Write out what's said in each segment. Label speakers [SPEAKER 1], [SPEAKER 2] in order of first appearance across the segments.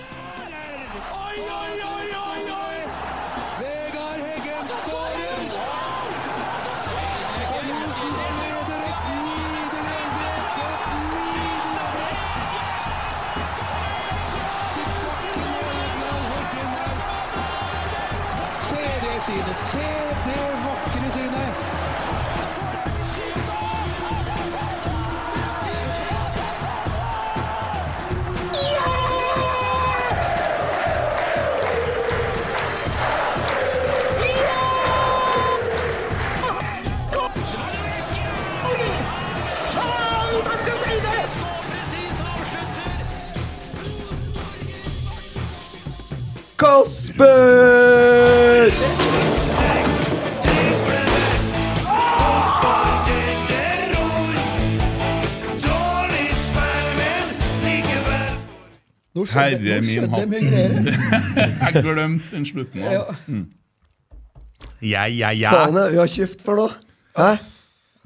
[SPEAKER 1] Oi, oi, oi, oi, oi! Vegard Heggen skårer! Og Rosenborg leder et nydelig angrep! Et nydelig angrep! Tilbake til Arendal Heggen der. Se det synet! Se det vakre synet!
[SPEAKER 2] Kasper!
[SPEAKER 3] Nå skjønner,
[SPEAKER 4] Herre
[SPEAKER 3] nå
[SPEAKER 4] min
[SPEAKER 3] skjønner
[SPEAKER 4] hatt.
[SPEAKER 3] jeg mye greier.
[SPEAKER 4] Jeg glemte den slutten.
[SPEAKER 3] Ja.
[SPEAKER 4] av Ja, ja, ja.
[SPEAKER 2] Faen, jeg har kjeft for noe. Hæ?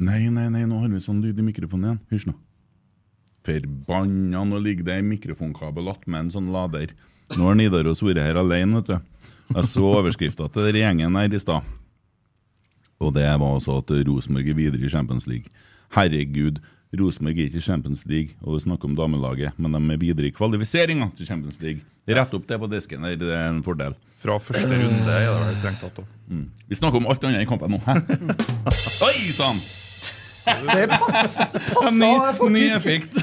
[SPEAKER 4] Nei, nei, nei, nå har vi sånn lyd i mikrofonen igjen. Hysj nå. Forbanna, nå ligger det en mikrofonkabel attmed en sånn lader. Nå har Nidaros vært her alene, vet du. Jeg så overskrifta til den gjengen her i stad. Og det var altså at Rosenborg er videre i Champions League. Herregud, Rosenborg er ikke i Champions League, og vi snakker om damelaget, men de er videre i kvalifiseringa til Champions League. Rett opp det på disken der, det er en fordel.
[SPEAKER 5] Fra første runde er det vel strengt tatt. da.
[SPEAKER 4] Vi snakker om alt annet i kampen nå. Hæ? Oi sann!
[SPEAKER 2] Det passa
[SPEAKER 4] Ny, ny
[SPEAKER 2] faktisk.
[SPEAKER 4] effekt.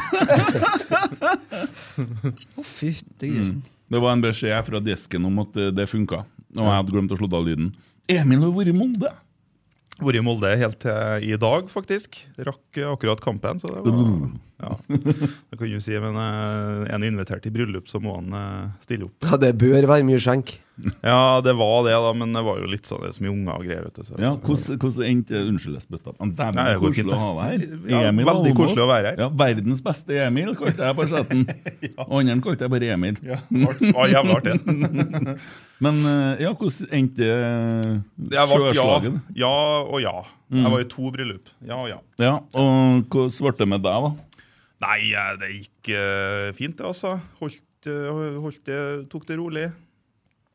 [SPEAKER 3] Å, fy til
[SPEAKER 2] Mm.
[SPEAKER 3] grisen.
[SPEAKER 4] Det var en beskjed fra desken om at eh, det funka. Og jeg hadde glemt å slå av lyden. Emil har vært i Molde!
[SPEAKER 5] Vært i Molde helt til i dag, faktisk. Rakk eh, akkurat kampen. så Det var, ja. Det kan du si, men eh, er han invitert til bryllup, så må han eh, stille opp.
[SPEAKER 2] Ja, det bør være mye skjenk.
[SPEAKER 5] Ja, det var det, da, men det var jo litt sånn det er så mye unger og greier. vet du. Så.
[SPEAKER 4] Ja, hvordan hvordan endte Unnskyld, jeg spytta. Men Dæven,
[SPEAKER 5] Nei, det går
[SPEAKER 4] koselig
[SPEAKER 5] fint,
[SPEAKER 4] å ha deg her.
[SPEAKER 5] Ja,
[SPEAKER 4] var
[SPEAKER 5] veldig
[SPEAKER 4] Holmås.
[SPEAKER 5] koselig å være her.
[SPEAKER 4] Ja, Verdens beste Emil, kalte jeg på chatten. Og andre kalte jeg bare Emil.
[SPEAKER 5] Ja, art, ah, jævla artig.
[SPEAKER 4] Men eh, ja, hvordan endte eh,
[SPEAKER 5] Jeg var, ja,
[SPEAKER 4] sjøslaget?
[SPEAKER 5] ja og ja. Jeg var i to bryllup. Ja og ja.
[SPEAKER 4] Ja, og hvordan ble det med deg, da?
[SPEAKER 5] Nei, eh, det gikk eh, fint, det, altså. Holdt, eh, holdt det, tok det rolig.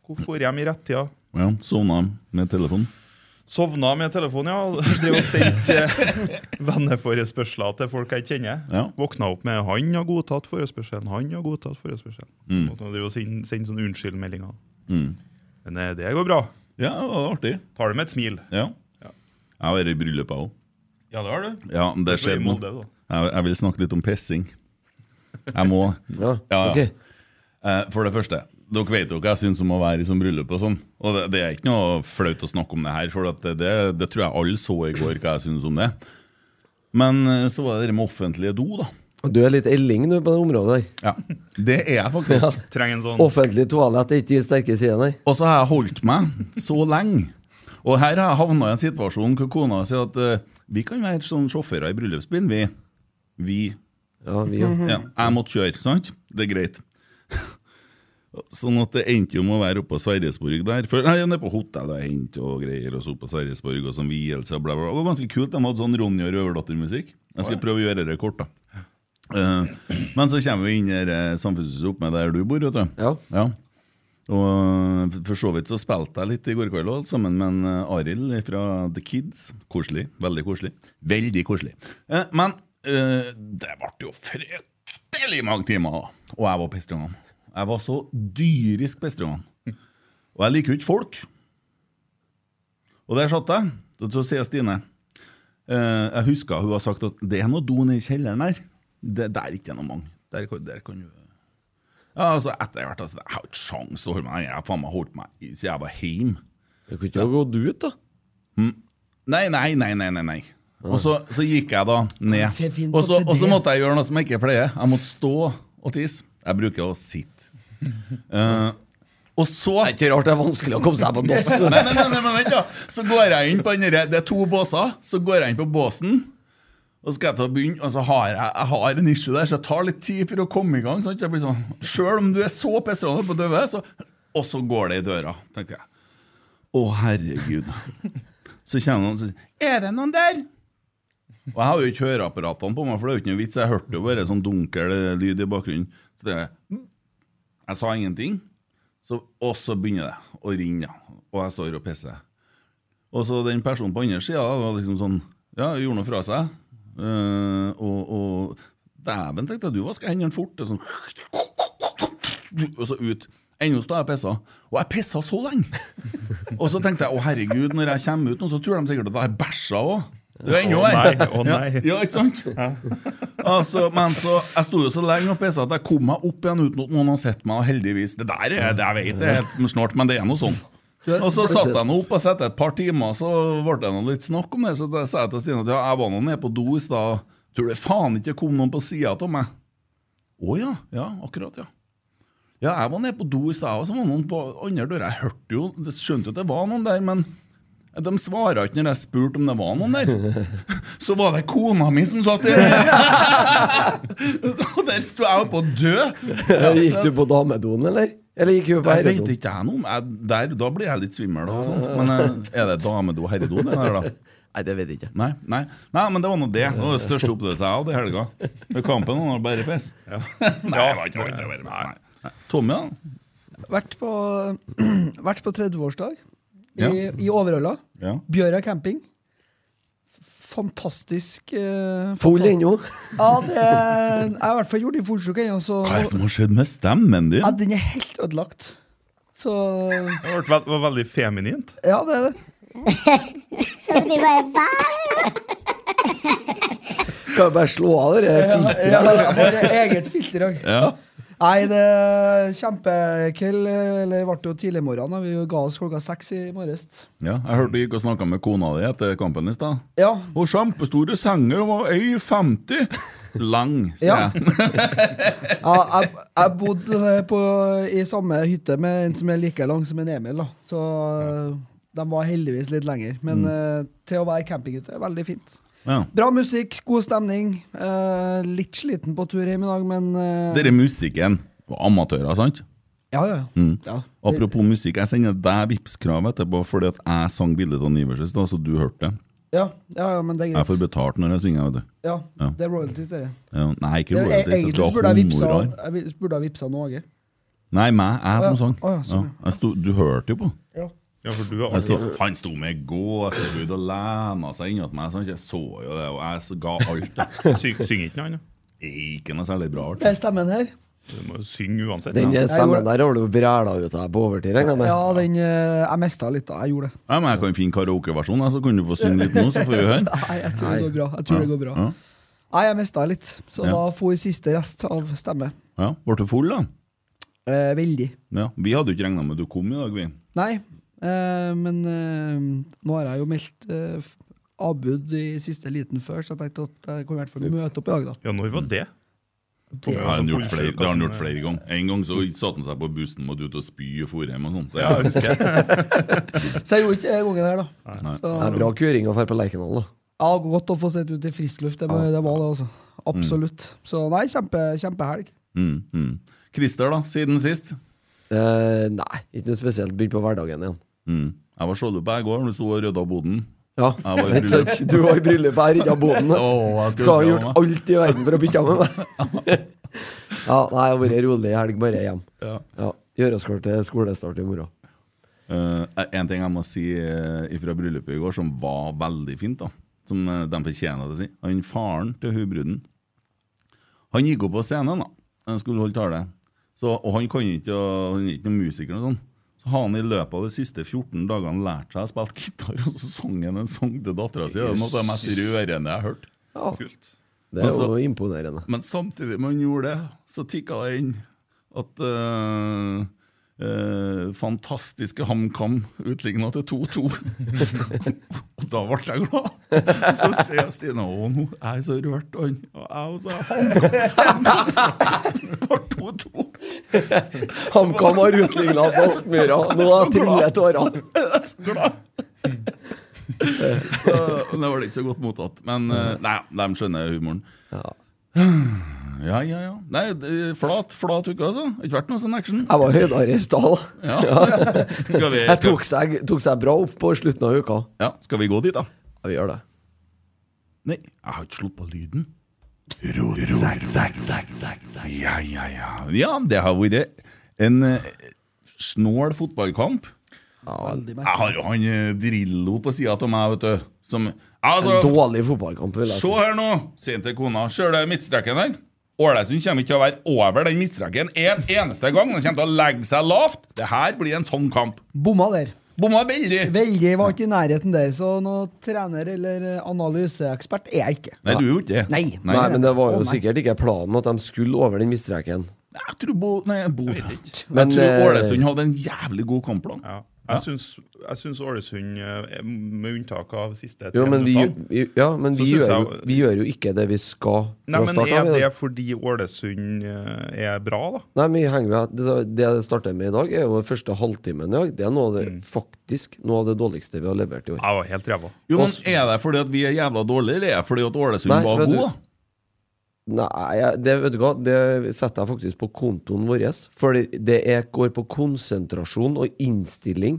[SPEAKER 5] Hvorfor hjem i rettida?
[SPEAKER 4] Ja, Sovna med telefonen?
[SPEAKER 5] Sovna med telefonen, ja. Drev og sendte eh, venneforespørsler til folk jeg kjenner.
[SPEAKER 4] Ja.
[SPEAKER 5] Våkna opp med 'han har godtatt forespørselen', 'han har godtatt forespørselen'. Mm. Drev og sendte send sånne unnskyldmeldinger. Men eh, det går bra.
[SPEAKER 4] Ja, det var artig.
[SPEAKER 5] Tar det med et smil.
[SPEAKER 4] Ja.
[SPEAKER 5] Ja.
[SPEAKER 4] Jeg har vært i bryllup, jeg òg.
[SPEAKER 5] Ja, det har du.
[SPEAKER 4] Ja, det
[SPEAKER 5] Det var i
[SPEAKER 4] skjedde nå.
[SPEAKER 5] Molde, da.
[SPEAKER 4] Jeg, jeg vil snakke litt om pissing. Jeg må.
[SPEAKER 2] Ja,
[SPEAKER 4] Ja,
[SPEAKER 2] ok.
[SPEAKER 4] ja. Eh, for det første, dere vet jo hva jeg syns om å være i sånn bryllup og sånn. Og det, det er ikke noe flaut å snakke om det her, for at det, det, det tror jeg alle så i går hva jeg syns om det. Men eh, så var det det med offentlige do, da.
[SPEAKER 2] Og Du er litt elling du på det området der.
[SPEAKER 4] Ja, Det er jeg faktisk.
[SPEAKER 5] Trenger en sånn
[SPEAKER 4] Mm.
[SPEAKER 2] Offentlig toalett er ikke de sterke sidene der.
[SPEAKER 4] Og så har jeg holdt meg så lenge. Og her har jeg havna i en situasjon hvor kona sier at eh, vi kan være sånn sjåfører i bryllupsbilen, vi. Vi
[SPEAKER 2] Ja, vi jo.
[SPEAKER 4] Ja, jeg måtte kjøre, sant? Det er greit. Sånn at det endte jo med å være oppe på Sverresborg der. Før, nei, nede på hotellet og hente og greier, og så opp på Sverresborg og sånn vielse og bla, bla. bla. Det var ganske kult. De hadde sånn Ronny og Røverdatter-musikk. Jeg skal prøve å gjøre det kort, da. Eh, men så kommer vi inn i eh, samfunnshuset oppe med der du bor, vet du.
[SPEAKER 2] Ja.
[SPEAKER 4] Ja. Og for så vidt så spilte jeg litt i går kveld også, sammen med en eh, Arild fra The Kids. Koselig. Veldig koselig. Veldig koselig. Eh, Men eh, det ble jo fryktelig mange timer, og jeg var pest i ungene. Jeg var så dyrisk pest i ungene. Og jeg liker jo ikke folk. Og der satt jeg. Og så sier Stine eh, Jeg husker hun har sagt at det er noe do nede i kjelleren der. Det, der er ikke noe mange. Der, kan- der kan du ja, altså etter hvert altså, Jeg har jo ikke sjans til å holde meg Jeg har faen meg holdt meg i- siden jeg var hjemme.
[SPEAKER 2] Du kunne ikke ha gått ut, da.
[SPEAKER 4] Nei, nei, nei, nei, nei, nei. Og så, så gikk jeg da ned.
[SPEAKER 6] Fin- fin
[SPEAKER 4] Og så,
[SPEAKER 6] på det.
[SPEAKER 4] og så måtte jeg gjøre noe som jeg ikke pleier. Jeg måtte stå og tisse. Jeg bruker å sitte. Eh, og så
[SPEAKER 2] Det er ikke rart det er vanskelig å komme seg på dass.
[SPEAKER 4] nei, nei, nei, nei, men vent da Så går jeg inn på den der- Det er to båser Så går jeg inn på båsen Og så skal jeg ta og begynne Og så har jeg, jeg har en issue der Så jeg tar litt tid for å komme i gang sant? Så jeg blir sånn Selv om du er så pestrende på døve så, Og så går det i døra Tenkte jeg Å herregud Så kjenner noen som sier Er det noen der? Og jeg har jo ikke høreapparatene på meg, for det er jo ikke noe vits. Jeg hørte jo bare sånn dunkel lyd i bakgrunnen. Så det Jeg sa ingenting, så, og så begynner det å ringe, da. og jeg står og pisser. Og så den personen på andre sida var liksom sånn Ja, gjorde noe fra seg. Eh, og og dæven, tenkte jeg, du vasker hendene fort. Og, sånn, og så ut. Ennå står jeg og pisser. Og jeg pissa så lenge! Og så tenkte jeg å herregud, når jeg kommer ut nå, så tror de sikkert at jeg har bæsja òg. Det er ennå
[SPEAKER 5] Å nei,
[SPEAKER 4] verre.
[SPEAKER 5] å nei.
[SPEAKER 4] Ja, ja, ikke sant? altså, men så, jeg sto jo så lenge og pissa at jeg kom meg opp igjen uten at noen har sett meg. Og heldigvis. Det der er det jeg vet, det er helt snålt, men det er nå sånn. Og så satt jeg nå opp og satt et par timer, så ble det nå litt snakk om det. Så da sa jeg til Stine at ja, jeg var nå nede på do i stad. Tror det faen ikke kom noen på sida av meg. Å ja. Ja, akkurat, ja. Ja, jeg var nede på do i stad, og så var det noen på andre døra. Jeg hørte jo, det- skjønte jo at det var noen der, men de svara ikke når jeg spurte om det var noen der. Så var det kona mi som satt der! Og der sto jeg oppe og død!
[SPEAKER 2] Gikk du på damedoen, eller? Eller gikk hun på
[SPEAKER 4] Jeg vet
[SPEAKER 2] herredoen?
[SPEAKER 4] ikke jeg noe om. Jeg- der- Da blir jeg litt svimmel og sånt. Men eh, er det damedo og herredo, det der, da?
[SPEAKER 2] Nei, det vet jeg ikke.
[SPEAKER 4] Nei, nei, nei, men det var nå det. Det var det største opplevelsen jeg hadde i helga. Med kampen han har bare piss. Nei, det var ikke noe annet å være med. Nei. Nei. Tommy, da?
[SPEAKER 3] Vært på, vært på 30-årsdag i,
[SPEAKER 4] Ja.
[SPEAKER 3] i Overhalla.
[SPEAKER 4] Ja.
[SPEAKER 3] Bjøra camping. Fantastisk eh,
[SPEAKER 2] Full
[SPEAKER 3] fanta-
[SPEAKER 2] ennå?
[SPEAKER 3] Ja, det er, jeg har i hvert fall gjort det i fullsjuk ennå, så
[SPEAKER 4] Hva er det som har skjedd med stemmen
[SPEAKER 3] ja,
[SPEAKER 4] din?
[SPEAKER 3] den er helt ødelagt. Så
[SPEAKER 5] Det ble veld, var veldig feminint.
[SPEAKER 3] Ja, det er det.
[SPEAKER 6] Skal vi bare hva?
[SPEAKER 2] Kan jeg bare slå av det der filteret?
[SPEAKER 3] Ja, det er bare eget filter òg.
[SPEAKER 4] Ja.
[SPEAKER 3] Nei, det er kjempekveld. Eller det ble jo tidlig morgen. da. Vi ga oss klokka seks i morges.
[SPEAKER 4] ja. Jeg hørte du gikk og snakka med kona di etter kampen i stad.
[SPEAKER 3] Ja.
[SPEAKER 4] Og kjempestore senger og ei 50. Lang, sier
[SPEAKER 3] Ja.
[SPEAKER 4] jeg.
[SPEAKER 3] ja jeg, jeg bodde på, i samme hytte med en som er like lang som en Emil, da. Så eh, de var heldigvis litt lenger. Men
[SPEAKER 4] Mm.
[SPEAKER 3] eh, til å være campinghytte, veldig fint.
[SPEAKER 4] Ja.
[SPEAKER 3] Bra musikk, god stemning. Eh, litt sliten på tur hjem i dag, men eh,
[SPEAKER 4] Dere musikken var amatører, sant?
[SPEAKER 3] Ja, ja.
[SPEAKER 4] Mm.
[SPEAKER 3] ja.
[SPEAKER 4] Apropos musikk, jeg sender deg Vipps-krav etterpå fordi at jeg sang bildet av Nivers i stad, så du hørte det.
[SPEAKER 3] Ja, ja, ja, men det er
[SPEAKER 4] Jeg får
[SPEAKER 3] greit.
[SPEAKER 4] betalt når jeg synger. vet du.
[SPEAKER 3] Ja,
[SPEAKER 4] Ja.
[SPEAKER 3] det er royalties, dere.
[SPEAKER 4] Ja, Nei, ikke
[SPEAKER 3] Ja, e-
[SPEAKER 4] royalties. Jeg
[SPEAKER 3] Egentlig
[SPEAKER 4] skal
[SPEAKER 3] så burde
[SPEAKER 4] ha
[SPEAKER 3] jeg vipsa,
[SPEAKER 4] honorar.
[SPEAKER 3] jeg vil- burde jeg vipsa Norge.
[SPEAKER 4] Nei, meg. Jeg som
[SPEAKER 3] Å ja,
[SPEAKER 4] sang.
[SPEAKER 3] å ja, sånn,
[SPEAKER 4] Ja, jeg sto, du hørte jo på.
[SPEAKER 3] Ja.
[SPEAKER 5] Ja, for du er
[SPEAKER 4] Jeg så,
[SPEAKER 5] artist.
[SPEAKER 4] han sto med gåsehud og lena seg innat meg. sant? Jeg så jo det, og jeg så ga alt. da.
[SPEAKER 5] Syng, synger ikke noe annet.
[SPEAKER 4] Ikke noe særlig bra. altså.
[SPEAKER 3] Det er
[SPEAKER 4] Art.
[SPEAKER 3] stemmen her.
[SPEAKER 5] Du må jo synge uansett.
[SPEAKER 2] Den
[SPEAKER 5] Ja.
[SPEAKER 2] der stemmen der har du vræla ut av deg på overtid, regner jeg med.
[SPEAKER 3] Ja, den eh, Jeg mista litt, da. Jeg gjorde det.
[SPEAKER 4] Ja, men jeg kan finne karaokeversjonen, jeg, så kan du få synge litt nå, så får vi høre.
[SPEAKER 3] Nei, jeg tror det går bra. Jeg tror det går bra.
[SPEAKER 4] Ja.
[SPEAKER 3] Nei, jeg mista litt. Så
[SPEAKER 4] Ja.
[SPEAKER 3] da får jeg siste rest av stemme.
[SPEAKER 4] Ja, Ble du full, da?
[SPEAKER 3] Eh, veldig.
[SPEAKER 4] Ja, Vi hadde jo ikke regna med at du kom i dag, vi.
[SPEAKER 3] Nei, eh, men eh, nå har jeg jo meldt eh, f- avbud i siste liten før, så jeg tenkte at jeg kunne i hvert fall møte opp i dag, da.
[SPEAKER 5] Ja, når var det?
[SPEAKER 4] Det har han gjort flere, det har han gjort flere ganger. En gang så satte han seg på bussen, måtte ut og spy og for hjem og sånt.
[SPEAKER 5] Ja, jeg husker jeg.
[SPEAKER 3] Så jeg gjorde ikke det gangen her, da.
[SPEAKER 4] Nei.
[SPEAKER 3] Så,
[SPEAKER 2] Det er bra kuring å dra på Lerkendal, da.
[SPEAKER 3] ja, godt å få sett ut i frisk luft. Det, var- det var det, altså. Absolutt. Så nei, kjempe, kjempehelg.
[SPEAKER 4] Mm, mm. Christer, da, siden sist.
[SPEAKER 2] Eh, nei, ikke noe spesielt. Begynte på hverdagen igjen.
[SPEAKER 4] Mm. Jeg var skjoldet på i går, du sto og rydda boden.
[SPEAKER 2] Ja,
[SPEAKER 4] Jeg var i
[SPEAKER 2] ikke sant? Du var i bryllup her, ikke av båten.
[SPEAKER 4] Åh, jeg
[SPEAKER 2] Skal
[SPEAKER 4] skulle ønske jeg
[SPEAKER 2] ha gjort
[SPEAKER 4] var med.
[SPEAKER 2] alt i verden for å bytte av med meg. Ja, nei, jeg har vært rolig i helg, bare hjem.
[SPEAKER 4] Ja.
[SPEAKER 2] Ja, Gjøre oss klar til skolestart i morgen.
[SPEAKER 4] Eh, en ting jeg må si eh, ifra bryllupet i går, som var veldig fint, da som eh, de fortjener å si. Han faren til hun bruden Han gikk opp på scenen, da. Han skulle holde tale. Så, og han kan ikke å- Han er ikke noen musiker. Og sånn. Så har han i løpet av de siste 14 dagene lært seg å spille gitar, og så sang han en sang til dattera si. Det er noe av det mest rørende jeg har hørt.
[SPEAKER 2] Ja,
[SPEAKER 5] Kult.
[SPEAKER 2] det er
[SPEAKER 4] Men
[SPEAKER 2] jo
[SPEAKER 4] så-
[SPEAKER 2] imponerende.
[SPEAKER 4] Men samtidig med han gjorde det, så tikka det inn at eh, eh, fantastiske HamKam utligna til 2-2. og da ble jeg glad. Så ser jeg Stine Å, nå er jeg så rørt. Og han og jeg også. HamKam Det ble 2-2.
[SPEAKER 2] HamKam har utligna på Aspmyra. Nå
[SPEAKER 4] Så glad.
[SPEAKER 2] triller tårene.
[SPEAKER 4] Jeg er så glad. så, men det var ikke så godt mottatt. Men eh, nei, de skjønner humoren.
[SPEAKER 2] Ja.
[SPEAKER 4] Ja, ja, ja. Nei, det- flat, flat uke, altså. Ikke vært noe sånn action.
[SPEAKER 2] Jeg var høydere i stad. da.
[SPEAKER 4] Skal vi,
[SPEAKER 2] Jeg
[SPEAKER 4] skal,
[SPEAKER 2] tok seg, tok seg bra opp på slutten av uka.
[SPEAKER 4] ja, skal vi gå dit, da?
[SPEAKER 2] Ja, vi gjør det.
[SPEAKER 4] Nei, jeg har ikke slått på lyden. Ro, ro, ro, Ja, ja, ja. ja, det har vært en eh, snål fotballkamp.
[SPEAKER 3] Veldig
[SPEAKER 4] Jeg
[SPEAKER 3] merkelig.
[SPEAKER 4] har jo han eh, Drillo på sida av meg, vet du. Som altså,
[SPEAKER 2] En dårlig fotballkamp, vil jeg
[SPEAKER 4] Se
[SPEAKER 2] si.
[SPEAKER 4] her nå, sier han til kona. Ser du midtstreken der? Ålesund kommer ikke til å være over den midtstreken en eneste gang. Den kommer til å legge seg lavt. Det her blir en sånn kamp.
[SPEAKER 3] Bomma der.
[SPEAKER 4] Bomma veldig.
[SPEAKER 3] Veldig var ikke i nærheten der, så noen trener eller analyseekspert er jeg ikke.
[SPEAKER 4] Nei, du er jo ikke det.
[SPEAKER 3] Nei.
[SPEAKER 2] Nei, men det var jo
[SPEAKER 3] Å, nei.
[SPEAKER 2] sikkert ikke planen at de skulle over den midtstreken.
[SPEAKER 4] Jeg tror Bo... Nei, Bo... Jeg,
[SPEAKER 2] Men,
[SPEAKER 4] tror
[SPEAKER 2] eh,
[SPEAKER 4] Ålesund hadde en jævlig god kampplan.
[SPEAKER 5] Ja. Jeg syns, jeg syns Ålesund, eh, med unntak av siste
[SPEAKER 2] Jo, men vi,
[SPEAKER 5] minuttene-
[SPEAKER 2] vi- ja, men
[SPEAKER 5] Så
[SPEAKER 2] vi,
[SPEAKER 5] synes
[SPEAKER 2] gjør,
[SPEAKER 5] jeg-
[SPEAKER 2] jo, vi gjør jo ikke det vi skal
[SPEAKER 5] Nei,
[SPEAKER 2] fra
[SPEAKER 5] men
[SPEAKER 2] start av.
[SPEAKER 5] Er
[SPEAKER 2] vi-
[SPEAKER 5] det fordi Ålesund eh, er bra, da?
[SPEAKER 2] Nei, men vi henger jo her. det, det jeg starter med i dag, er jo den første halvtimen i dag. Det er noe av det,
[SPEAKER 5] Mm.
[SPEAKER 2] faktisk noe av det dårligste vi har levert i år.
[SPEAKER 5] Jeg var helt ræva.
[SPEAKER 4] Jo, men Er det fordi at vi er jævla dårlige, eller er det fordi at Ålesund
[SPEAKER 2] Nei,
[SPEAKER 4] var
[SPEAKER 2] vet du-
[SPEAKER 4] god? da?
[SPEAKER 2] Nei, jeg- det, vet du hva, det setter jeg faktisk på kontoen vår. For det er, går på konsentrasjon og innstilling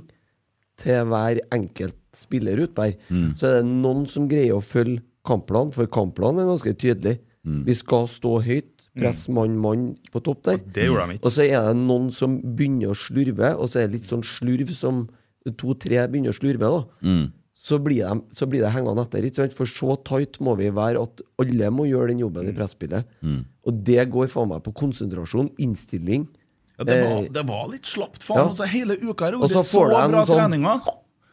[SPEAKER 2] til hver enkelt spiller ut der. Så er det noen som greier å følge kampplanen, for kampplanen er ganske tydelig. Vi skal stå høyt, press mann, mann på topp der.
[SPEAKER 5] Mm. Det gjorde de ikke.
[SPEAKER 2] Og så er det noen som begynner å slurve, og så er det litt sånn slurv som to-tre begynner å slurve, da. Så, blir de, så blir det hengende etter. Ikke sant? For så tight må vi være at alle må gjøre den jobben i
[SPEAKER 5] Mm.
[SPEAKER 2] presspillet. Og det går faen meg på konsentrasjon, innstilling.
[SPEAKER 4] Ja, det, var,
[SPEAKER 2] Eh,
[SPEAKER 4] det var litt slapt, faen.
[SPEAKER 2] ja.
[SPEAKER 4] Altså, hele uka har det
[SPEAKER 2] Og så
[SPEAKER 4] vært så
[SPEAKER 2] får du en
[SPEAKER 4] bra
[SPEAKER 2] sånn
[SPEAKER 4] treninger.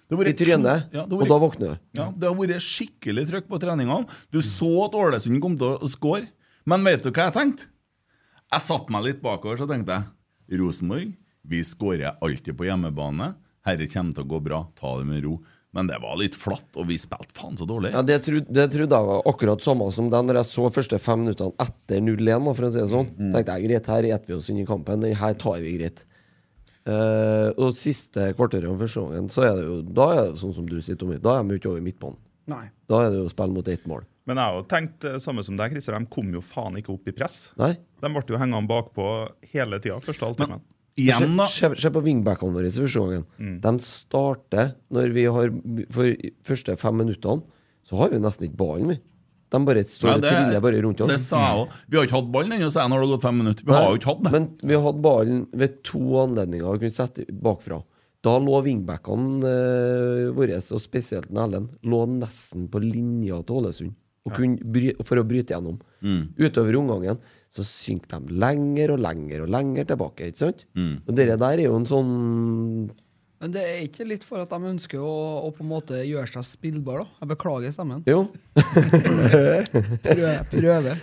[SPEAKER 4] Det har
[SPEAKER 2] I
[SPEAKER 4] vært-
[SPEAKER 2] trynet,
[SPEAKER 4] Ja, det har
[SPEAKER 2] og
[SPEAKER 4] vært-
[SPEAKER 2] da våkner du.
[SPEAKER 4] Ja, Det har vært skikkelig trøkk på treningene. Du så at Ålesund kom til å score. Men vet du hva jeg tenkte? Jeg satte meg litt bakover så tenkte jeg Rosenborg, vi skårer alltid på hjemmebane. Herre kommer til å gå bra. Ta det med ro. Men det var litt flatt, og vi spilte faen så dårlig.
[SPEAKER 2] Ja, det, tro, det trodde jeg var akkurat samme som den når jeg så første fem minuttene etter 0-1. da, for å si det sånn.
[SPEAKER 4] Mm,
[SPEAKER 2] tenkte jeg greit, her eter vi oss inn i kampen. Den her tar vi greit. Eh, og siste kvarteret om første gangen, så er det jo da er det sånn som du sier, Tommy. Da er de jo ikke over midtbanen.
[SPEAKER 3] Nei.
[SPEAKER 2] Da er det jo spill mot ett mål.
[SPEAKER 5] Men jeg har jo tenkt eh, samme som deg, Christer. De kom jo faen ikke opp i press.
[SPEAKER 2] Nei?
[SPEAKER 5] De ble jo hengende bakpå hele tida, første halvtimen.
[SPEAKER 2] Se,
[SPEAKER 4] Igjen, da. Mm.
[SPEAKER 2] se, se på wingbackene våre i første gangen. De starter når vi har For de første fem minuttene så har vi nesten ikke ballen, vi. De bare står
[SPEAKER 4] Ja,
[SPEAKER 2] og triller bare rundt oss.
[SPEAKER 4] det sa jeg òg. Vi har ikke hatt ballen ennå, sa jeg når det har gått fem minutter. Vi
[SPEAKER 2] Nei,
[SPEAKER 4] har jo ikke hatt det.
[SPEAKER 2] Men vi hadde ballen ved to anledninger og kunne sette bakfra. Da lå wingbackene eh, våre, og spesielt den Ellen, lå nesten på linja til Ålesund og kunne bry, for å bryte gjennom.
[SPEAKER 4] Mm.
[SPEAKER 2] Utover omgangen så synker de lenger og lenger og lenger tilbake. ikke sant?
[SPEAKER 4] Mm.
[SPEAKER 2] Og det der er jo en sånn
[SPEAKER 3] Men det er ikke litt for at de ønsker å, å på en måte gjøre seg spillbar, da? Jeg beklager stemmen.
[SPEAKER 2] Jo.
[SPEAKER 3] Prøve. prøve.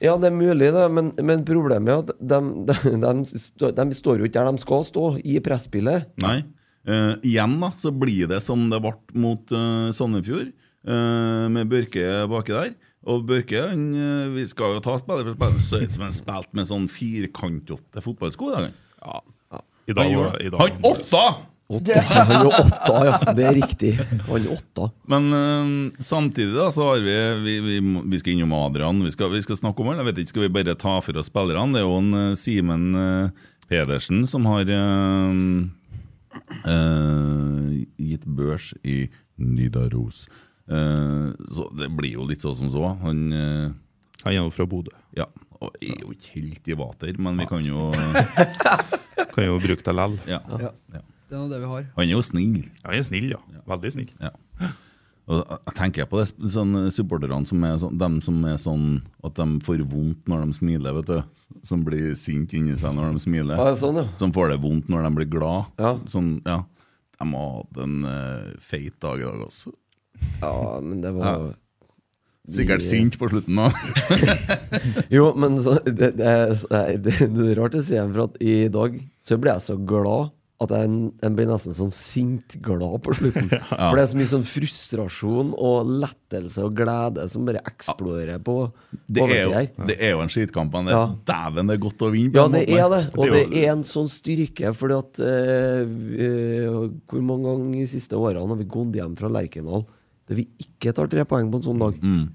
[SPEAKER 2] Ja, det er mulig, det, men, men problemet er at de, de, de, stå- de står jo ikke der de skal stå, i presspillet.
[SPEAKER 4] Nei. Eh, igjen da, så blir det som det ble mot eh, Sandefjord, eh, med Børke baki der. Og Børke han, eh, vi skal jo ta spiller for spiller, så ut som han spilte med sånn firkantete fotballsko. Da.
[SPEAKER 5] I
[SPEAKER 4] Han,
[SPEAKER 5] dag,
[SPEAKER 4] gjorde
[SPEAKER 5] i
[SPEAKER 4] det.
[SPEAKER 5] dag.
[SPEAKER 4] han åtta!
[SPEAKER 2] Åtta, han er jo åtta, ja. Det er riktig. Han er åtta.
[SPEAKER 4] Men eh, samtidig da, så har vi Vi, vi, må- vi skal innom Adrian, vi skal, vi skal snakke om han. Jeg vet ikke, Skal vi bare ta for oss spillerne? Det er jo en eh, Simen eh, Pedersen som har eh, eh, gitt børs i Nidaros. Eh, så det blir jo litt så som så. Han eh,
[SPEAKER 5] Han er jo fra Bodø.
[SPEAKER 4] ja, og er jo ikke helt i vater, men vi kan jo
[SPEAKER 5] Kan jo bruke det lell.
[SPEAKER 4] ja,
[SPEAKER 3] Ja.
[SPEAKER 4] ja.
[SPEAKER 3] Det er nå det vi har.
[SPEAKER 4] Han er jo snill.
[SPEAKER 5] Han er snill, ja. Veldig snill.
[SPEAKER 4] Ja. Og jeg- jeg tenker på det, sånn, supporterne som er sånn, dem som er sånn at de får vondt når de smiler, vet du. Som blir sint inni seg når de smiler.
[SPEAKER 2] Ja, sånn, ja.
[SPEAKER 4] Som får det vondt når de blir glad.
[SPEAKER 2] Ja.
[SPEAKER 4] Sånn, ja. De har hatt en eh, feit dag i dag også.
[SPEAKER 2] Ja, men det var
[SPEAKER 4] Sikkert
[SPEAKER 2] Vi-
[SPEAKER 4] sint på slutten da.
[SPEAKER 2] Jo, men så, det, det, er, så- nei, det, det er rart å si igjen, for at i dag så ble jeg så glad at jeg, jeg ble nesten sånn sint glad på slutten. For det er så mye sånn frustrasjon og lettelse og glede som bare eksploderer på
[SPEAKER 4] Det er,
[SPEAKER 2] overtid her.
[SPEAKER 4] jo, det er jo en skitkamp, men det,
[SPEAKER 2] Ja.
[SPEAKER 4] dæven, det er godt å vinne. på
[SPEAKER 2] Ja,
[SPEAKER 4] en
[SPEAKER 2] det
[SPEAKER 4] måte.
[SPEAKER 2] er det. Og det
[SPEAKER 4] jo-
[SPEAKER 2] er en sånn styrke, fordi at eh, vi- eh, Hvor mange ganger de siste årene har vi gått hjem fra Lerkendal der vi ikke tar tre poeng på en sånn dag?
[SPEAKER 4] Mm.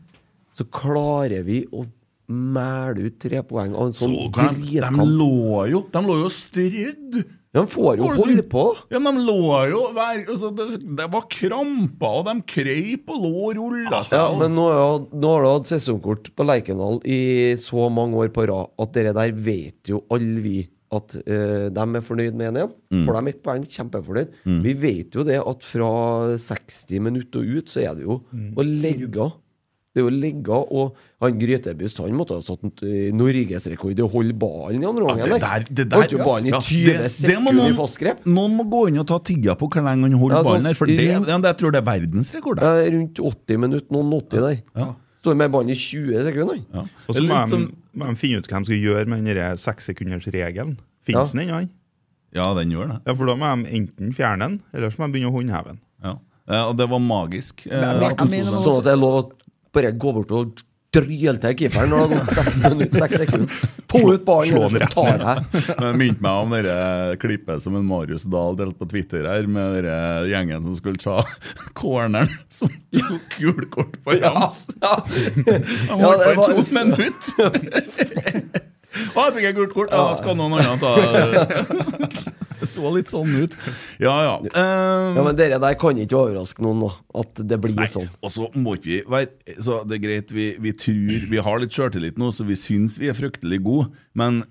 [SPEAKER 2] Så klarer vi å mæle ut tre poeng av en sånn
[SPEAKER 4] Så, de, de
[SPEAKER 2] dritkamp.
[SPEAKER 4] lå jo De lå jo strødd
[SPEAKER 2] Ja, han får jo
[SPEAKER 4] Går det så-
[SPEAKER 2] holde på.
[SPEAKER 4] Ja, men de lå jo hver, altså, det, det var kramper, og de krøyp og lå og rulla seg.
[SPEAKER 2] Ja, men nå, har jeg- nå har du hatt sesongkort på Lerkendal i så mange år på rad at dere der vet jo alle vi at eh, de er fornøyd med en igjen.
[SPEAKER 4] Mm.
[SPEAKER 2] For de er ett poeng, kjempefornøyd. Vi vet jo det at fra 60 minutter og ut, så er det jo å legge av. Det er jo å legge av. Og han Grytebust han måtte ha satt eh, norgesrekord i å holde ballen i andre
[SPEAKER 4] Ja,
[SPEAKER 2] omgang.
[SPEAKER 4] det der, det der
[SPEAKER 2] Holdt jo ballen i
[SPEAKER 4] ja,
[SPEAKER 2] 20
[SPEAKER 4] det- det må
[SPEAKER 2] sekunder i
[SPEAKER 4] noen-
[SPEAKER 2] fast grep.
[SPEAKER 4] Noen må gå inn og ta tigga på hvor lenge han holder
[SPEAKER 2] Ja, sånn
[SPEAKER 4] ballen her, for det,
[SPEAKER 2] fire-
[SPEAKER 4] ja, det, jeg tror det er verdensrekord.
[SPEAKER 2] Ja,
[SPEAKER 4] der.
[SPEAKER 2] Eh, Rundt 80 minutter, noen 80 der. Står med ballen i 20 sekunder. han.
[SPEAKER 4] Ja. Det
[SPEAKER 5] Og så
[SPEAKER 4] er
[SPEAKER 5] må
[SPEAKER 4] litt
[SPEAKER 5] de,
[SPEAKER 4] som-
[SPEAKER 5] må de finne ut hva de skal gjøre med den sekssekundersregelen.
[SPEAKER 2] Ja.
[SPEAKER 5] Fins den ennå? han?
[SPEAKER 4] ja, den gjør det.
[SPEAKER 5] Ja, for da må de enten fjerne den, eller så må de begynne å håndheve den.
[SPEAKER 4] Ja. Eh, Og det var magisk. eh,
[SPEAKER 3] Men- men-
[SPEAKER 4] at de
[SPEAKER 3] men-
[SPEAKER 4] sto
[SPEAKER 3] men-
[SPEAKER 4] sånn.
[SPEAKER 2] Sånn at det er lov å bare gå bort og dryle til keeperen når det har gått seks minutter. Seks sekunder. Få ut ballen,
[SPEAKER 5] slå den
[SPEAKER 2] ellers så tar jeg deg.
[SPEAKER 4] Men Det minte meg om det klippet som en Marius Dahl delte på Twitter her, med dere gjengen som skulle ta corneren som tok gulkort på Rams. Han
[SPEAKER 2] Ja,
[SPEAKER 4] holdt på
[SPEAKER 2] det
[SPEAKER 4] i
[SPEAKER 2] var-
[SPEAKER 4] to minutter! Å, jeg fikk jeg gult kort! Ja, da skal noen andre ta Det så litt sånn ut. Ja, ja. Eh,
[SPEAKER 2] Ja, men dere der kan ikke overraske noen nå, at det blir sånn.
[SPEAKER 4] og så må ikke vi være Så det er greit, vi, vi tror Vi har litt sjøltillit nå, så vi syns vi er fryktelig gode, men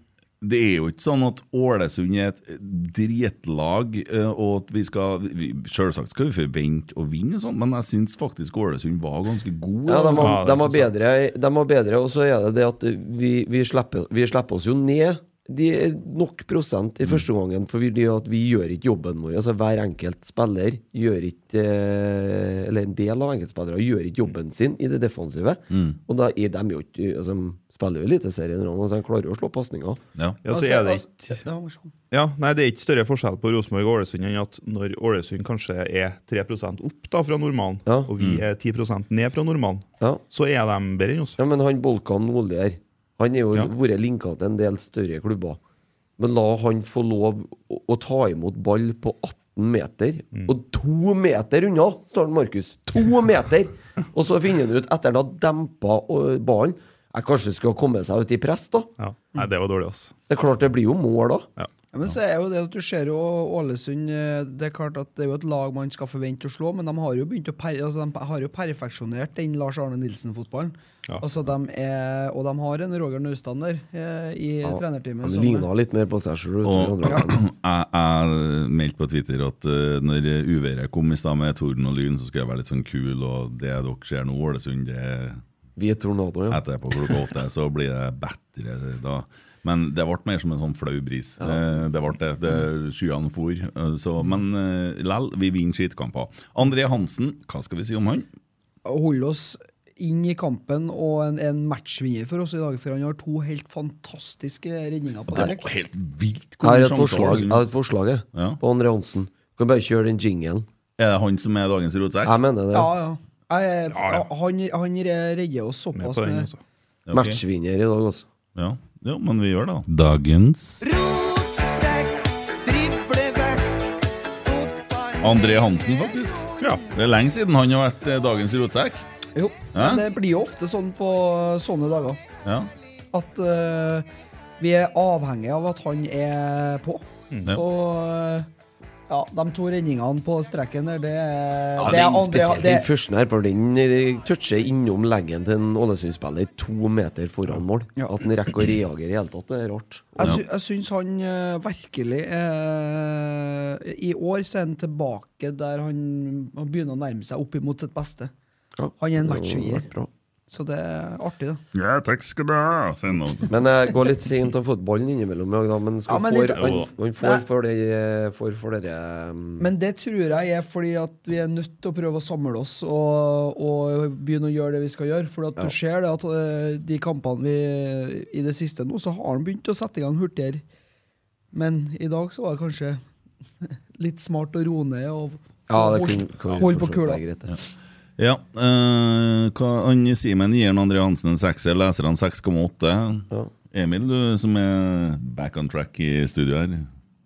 [SPEAKER 4] det er jo ikke sånn at Ålesund er et dritlag, eh, og at vi skal vi, Selvsagt skal vi forvente å vinne, og sånn, men jeg syns faktisk Ålesund var ganske god.
[SPEAKER 2] Ja, de
[SPEAKER 4] altså.
[SPEAKER 2] har,
[SPEAKER 5] Ja, det
[SPEAKER 2] de har
[SPEAKER 5] synes jeg.
[SPEAKER 2] bedre, de har bedre og så er det det at vi, vi, slipper, vi slipper oss jo ned de er nok prosent i første omgangen, for vi, at vi gjør ikke jobben vår. Altså Hver enkelt spiller gjør ikke eh, Eller en del av enkeltspillere gjør ikke jobben sin i det defensive. Og da er de jo ikke altså, de spiller jo Eliteserien, og så de klarer jo å slå pasninger.
[SPEAKER 4] ja.
[SPEAKER 5] Ja, så er det
[SPEAKER 3] Altså,
[SPEAKER 5] ikke
[SPEAKER 3] altså, ja, vær så god.
[SPEAKER 5] Ja, nei, Det er ikke større forskjell på Rosenborg og Ålesund enn at når Ålesund kanskje er 3 opp da fra normalen,
[SPEAKER 2] Ja.
[SPEAKER 5] og vi er 10 ned fra normalen,
[SPEAKER 2] Ja.
[SPEAKER 5] så er de bedre enn oss.
[SPEAKER 2] Ja, men han Bolkan Nordli her, han er jo
[SPEAKER 5] Ja.
[SPEAKER 2] vært linka til en del større klubber. Men la han få lov å, å ta imot ball på 18 meter, og to meter unna står han Markus. To meter! Og så finner han ut, etter han har dempa øh, ballen Jeg kanskje skulle ha kommet seg ut i press, da.
[SPEAKER 5] Ja. Nei, det var dårlig, altså.
[SPEAKER 2] Det er klart det blir jo mål da.
[SPEAKER 3] Ja, men så er jo det at du ser jo Ålesund eh, Det er klart at det er jo et lag man skal forvente å slå, men de har jo begynt å per, altså de har jo perfeksjonert den Lars Arne Nilsen-fotballen.
[SPEAKER 5] Ja.
[SPEAKER 3] Altså de er, og de har en Roger Naustdal der eh, i trenerteamet.
[SPEAKER 2] Han
[SPEAKER 3] som-
[SPEAKER 2] ligna litt mer på seg sjøl.
[SPEAKER 4] Og jeg, jeg meldte på Twitter at eh, når uværet kom i stad med torden og lyn, så skal jeg være litt sånn kul, og det dere ser nå, Ålesund, det
[SPEAKER 2] Vi er tornado, ja.
[SPEAKER 4] etterpå klokka åtte, så blir det bedre da. Men det ble mer som en sånn flau bris. Eh, Det ble det. det skyene for. eh, Så, men eh, lell, vi vinner skittkamper. André Hansen, hva skal vi si om han?
[SPEAKER 3] å holde oss inn i kampen og en, en matchvinner for oss i dag, for han har to helt fantastiske redninger på
[SPEAKER 4] Det var
[SPEAKER 3] strek.
[SPEAKER 4] helt vilt.
[SPEAKER 2] Jeg
[SPEAKER 4] hvor
[SPEAKER 2] har
[SPEAKER 4] mye
[SPEAKER 2] et
[SPEAKER 4] sjanser
[SPEAKER 2] forslag, jeg
[SPEAKER 4] Ålesund-
[SPEAKER 2] har et forslag jeg,
[SPEAKER 4] Ja.
[SPEAKER 2] på André Hansen. Kan bare kjøre den jingelen.
[SPEAKER 4] Er det han som er dagens rotsekk?
[SPEAKER 2] Jeg mener det.
[SPEAKER 3] Ja, ja. Jeg,
[SPEAKER 5] Ja, ja.
[SPEAKER 3] Han, han redder
[SPEAKER 5] Med
[SPEAKER 3] oss såpass
[SPEAKER 5] på den,
[SPEAKER 3] med
[SPEAKER 5] altså.
[SPEAKER 4] Ok.
[SPEAKER 2] Matchvinner i dag, altså.
[SPEAKER 4] Ja. ja, men vi gjør det, da. Dagens André Hansen, faktisk.
[SPEAKER 5] Ja.
[SPEAKER 4] Det er lenge siden han har vært eh, dagens rotsekk.
[SPEAKER 3] Jo,
[SPEAKER 4] Ja.
[SPEAKER 3] men det blir jo ofte sånn på sånne dager
[SPEAKER 4] Ja.
[SPEAKER 3] at eh, vi er avhengig av at han er på.
[SPEAKER 4] Ja.
[SPEAKER 3] Og eh, ja, de to redningene på streken der, det, er-
[SPEAKER 2] Ja,
[SPEAKER 3] det er
[SPEAKER 2] den
[SPEAKER 3] andre-
[SPEAKER 2] spesielt
[SPEAKER 3] det-
[SPEAKER 2] den første her, for den eh, toucher innom leggen til en Ålesund-spiller to meter foran mål.
[SPEAKER 3] Ja.
[SPEAKER 2] At den rekker å reagere i det hele tatt, det er rart.
[SPEAKER 3] Jeg, sy jeg syns han eh, virkelig eh, I år så er han tilbake der han, han begynner å nærme seg opp imot sitt beste.
[SPEAKER 2] Ja.
[SPEAKER 3] Han er en
[SPEAKER 2] Det har
[SPEAKER 3] matchvinner.
[SPEAKER 2] vært bra.
[SPEAKER 3] Så det er artig, da.
[SPEAKER 4] ja, takk skal du ha. Send noe.
[SPEAKER 2] Men jeg går litt sent av fotballen innimellom, jeg, da, men skal
[SPEAKER 3] Ja, men
[SPEAKER 2] får,
[SPEAKER 3] litt-
[SPEAKER 2] han, han
[SPEAKER 3] Nei.
[SPEAKER 2] får for dere for, for dere, um,
[SPEAKER 3] Men det tror jeg er fordi at vi er nødt til å prøve å samle oss og, og begynne å gjøre det vi skal gjøre. For at du ser det at eh, de kampene vi i det siste nå, så har han begynt å sette i gang hurtigere. Men i dag så var det kanskje litt smart å roe ned og
[SPEAKER 2] Ja, det
[SPEAKER 3] og
[SPEAKER 2] kunne, kunne
[SPEAKER 3] holde
[SPEAKER 2] for så
[SPEAKER 3] på
[SPEAKER 2] vidt
[SPEAKER 3] kula.
[SPEAKER 2] være greit, det.
[SPEAKER 4] Ja, eh, hva han Simen gir han André Hansen en sekser, leser han 6,8.
[SPEAKER 2] Ja.
[SPEAKER 4] Emil, du som er back on track i studio her.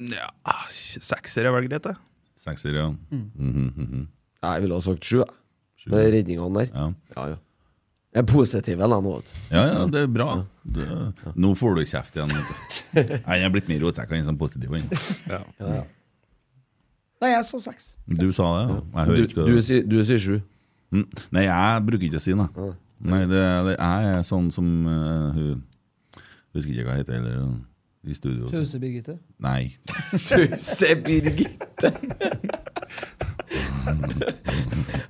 [SPEAKER 5] Ja, ah, Sekser er vel greit, det.
[SPEAKER 4] Sekser, ja. Mhm, mhm.
[SPEAKER 2] Jeg ville ha sagt sju, jeg. Med redningene der.
[SPEAKER 4] ja.
[SPEAKER 2] Ja, ja. Jeg er positiv jeg, nå. vet du.
[SPEAKER 4] Ja, ja, det er bra. Det, nå får du kjeft igjen. vet du. Nei, jeg er blitt mer rotsekk enn sånn positiv. enn.
[SPEAKER 5] Ja.
[SPEAKER 3] Nei, jeg så seks.
[SPEAKER 4] Du sa det, ja. Jeg hører
[SPEAKER 2] Du,
[SPEAKER 4] ikke
[SPEAKER 2] du,
[SPEAKER 4] hva du
[SPEAKER 2] sier- du sier sju.
[SPEAKER 4] Mm. Nei, jeg bruker ikke å si det. Nei, det, det jeg er sånn som eh, hun Husker ikke hva hun heter heller. hun I studio.
[SPEAKER 3] Pause, Birgitte.
[SPEAKER 4] Nei.
[SPEAKER 2] Tause Birgitte.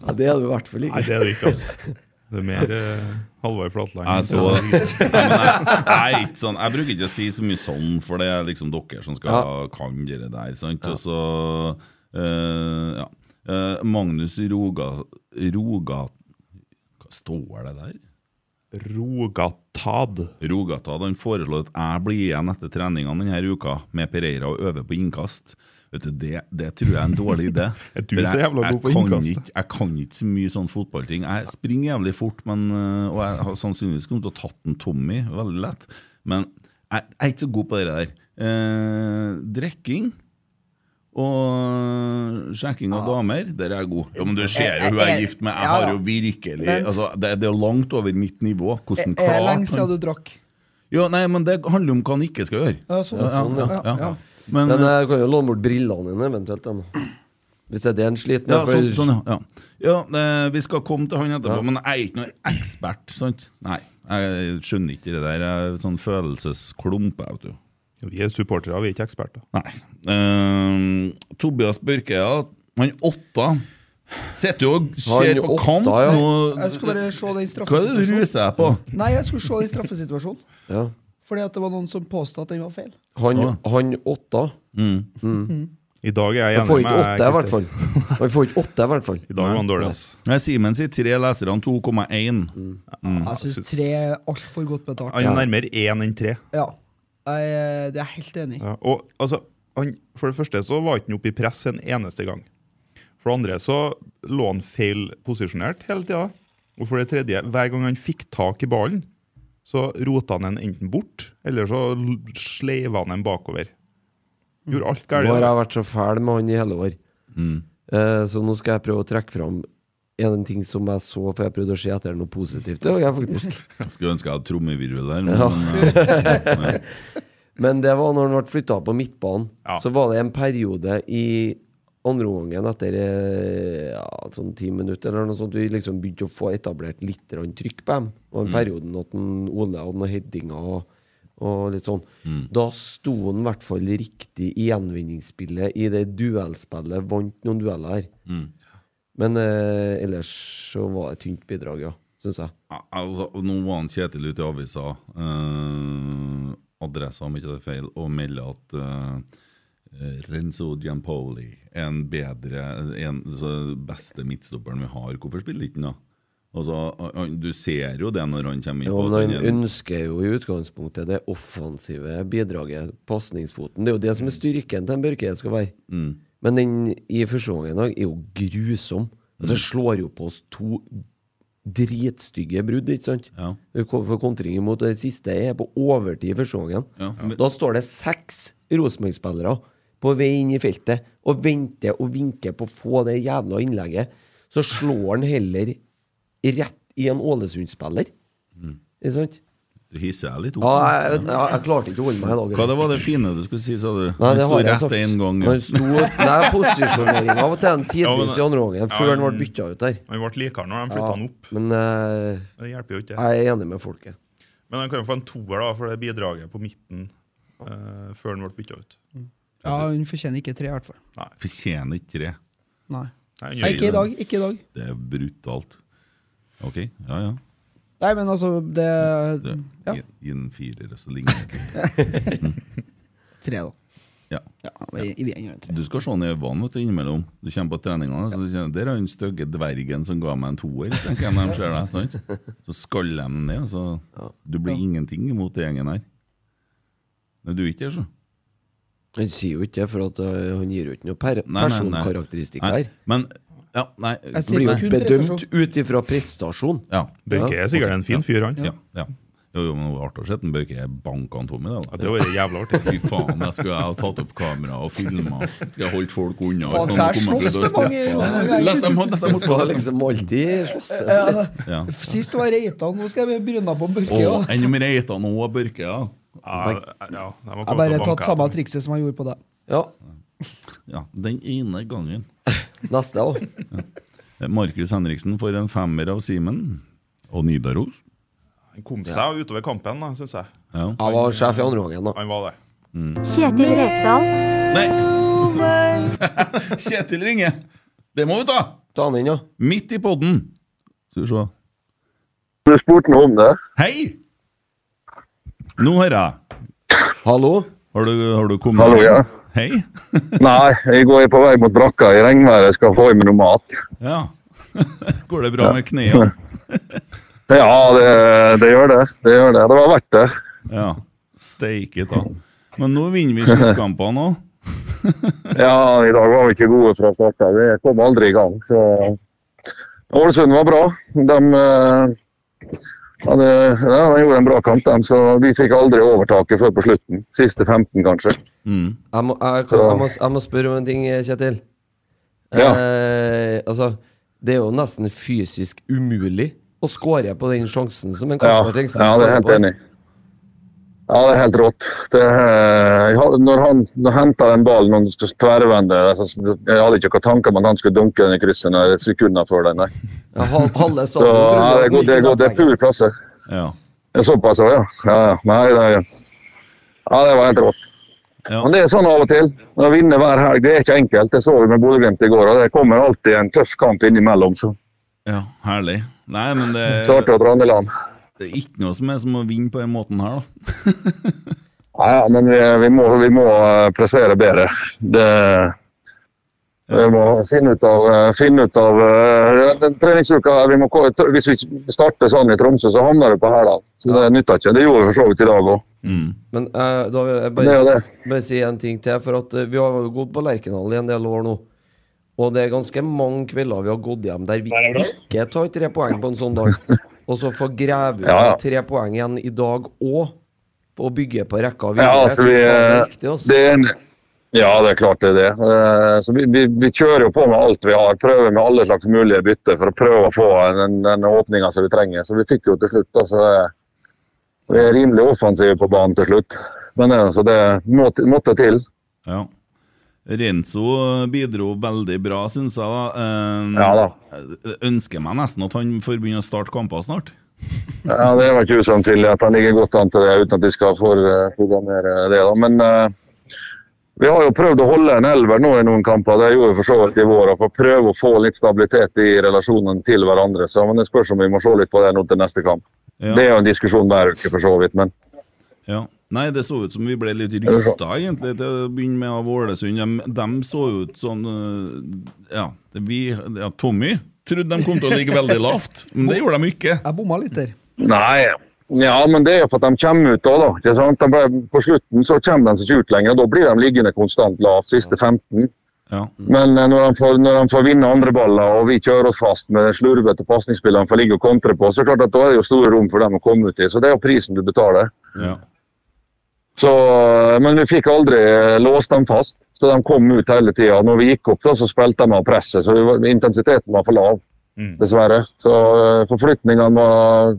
[SPEAKER 2] ja, det hadde vi i hvert fall
[SPEAKER 5] Nei,
[SPEAKER 2] ikke.
[SPEAKER 5] det er det ikke, altså. Det er mer uh, Halvard Flatland.
[SPEAKER 4] Jeg så Nei, men jeg, jeg, er ikke sånn, jeg bruker ikke å si så mye sånn, for det er liksom dere som skal
[SPEAKER 2] Ja.
[SPEAKER 4] kan dere der. Sant? Og så eh, ja. Eh, Magnus Roga, Roga Hva står det der?
[SPEAKER 5] Rogatad.
[SPEAKER 4] Rogatad han foreslår at jeg blir igjen etter treningene denne uka med Pereira og øver på innkast. Vet du, det, det tror jeg er en dårlig idé.
[SPEAKER 5] Er du
[SPEAKER 4] For
[SPEAKER 5] så jævla
[SPEAKER 4] jeg
[SPEAKER 5] god på
[SPEAKER 4] kan
[SPEAKER 5] innkast, da?
[SPEAKER 4] Ikke, jeg kan ikke så mye sånn fotballting. Jeg springer jævlig fort, men, øh, og jeg har sannsynligvis kommet til å tatt en Tommy veldig lett. Men jeg, jeg er ikke så god på det der. Eh, drikking og sjekking av damer, der er jeg god. Ja, men du ser jo hun jeg er gift med. Jeg
[SPEAKER 3] Eh, Ja, ja.
[SPEAKER 4] har jo virkelig
[SPEAKER 3] Men- Eh,
[SPEAKER 4] altså, det, det er langt over mitt nivå. Hvordan
[SPEAKER 3] Er det
[SPEAKER 4] klarte han-
[SPEAKER 3] lenge siden du drakk?
[SPEAKER 4] ja, nei, men det handler om hva han ikke skal gjøre.
[SPEAKER 3] Ja, sånn,
[SPEAKER 4] Ja,
[SPEAKER 3] sånn,
[SPEAKER 4] ja,
[SPEAKER 3] ja,
[SPEAKER 4] ja.
[SPEAKER 3] ja.
[SPEAKER 4] Men, eh,
[SPEAKER 2] Men eh, jeg kan jo låne bort brillene dine eventuelt. Da. Hvis det er det en sliter
[SPEAKER 4] ja,
[SPEAKER 2] med.
[SPEAKER 4] sånn,
[SPEAKER 2] for-
[SPEAKER 4] sånn, ja. ja. ja eh, vi skal komme til han etterpå, men jeg er ikke noen ekspert. Sant? Nei, jeg skjønner ikke det der. Jeg er sånn følelsesklump. jeg, Vet du.
[SPEAKER 5] Vi er supportere, vi er ikke eksperter.
[SPEAKER 4] Nei. Eh, Tobias Børke, ja. Han åtta sitter jo og ser
[SPEAKER 2] Han
[SPEAKER 4] på
[SPEAKER 2] åtta,
[SPEAKER 4] kamp
[SPEAKER 2] ja.
[SPEAKER 4] nå.
[SPEAKER 3] Jeg skulle bare se den
[SPEAKER 4] Hva er det du
[SPEAKER 3] straffesituasjonen.
[SPEAKER 4] ruser deg på?
[SPEAKER 3] Nei, jeg skulle se den straffesituasjonen.
[SPEAKER 2] Ja.
[SPEAKER 3] Fordi at det var noen som påstod at den var feil.
[SPEAKER 2] Han, han åtta.
[SPEAKER 5] I dag er jeg enig
[SPEAKER 2] Han får
[SPEAKER 5] med
[SPEAKER 2] ikke åtte, i hvert
[SPEAKER 5] Christer.
[SPEAKER 2] fall. Han får ikke åtte, i hvert fall.
[SPEAKER 5] I dag var han dårlig, ass.
[SPEAKER 4] Nei, Simen sier tre lesere, han 2,1.
[SPEAKER 2] Mm.
[SPEAKER 4] Mm.
[SPEAKER 3] Jeg syns tre er altfor godt betalt.
[SPEAKER 5] Han er nærmere én enn tre.
[SPEAKER 3] Ja. Jeg, det er jeg helt enig i.
[SPEAKER 5] Ja, og altså, han, For det første så var ikke han oppe i press en eneste gang. For det andre så lå han feil posisjonert hele tida. Og for det tredje, hver gang han fikk tak i ballen, så rota han den enten bort, eller så l- sleiva han den bakover. Gjorde alt
[SPEAKER 2] Nå har
[SPEAKER 5] galt.
[SPEAKER 2] jeg vært så fæl med han i hele år. Eh, så nå skal jeg prøve å trekke fram en ting som jeg så, for jeg prøvde å se etter noe positivt. Det gjorde jeg faktisk.
[SPEAKER 4] Jeg Skulle ønske jeg hadde trommevirvel der. Men,
[SPEAKER 2] Ja.
[SPEAKER 4] eh, nei.
[SPEAKER 2] Men det var når han ble flytta på midtbanen.
[SPEAKER 5] Ja.
[SPEAKER 2] Så var det en periode i andre omgangen etter eh, ja, sånn ti minutter eller noe sånt, vi liksom begynte å få etablert litt grann trykk på dem. Og den perioden at den, Ole hadde noen headinger og, og litt sånn. Da sto han i hvert fall riktig i gjenvinningsspillet i det duellspillet. Vant noen dueller her. Men eh, ellers så var det et tynt bidrag, ja. Syns jeg.
[SPEAKER 4] Ja, altså, og Nå var han Kjetil ute i avisa, eh, adressa om ikke det er feil, og melder at eh, Renzo Giampoli er en bedre, en, altså, beste midtstopperen vi har. Hvorfor spiller ikke han da? Altså, han- du ser jo det når han kommer inn.
[SPEAKER 2] Jo,
[SPEAKER 4] på at
[SPEAKER 2] men
[SPEAKER 4] han
[SPEAKER 2] han
[SPEAKER 4] er en-
[SPEAKER 2] ønsker jo i utgangspunktet det offensive bidraget, pasningsfoten. Det er jo det
[SPEAKER 4] Mm.
[SPEAKER 2] som er styrken til en Børke skal være. Men den i første omgang i dag er jo grusom.
[SPEAKER 4] Mm.
[SPEAKER 2] Altså, det slår jo på oss to dritstygge brudd, ikke sant?
[SPEAKER 4] Ja.
[SPEAKER 2] Vi kom- For kontring imot, og det siste er på overtid i første omgang.
[SPEAKER 4] Ja, men-
[SPEAKER 2] Da står det seks Rosenborg-spillere på vei inn i feltet og venter og vinker på å få det jævla innlegget. Så slår han heller rett i en Ålesund-spiller.
[SPEAKER 4] Mm.
[SPEAKER 2] Ikke sant?
[SPEAKER 4] Du hisser deg litt opp.
[SPEAKER 2] Ja, jeg, jeg, jeg klarte ikke å holde meg i dag.
[SPEAKER 4] Hva det var det fine du skulle si, sa du?
[SPEAKER 2] Nei,
[SPEAKER 4] Han
[SPEAKER 2] det
[SPEAKER 4] sto
[SPEAKER 2] har jeg
[SPEAKER 4] rett
[SPEAKER 2] sagt.
[SPEAKER 4] en gang.
[SPEAKER 2] Han sto, nei, posisjoneringa var til en tidvis i andre gangen, før
[SPEAKER 5] Ja,
[SPEAKER 2] han ble
[SPEAKER 5] men-
[SPEAKER 2] bytta ut der.
[SPEAKER 5] Han ble likere når de flytta
[SPEAKER 2] Ja,
[SPEAKER 5] han opp.
[SPEAKER 2] men eh,
[SPEAKER 5] Det hjelper jo ikke.
[SPEAKER 2] jeg er enig med folket.
[SPEAKER 5] Men han kan jo få en toer da, for det bidraget på midten eh, før han ble bytta ut.
[SPEAKER 3] Ja, Hun fortjener ikke tre, i hvert fall.
[SPEAKER 4] Fortjener ikke det.
[SPEAKER 3] Nei.
[SPEAKER 5] Nei,
[SPEAKER 3] Nei, ikke i dag. ikke i dag
[SPEAKER 4] Det er brutalt. OK, ja ja.
[SPEAKER 3] Nei, men altså, det
[SPEAKER 4] Det,
[SPEAKER 3] Ja,
[SPEAKER 4] gi- Gi den en firer, så ligner det ikke.
[SPEAKER 3] tre, da.
[SPEAKER 4] Ja.
[SPEAKER 3] Ja, vi, vi er en tre.
[SPEAKER 4] Du skal se han i øynene vet du, innimellom. Du kommer på treningene. Så du kjenner, der er den stygge dvergen som ga meg en toer. tenker jeg når de ser deg, sant? Så skaller de den ned. Så du blir ingenting imot den gjengen her. Nei, du er ikke her, så.
[SPEAKER 2] Han sier jo ikke det, for at eh, han gir jo ikke noe per
[SPEAKER 4] Nei, nei, nei.
[SPEAKER 2] personkarakteristikk
[SPEAKER 4] Nei,
[SPEAKER 2] her.
[SPEAKER 4] Men ja, nei,
[SPEAKER 3] sier
[SPEAKER 2] Blir jo
[SPEAKER 3] Kun
[SPEAKER 2] bedømt
[SPEAKER 3] prestasjon.
[SPEAKER 2] ut ifra prestasjon.
[SPEAKER 4] ja,
[SPEAKER 5] Børke er sikkert en fin fyr, han.
[SPEAKER 4] ja, ja. Jo, jo, men det var artig å se den Børke banka han Tommy, det.
[SPEAKER 5] Ja,
[SPEAKER 4] da.
[SPEAKER 5] det var jævla artig.
[SPEAKER 4] Fy faen, jeg skulle jeg ha tatt opp kamera og filma. Skal jeg holdt folk unna?
[SPEAKER 3] Faen,
[SPEAKER 4] hvis
[SPEAKER 3] skal jeg
[SPEAKER 4] sånn noen kommer
[SPEAKER 3] slåss
[SPEAKER 4] til å
[SPEAKER 3] med mange?
[SPEAKER 4] steppe av? La dem ha- la dem
[SPEAKER 2] Man
[SPEAKER 4] ha-
[SPEAKER 2] skal liksom alltid slåss.
[SPEAKER 3] Ja, da.
[SPEAKER 4] Ja.
[SPEAKER 3] Sist var Reitan, nå skal jeg bryne på Børke.
[SPEAKER 4] Å,
[SPEAKER 3] ja.
[SPEAKER 4] Enn om Reitan og Børke, ja.
[SPEAKER 5] Ja, ja, de var kommet til å
[SPEAKER 3] Jeg har bare
[SPEAKER 5] banke
[SPEAKER 3] tatt samme
[SPEAKER 5] etter.
[SPEAKER 3] trikset som jeg gjorde på deg.
[SPEAKER 2] Ja.
[SPEAKER 4] ja. Den ene gangen.
[SPEAKER 2] Neste òg.
[SPEAKER 4] Markus Henriksen får en femmer av Simen. Og Nidaros.
[SPEAKER 5] Han kom seg jo utover kampen, da, syns jeg.
[SPEAKER 4] Ja.
[SPEAKER 2] Jeg var sjef i andre gangen, da.
[SPEAKER 5] Han var det.
[SPEAKER 7] Kjetil Rekdal.
[SPEAKER 4] Nei! Kjetil ringer! Det må vi ta!
[SPEAKER 2] Ta han inn, ja.
[SPEAKER 4] Midt i podden. Skal vi se.
[SPEAKER 8] Du spurte noe om det?
[SPEAKER 4] Hei! Nå hører jeg.
[SPEAKER 2] Hallo?
[SPEAKER 4] Har du, har du kommet
[SPEAKER 8] Hallo, ja.
[SPEAKER 4] Hei.
[SPEAKER 8] Nei, jeg går på vei mot brakka i regnværet. Skal få i meg noe mat.
[SPEAKER 4] Ja. Går det bra med knærne?
[SPEAKER 8] Ja, det, det gjør det. Det gjør det. Det var verdt det.
[SPEAKER 4] Ja. Steike ta. Men nå vinner vi sluttkampene òg.
[SPEAKER 8] Ja, i dag var vi ikke gode fra start av. Vi kom aldri i gang, så Ålesund var bra. De eh, hadde, ja, de gjorde en bra kamp, de, så vi fikk aldri overtaket før på slutten. Siste 15, kanskje.
[SPEAKER 4] Mm.
[SPEAKER 2] Jeg må, jeg, kan, jeg, må, jeg må spørre om en ting, Kjetil.
[SPEAKER 8] Ja.
[SPEAKER 2] Eh, altså, det er jo nesten fysisk umulig å score på den sjansen som en Kasper Tengstedt
[SPEAKER 8] ja, det er
[SPEAKER 2] scorer
[SPEAKER 8] helt
[SPEAKER 2] på.
[SPEAKER 8] enig. Ja, det er helt rått. Det, eh, jeg hadde- når han når han hentet den ballen og skulle tverrvende altså, det- Jeg hadde ikke noen tanker om at han skulle dunke den i krysset når- sekunder før den. Nei.
[SPEAKER 2] Ja, hal- Halve
[SPEAKER 8] Så,
[SPEAKER 2] stadion trodde
[SPEAKER 8] ja, det, er
[SPEAKER 2] at
[SPEAKER 8] god, det, er
[SPEAKER 2] den
[SPEAKER 8] god, det er
[SPEAKER 2] gikk i
[SPEAKER 8] pur klasse.
[SPEAKER 4] Ja.
[SPEAKER 8] Det er Såpass, ja. ja. ja. Nei, det, er- ja, det var helt rått.
[SPEAKER 4] Ja.
[SPEAKER 8] Men det er sånn av og til. Å vinne hver helg det er ikke enkelt. Det så vi med Bodø-Glimt i går. og Det kommer alltid en tøff kamp innimellom. Så
[SPEAKER 4] ja. Herlig. Nei, men det,
[SPEAKER 8] klarte at Randeland
[SPEAKER 4] det er ikke noe som er som å vinne på den måten her, da.
[SPEAKER 8] Ja, ja, men vi, vi, må, vi må eh, prestere bedre. Det, vi må finne ut av, eh, finne ut av eh, den treningsuka her, vi må, ko- tr- Hvis vi ikke starter sånn i Tromsø, så havner det på Herdal. Så Det nytter ikke. Det gjorde vi for så vidt i dag òg.
[SPEAKER 2] Men eh, da vil jeg
[SPEAKER 8] Det
[SPEAKER 2] bare,
[SPEAKER 8] er jo det.
[SPEAKER 2] bare si en ting til. For at eh, vi har jo gått på Lerkendal i en del år nå. Og det er ganske mange kvelder vi har gått hjem der vi ikke tar tre poeng på en sånn dag. Og så får grave ut
[SPEAKER 8] Ja, ja.
[SPEAKER 2] tre poeng igjen i dag òg. Og bygge på rekka
[SPEAKER 8] Ja,
[SPEAKER 2] videre.
[SPEAKER 8] altså,
[SPEAKER 2] Fy
[SPEAKER 8] vi,
[SPEAKER 2] faen, det er
[SPEAKER 8] eh,
[SPEAKER 2] riktig, altså.
[SPEAKER 8] det er en, ja, det er klart det er det. Eh, Så vi, vi, vi kjører jo på med alt vi har. Prøver med alle slags mulige bytter for å prøve å få den, den åpninga som vi trenger. Så vi fikk jo til slutt, da. Så eh, vi er rimelig offensive på banen til slutt. Men eh, så det måtte, måtte til.
[SPEAKER 4] Ja. Renzo bidro veldig bra, syns jeg. da. Eh,
[SPEAKER 8] Ja da.
[SPEAKER 4] jeg Ønsker meg nesten at han får begynne å starte kamper snart.
[SPEAKER 8] Ja, Det var ikke usannsynlig at han ligger godt an til det, uten at de skal forprogrammere det. da. Men eh, vi har jo prøvd å holde en elver nå i noen kamper. Det gjorde vi for så vidt i vår. og For å prøve å få litt stabilitet i relasjonen til hverandre. Så, men det spørs om vi må se litt på det nå til neste kamp.
[SPEAKER 4] Ja.
[SPEAKER 8] Det er jo en diskusjon hver uke, for så vidt. Men
[SPEAKER 4] Ja. Nei, det så ut som vi ble litt rysta, egentlig, til å begynne med av Ålesund. De, så ut sånn øh, Ja, det vi, ja Tommy trodde de kom til å ligge veldig lavt, men det gjorde de ikke.
[SPEAKER 3] Jeg bomma litt der.
[SPEAKER 8] nei. Ja, men det er jo for at de kommer ut da, da. Ikke sant? De ble, på slutten så kommer de seg ikke ut lenger. og Da blir de liggende konstant lavt, siste 15.
[SPEAKER 4] Ja.
[SPEAKER 8] Men eh, når han får, når han får vinne andre baller, og vi kjører oss fast med den slurvete pasningsspilleren han får ligge og kontre på, så er det klart at da er det jo store rom for dem å komme ut i. Så det er jo prisen du betaler.
[SPEAKER 4] ja.
[SPEAKER 8] Så, eh, men vi fikk aldri eh, låst dem fast. Så de kom ut hele tida. Når vi gikk opp, da, så spilte de av presset. Så vi var- intensiteten var for lav,
[SPEAKER 4] Mm.
[SPEAKER 8] dessverre. Så eh, forflytningene var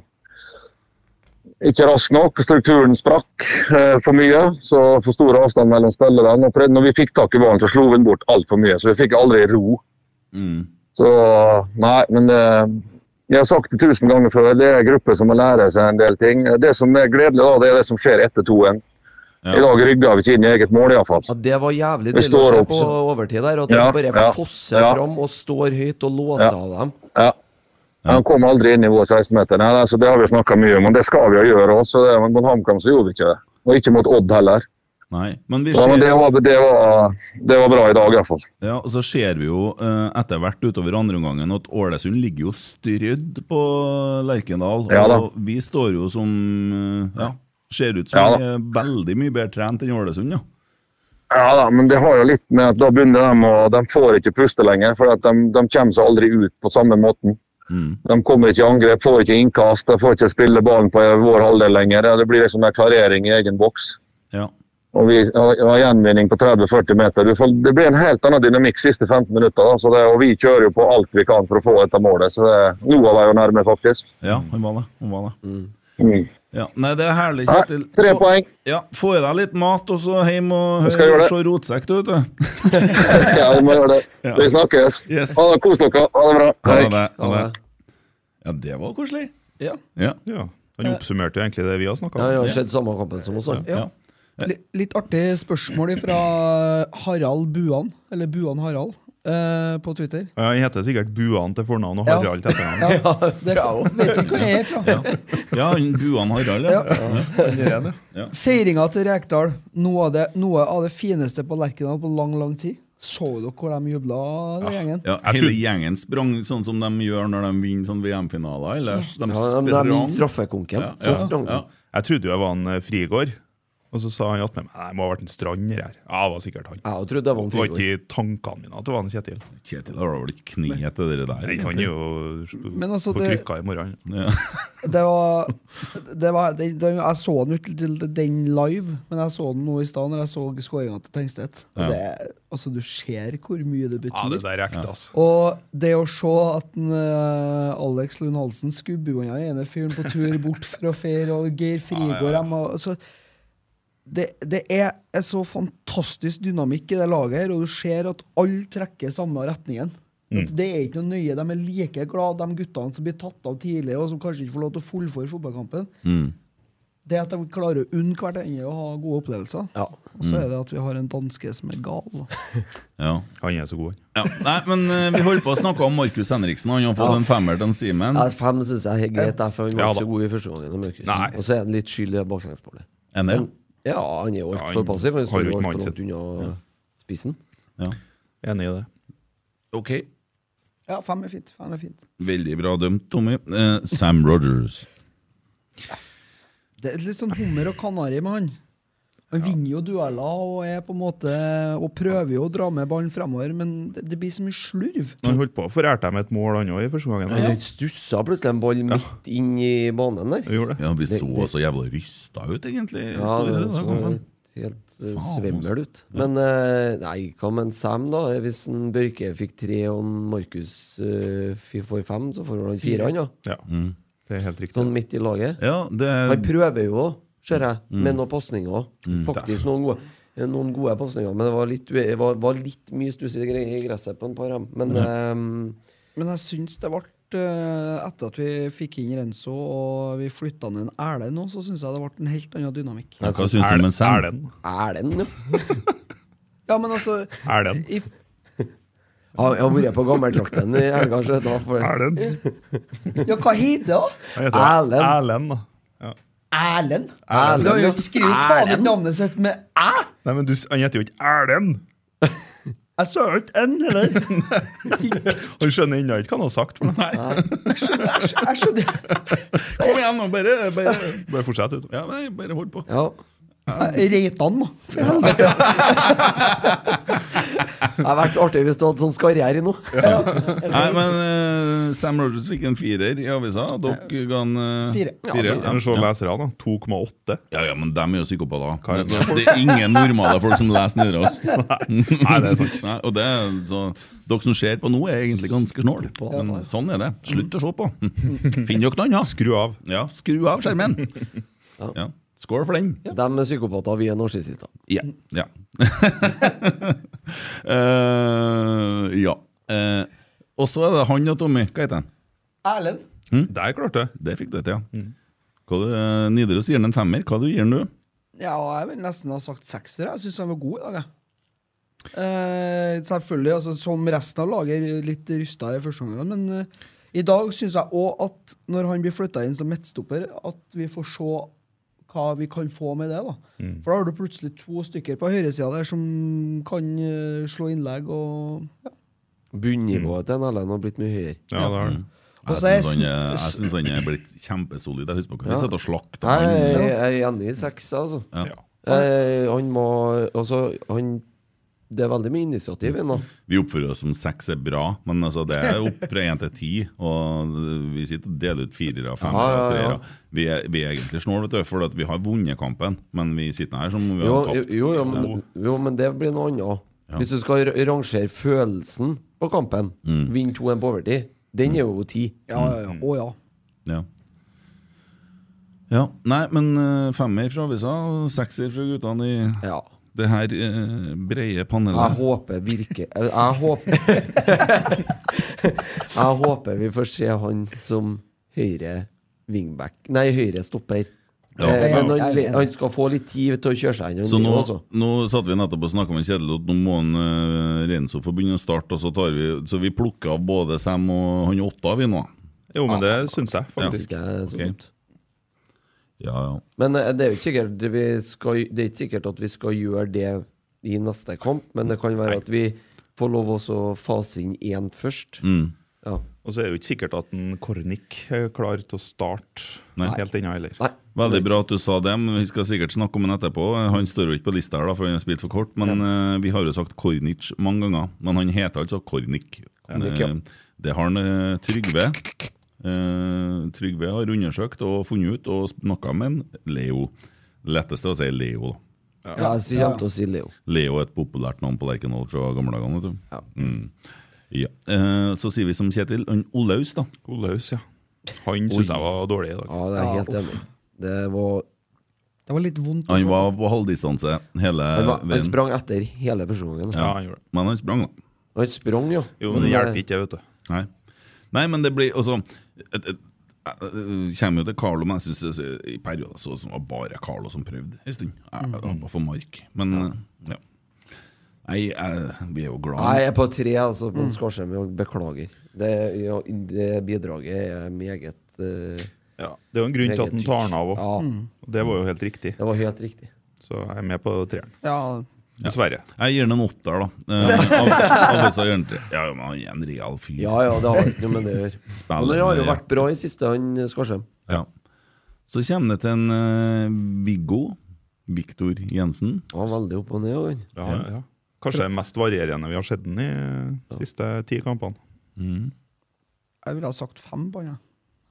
[SPEAKER 8] ikke rask nok. Strukturen sprakk eh, for mye. Så for stor avstand mellom spillerne. Og pre- når vi fikk tak i ballen, så slo vi den bort altfor mye. Så vi fikk aldri ro.
[SPEAKER 4] Mm.
[SPEAKER 8] Så nei, men eh, jeg har sagt det tusen ganger før, det er en gruppe som må lære seg en del ting. Det som er gledelig, da, det er det som skjer etter 2-1.
[SPEAKER 4] Ja.
[SPEAKER 8] I dag rygga vi ikke inn i eget mål, iallfall.
[SPEAKER 2] Ja, det var jævlig
[SPEAKER 8] Vi
[SPEAKER 2] deilig å
[SPEAKER 8] står
[SPEAKER 2] se
[SPEAKER 8] opp,
[SPEAKER 2] på
[SPEAKER 8] så-
[SPEAKER 2] overtid der. At
[SPEAKER 8] Ja,
[SPEAKER 2] de bare
[SPEAKER 8] ja,
[SPEAKER 2] fosser
[SPEAKER 8] ja.
[SPEAKER 2] fram og står høyt og låser
[SPEAKER 8] Ja.
[SPEAKER 2] av dem.
[SPEAKER 8] Ja. Han kom aldri inn i vår 16-meter. Nei, altså, det har vi snakka mye om, og det skal vi jo gjøre også. Det, men mot HamKam så gjorde vi ikke det. Og ikke mot Odd heller.
[SPEAKER 4] Nei. Men vi
[SPEAKER 8] Ja, men
[SPEAKER 4] ser,
[SPEAKER 8] det var, det var, det var bra i dag, iallfall.
[SPEAKER 4] ja, og så ser vi jo eh, etter hvert utover andreomgangen at Ålesund ligger jo strødd på Lerkendal.
[SPEAKER 8] Ja da.
[SPEAKER 4] og vi står jo som eh, Ja, ser ut som
[SPEAKER 8] Ja da.
[SPEAKER 4] vi er veldig mye bedre trent enn Ålesund, ja.
[SPEAKER 8] Ja da, men det har jo litt med at da begynner de å De får ikke puste lenger, for at de, de kommer seg aldri ut på samme måten. De kommer ikke i angrep, får ikke innkast, de får ikke spille ballen på vår halvdel lenger. Ja, Det blir liksom en klarering i egen boks.
[SPEAKER 4] Ja.
[SPEAKER 8] Og vi har har gjenvinning på 30-40 meter. Du får, det blir en helt annen dynamikk siste 15 minutter. Da. Så det, og vi kjører jo på alt vi kan for å få dette målet. Så det, Noah var jo nærme, faktisk.
[SPEAKER 4] ja, han var det. Han var det.
[SPEAKER 8] Mm.
[SPEAKER 4] Ja. Nei, det er herlig,
[SPEAKER 8] Nei,
[SPEAKER 4] Kjetil.
[SPEAKER 8] tre
[SPEAKER 4] Få-
[SPEAKER 8] poeng.
[SPEAKER 4] Ja, Få i deg litt mat, og så hjem og
[SPEAKER 8] Jeg skal gjøre
[SPEAKER 4] høre
[SPEAKER 8] det.
[SPEAKER 4] se rotsekk, du, vet du.
[SPEAKER 8] Ja, vi må gjøre det.
[SPEAKER 4] Ja.
[SPEAKER 8] Vi snakkes.
[SPEAKER 4] Yes.
[SPEAKER 8] Ha det, kos dere. Ha det bra.
[SPEAKER 4] Ha
[SPEAKER 8] Hei.
[SPEAKER 4] det. Ha
[SPEAKER 2] Ja,
[SPEAKER 4] det. Ja, det var koselig.
[SPEAKER 3] Ja.
[SPEAKER 4] Ja.
[SPEAKER 5] Ja. Han oppsummerte jo egentlig det vi har snakka
[SPEAKER 2] Ja,
[SPEAKER 5] om.
[SPEAKER 2] jeg har sett samme kampen som oss, han.
[SPEAKER 4] ja.
[SPEAKER 3] Li- Litt artig spørsmål fra Harald Buan, eller Buan Harald, eh, på Twitter.
[SPEAKER 5] Ja, Han heter sikkert Buan til fornavn og
[SPEAKER 3] Ja.
[SPEAKER 5] Harald til etternavn.
[SPEAKER 3] Ja, det vet ikke hvor jeg er fra.
[SPEAKER 4] ja han Buan Harald, ja.
[SPEAKER 3] Feiringa til Rekdal, noe av, det, noe av det fineste på Lerkendal på lang, lang tid. Så dere hvor de jubla, den gjengen?
[SPEAKER 4] ja. Hele gjengen sprang sånn som de gjør når de vinner sånn VM-finaler. Ellers de
[SPEAKER 2] Ja, men det er min
[SPEAKER 4] sprang.
[SPEAKER 2] straffekonken.
[SPEAKER 4] Ja,
[SPEAKER 2] Så
[SPEAKER 4] ja,
[SPEAKER 2] sprang
[SPEAKER 4] ja.
[SPEAKER 2] han.
[SPEAKER 5] Jeg trodde jo jeg var en eh, Frigård, og så sa han attmed meg Nei, det må ha vært en Strander her. Ja, det var sikkert han.
[SPEAKER 2] Jeg trodde det var en
[SPEAKER 5] Det var
[SPEAKER 2] frigård.
[SPEAKER 5] ikke i tankene mine at det var en Kjetil.
[SPEAKER 4] Kjetil har vel ikke kni etter det der?
[SPEAKER 5] Nei, han er
[SPEAKER 4] egentlig?
[SPEAKER 5] jo
[SPEAKER 3] Men altså,
[SPEAKER 5] på
[SPEAKER 3] det-
[SPEAKER 5] krykka i morgen.
[SPEAKER 4] Ja.
[SPEAKER 3] Det var, det var det, det, Jeg så den ut til den live, men jeg så den nå i stad når jeg så skåringa til Tengstedt. Og det, altså, du ser hvor mye det
[SPEAKER 5] Ja, det
[SPEAKER 3] betyr.
[SPEAKER 5] der er ekte, ass.
[SPEAKER 3] Og det å se at den, eh, Alex Lund Halsen skubber unna den ene fyren på tur bort for å feire, og Geir Frigård dem, og- altså, det, det er en så fantastisk dynamikk i det laget, her, og du ser at alle trekker samme retningen. At Det er ikke noe nøye. De er like glad, de guttene som blir tatt av tidlig, og som kanskje ikke får lov til å fullføre fotballkampen. Det at de klarer å unne hverandre og ha gode opplevelser.
[SPEAKER 2] Ja.
[SPEAKER 3] Og så er det at vi har en danske som er gal. da.
[SPEAKER 4] Ja.
[SPEAKER 5] Han er så god, han.
[SPEAKER 4] Ja. Nei, men eh, vi holdt på å snakke om Markus Henriksen. Han har fått en femmer til en Simen.
[SPEAKER 2] Ja, fem syns jeg er greit, der, for han var
[SPEAKER 5] Ja,
[SPEAKER 2] ikke
[SPEAKER 5] da.
[SPEAKER 2] så god i første gangen. Markus.
[SPEAKER 5] Nei.
[SPEAKER 2] Og så er han litt skyld i det baklengsballet.
[SPEAKER 4] Er det?
[SPEAKER 2] Ja, han er jo
[SPEAKER 5] Ja, han
[SPEAKER 2] altfor passiv.
[SPEAKER 5] har
[SPEAKER 2] Han
[SPEAKER 5] jo
[SPEAKER 2] står jo
[SPEAKER 5] ikke
[SPEAKER 2] altfor
[SPEAKER 5] mindset.
[SPEAKER 2] langt unna spissen.
[SPEAKER 4] Ja.
[SPEAKER 5] Enig i det.
[SPEAKER 4] Ok.
[SPEAKER 3] Ja, fem er fint. Fem er fint.
[SPEAKER 4] Veldig bra dømt, Tommy. Eh, Sam Rogers.
[SPEAKER 3] Det er litt sånn hummer og kanari med han. Han vinner jo dueller og er på en måte Og prøver jo å dra med ballen fremover, men det, det blir så mye slurv.
[SPEAKER 5] Han holdt på å forærte dem et mål, han òg, i første gangen.
[SPEAKER 2] Han stussa plutselig en ball midt inn i banen der.
[SPEAKER 5] Han gjorde det.
[SPEAKER 4] Ja, vi så så jævla rysta ut, egentlig.
[SPEAKER 2] Ja,
[SPEAKER 4] Står i
[SPEAKER 2] det
[SPEAKER 4] det, da,
[SPEAKER 2] så
[SPEAKER 4] kampen.
[SPEAKER 2] helt eh,
[SPEAKER 5] altså.
[SPEAKER 2] svimmel ut. Men eh, nei, hva med en Sam, da? Hvis en Børke fikk tre og en Markus eh, f- får fem, så får han fire, han da.
[SPEAKER 5] Ja. Det er helt riktig.
[SPEAKER 2] Sånn midt i laget.
[SPEAKER 4] ja, det
[SPEAKER 2] Han prøver jo òg, ser jeg, med noen pasninger. Faktisk noen gode, eh, noen gode pasninger, men det var litt, ue- var, var litt mye stuss i gre- i gresset på en par av dem. Men eh,
[SPEAKER 3] Men jeg syns det ble eh, Etter at vi fikk inn Renzo og vi flytta ned en Erlend nå, så syns jeg det ble en helt annen dynamikk.
[SPEAKER 4] Hva syns du om en Sam?
[SPEAKER 5] Erlend.
[SPEAKER 2] Erlend, ja.
[SPEAKER 3] Ja, men altså
[SPEAKER 5] Erlend.
[SPEAKER 3] i,
[SPEAKER 2] Ja, Jeg har vært på gammeldrakten i helga, så da får jeg
[SPEAKER 5] Erlend.
[SPEAKER 3] Ja, hva heter det? da?
[SPEAKER 5] Han heter
[SPEAKER 2] Erlend.
[SPEAKER 5] Erlend, da.
[SPEAKER 3] Erlend?
[SPEAKER 2] Erlend,
[SPEAKER 3] Du har jo
[SPEAKER 2] ja.
[SPEAKER 3] ikke skrevet faen
[SPEAKER 2] Erlend.
[SPEAKER 3] ikke navnet sitt med æ!
[SPEAKER 5] Nei, men du, s- han heter jo ikke Erlend!
[SPEAKER 3] Jeg sa jo ikke N, heller.
[SPEAKER 5] Han skjønner ennå ikke hva han har sagt. Men nei,
[SPEAKER 3] Jeg skjønner
[SPEAKER 4] Kom igjen, nå, bare, bare,
[SPEAKER 5] bare fortsett ut.
[SPEAKER 4] ja, nei, bare hold på.
[SPEAKER 2] ja.
[SPEAKER 3] Reitan, da. For helvete.
[SPEAKER 2] Det hadde vært artig hvis du hadde sånn skarriere nå.
[SPEAKER 4] Nei, men eh, Sam Rogers fikk en firer i avisa. Dere ga en eh,
[SPEAKER 3] Fire. Ja,
[SPEAKER 4] fire. Ja,
[SPEAKER 5] Men se leserne, da. 2,8.
[SPEAKER 4] ja, ja, men dem er jo psykopater. Det, det er ingen normale folk som leser nedre oss. Nei, det er sant. Nei, og det, er- så, dere som ser på nå, er egentlig ganske snåle. Men sånn er det. Slutt å se på. Finn dere noe annet.
[SPEAKER 5] Skru av.
[SPEAKER 4] Ja, skru av skjermen. Ja. Skål for den.
[SPEAKER 2] De er psykopater, vi er narsissister.
[SPEAKER 4] Ja. Ja. Eh, ja. Eh, og så er det han og Tommy. Hva heter han?
[SPEAKER 3] Erlend.
[SPEAKER 2] Mm.
[SPEAKER 5] Der klarte jeg.
[SPEAKER 4] Det fikk du til, ja. Hva du, eh, Nidaros gir den en femmer. Hva du gir den, du?
[SPEAKER 3] Ja, jeg vil nesten ha sagt sekser. Jeg syns han var god i dag, jeg. Eh, selvfølgelig, altså, som resten av laget, litt rysta i første omgang. Men eh, i dag syns jeg òg at når han blir flytta inn som midtstopper, at vi får se hva vi kan få med det. da.
[SPEAKER 4] Mm.
[SPEAKER 3] For da har du plutselig to stykker på høyresida der som kan eh, slå innlegg. og... Ja.
[SPEAKER 2] Bunnivået til en Erlend har blitt mye høyere.
[SPEAKER 5] Ja, det har han.
[SPEAKER 3] Og
[SPEAKER 2] Altså,
[SPEAKER 3] så
[SPEAKER 4] Jeg
[SPEAKER 3] er
[SPEAKER 4] syns han, er- jeg
[SPEAKER 3] s-
[SPEAKER 4] synes han er blitt kjempesolid. Jeg husker på hva vi satt og slakta
[SPEAKER 2] Jeg
[SPEAKER 4] han.
[SPEAKER 2] jeg er enig i seks, altså.
[SPEAKER 4] Ja.
[SPEAKER 2] Eh, han må Altså, han det er veldig mye initiativ ennå.
[SPEAKER 4] Vi oppfører oss som seks er bra, men altså det er opp fra én til ti. Og vi sitter og deler ut firere, femmere,
[SPEAKER 2] Ja, ja, ja.
[SPEAKER 4] treere. Vi er, vi er egentlig snål, vet du, for at vi har vunnet kampen, men vi sitter her som om vi
[SPEAKER 2] Jo,
[SPEAKER 4] har
[SPEAKER 2] jo,
[SPEAKER 4] tapt.
[SPEAKER 2] jo, men, jo, men det blir noe annet. Hvis du skal ra- rangere følelsen på kampen,
[SPEAKER 4] Mm.
[SPEAKER 2] vinn 2-1 på overtid, den er jo 10.
[SPEAKER 3] Ja, ja, ja. Å ja.
[SPEAKER 4] Ja. ja. Nei, men eh, femmer fra avisa, og sekser fra guttene i
[SPEAKER 2] Ja.
[SPEAKER 4] det her eh, brede
[SPEAKER 2] Jeg
[SPEAKER 4] panelet.
[SPEAKER 2] håper virke Jeg, jeg håper Jeg håper vi får se han som høyre wingback Nei, høyre stopper.
[SPEAKER 4] Ja.
[SPEAKER 2] Eh, men han, han skal få litt tid til å kjøre seg gjennom.
[SPEAKER 4] Så nå,
[SPEAKER 2] livet også.
[SPEAKER 4] nå satt vi nettopp og snakka med Kjetil at nå må han uh, Renzo få begynne å starte, og så tar vi Så vi plukker av både Sam og han Åtta, vi nå.
[SPEAKER 5] Jo, men det syns jeg faktisk.
[SPEAKER 2] Faktisk er det så
[SPEAKER 4] ok.
[SPEAKER 2] godt.
[SPEAKER 4] Ja, ja.
[SPEAKER 2] Men eh, det er jo ikke sikkert vi skal, Det er ikke sikkert at vi skal gjøre det i neste kamp, men det kan være at vi får lov også å fase inn én først.
[SPEAKER 5] Mm.
[SPEAKER 2] Ja.
[SPEAKER 5] Og så er det jo ikke sikkert at en Kornik er klar til å starte
[SPEAKER 4] Nei.
[SPEAKER 5] helt ennå heller.
[SPEAKER 2] Nei.
[SPEAKER 4] Veldig bra at du sa det, men vi skal sikkert snakke om den etterpå. Han står jo ikke på lista her, da, for han har spilt for kort, men eh, vi har jo sagt Kornic mange ganger. Men han heter altså Kornic.
[SPEAKER 2] Kornic, ja.
[SPEAKER 4] Eh, Det har han eh, Trygve. Eh, Trygve har undersøkt og funnet ut og snakka med en Leo. Letteste å si Leo, da.
[SPEAKER 2] Ja, jeg sier- kommer til å si Leo.
[SPEAKER 4] Leo er et populært navn på Lerkendal fra gamle dager. vet du. Mm. Ja. Eh, Så sier vi som Kjetil, han Olaus, da.
[SPEAKER 5] Olaus, ja. Han syns jeg var dårlig i dag.
[SPEAKER 2] Ja, det er jeg helt enig. i. Det var
[SPEAKER 3] Det var litt vondt.
[SPEAKER 4] Han var på halvdistanse hele
[SPEAKER 2] Han, var, han
[SPEAKER 4] veien.
[SPEAKER 2] sprang etter hele første gangen.
[SPEAKER 5] Ja, han gjorde det.
[SPEAKER 4] Men han sprang, da.
[SPEAKER 2] Han sprang, ja.
[SPEAKER 5] Jo, men det hjelper ikke, vet du.
[SPEAKER 4] Nei. Nei, men det blir altså et- et- jeg kommer jo til Carlo, men jeg synes jeg- eh, i perioder så ut som det var bare Carlo som prøvde en stund. Jeg
[SPEAKER 2] Mm.
[SPEAKER 4] var for mark. Men eh, ja. Nei, jeg, vi er jo
[SPEAKER 2] Nei,
[SPEAKER 4] glad
[SPEAKER 2] jeg er på tre, altså, på Skarsheim. og Beklager. Det, ja, det bidraget er meget eh,
[SPEAKER 5] Ja. Det er jo en grunn til at han tar den av òg.
[SPEAKER 2] Ja,
[SPEAKER 5] Det var jo helt riktig.
[SPEAKER 2] det var helt riktig.
[SPEAKER 5] Så jeg er med på treeren.
[SPEAKER 3] Ja,
[SPEAKER 5] Dessverre.
[SPEAKER 4] Jeg gir den en åtter, da. Eh, av- av disse gir den tre. ja, men han er en real fyr.
[SPEAKER 2] Ja ja, det har ikke noe med det å gjøre.
[SPEAKER 4] Spiller
[SPEAKER 2] Men han har jo
[SPEAKER 4] med
[SPEAKER 2] vært bra i siste, han eh, Skarsheim.
[SPEAKER 4] Ja. Så kommer det til en eh, Viggo. Viktor Jensen.
[SPEAKER 2] Han var veldig opp og ned. og han.
[SPEAKER 5] Ja, ja. Kanskje den mest varierende vi har sett den i de siste ti kampene.
[SPEAKER 3] jeg ville ha sagt fem på han. jeg.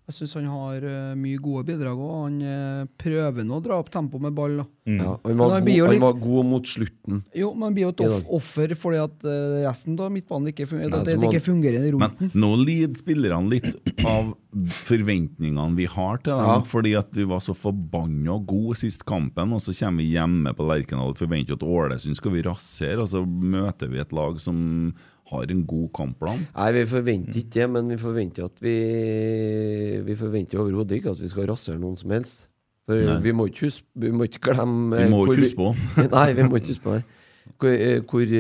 [SPEAKER 3] Jeg syns han har eh, mye gode bidrag òg. Han eh, prøver nå å dra opp tempoet med ball. da.
[SPEAKER 4] Mm.
[SPEAKER 5] Mm.
[SPEAKER 2] Ja, han,
[SPEAKER 3] Men
[SPEAKER 2] var
[SPEAKER 3] han
[SPEAKER 2] god,
[SPEAKER 3] blir jo
[SPEAKER 2] han
[SPEAKER 3] litt-
[SPEAKER 2] var god mot slutten.
[SPEAKER 3] Jo, men han blir jo et
[SPEAKER 2] I
[SPEAKER 3] off
[SPEAKER 2] dag.
[SPEAKER 3] offer fordi at eh, resten av midtbanen ikke fungerer.
[SPEAKER 2] Nei,
[SPEAKER 3] at det
[SPEAKER 2] så må
[SPEAKER 3] ikke fungerer i
[SPEAKER 4] Men
[SPEAKER 3] roten.
[SPEAKER 4] nå lider spillerne litt av forventningene vi har til dem.
[SPEAKER 2] Ja.
[SPEAKER 4] Fordi at vi var så forbanna gode sist kampen, og så kommer vi hjemme på Lerkendal og forventer at Ålesund skal vi rasere, og så møter vi et lag som har en god kampplan.
[SPEAKER 2] Nei, vi forventer ikke det, men vi forventer at vi Vi forventer overhodet ikke at vi skal rasere noen som helst. For vi må ikke huske Vi må ikke glemme eh,
[SPEAKER 4] Vi må
[SPEAKER 2] hvor
[SPEAKER 4] ikke huske på.
[SPEAKER 2] Nei, vi må ikke huske på det. Hvor, eh, hvor,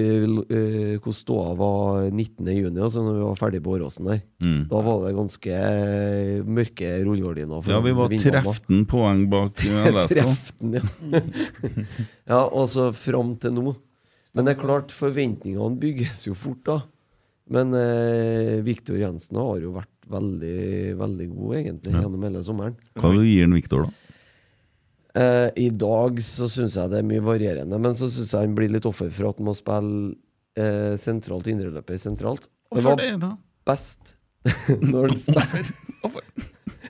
[SPEAKER 2] eh, hvor ståa var 19. juni, altså når vi var ferdig på Åråsen der.
[SPEAKER 4] Mm.
[SPEAKER 2] Da var det ganske eh, mørke rullegardiner. for
[SPEAKER 4] Ja, vi var
[SPEAKER 2] vinduene.
[SPEAKER 4] 13 poeng bak LSK.
[SPEAKER 2] Treften, ja. ja, og så fram til nå. Men det er klart, forventningene bygges jo fort, da. Men eh, Viktor Jensen har jo vært veldig, veldig god, egentlig, gjennom hele sommeren.
[SPEAKER 4] Hva du gir du Viktor, da?
[SPEAKER 2] Eh, I dag så syns jeg det er mye varierende, men så syns jeg han blir litt offer for at han må spille eh, sentralt indreløper sentralt. Det var
[SPEAKER 4] da?
[SPEAKER 2] best når han spilte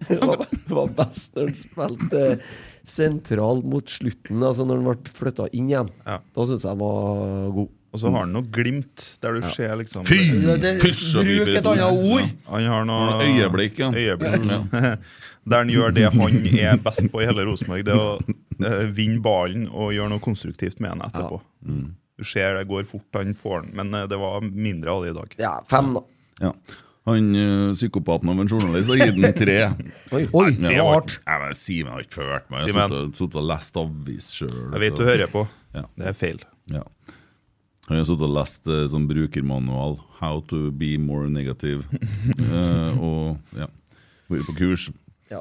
[SPEAKER 2] det var, det var best når han spilte sentral mot slutten, altså når han ble flytta inn igjen.
[SPEAKER 5] Ja.
[SPEAKER 2] Da syns jeg han var god.
[SPEAKER 5] Og så har han noe glimt der du ser liksom
[SPEAKER 4] Fy!
[SPEAKER 3] Det- det-
[SPEAKER 4] Pysj og fy for
[SPEAKER 3] Bruk et
[SPEAKER 4] ord.
[SPEAKER 3] annet ord!
[SPEAKER 5] Han har noe
[SPEAKER 4] Ja. Øyeblikk, ja.
[SPEAKER 5] øyeblikk. Der han gjør det han er best på i hele Rosenborg, det å eh, vinne ballen og gjøre noe konstruktivt med den etterpå. Du ser det går fort, han får den, men eh, det var mindre av det i dag.
[SPEAKER 2] Ja, fem, da.
[SPEAKER 4] Ja. Han eh, psykopaten av en journalist har gitt den tre.
[SPEAKER 3] Oi,
[SPEAKER 4] Ja,
[SPEAKER 3] det var hardt!
[SPEAKER 4] Nei, men Simen har ikke ført meg. Jeg
[SPEAKER 5] Simen.
[SPEAKER 4] har suttet- suttet og lest avis sjøl.
[SPEAKER 5] Jeg vet du hører på.
[SPEAKER 4] Ja.
[SPEAKER 5] Det er feil.
[SPEAKER 4] Ja. Han har suttet og lest eh, sånn brukermanual. How to be more negative. Eh, og ja, vært på kurs.
[SPEAKER 2] Ja.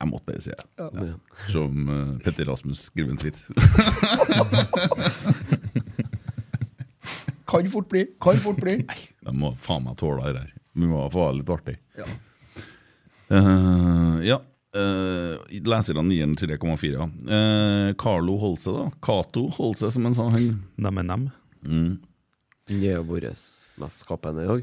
[SPEAKER 4] Jeg måtte bare si det.
[SPEAKER 2] Ja.
[SPEAKER 4] Som eh, Petter Rasmus skriver en tweet.
[SPEAKER 3] Kan fort bli. Kan fort bli.
[SPEAKER 4] Jeg må faen meg tåle det her. Vi må få ha det litt artig.
[SPEAKER 3] Ja.
[SPEAKER 4] Eh, ja. Uh, leserne gir den 3,4. Eh, Carlo Holse, da. Cato Holse, som han sa. Han
[SPEAKER 5] Dem er dem.
[SPEAKER 2] Han er jo vår mest skapende i dag.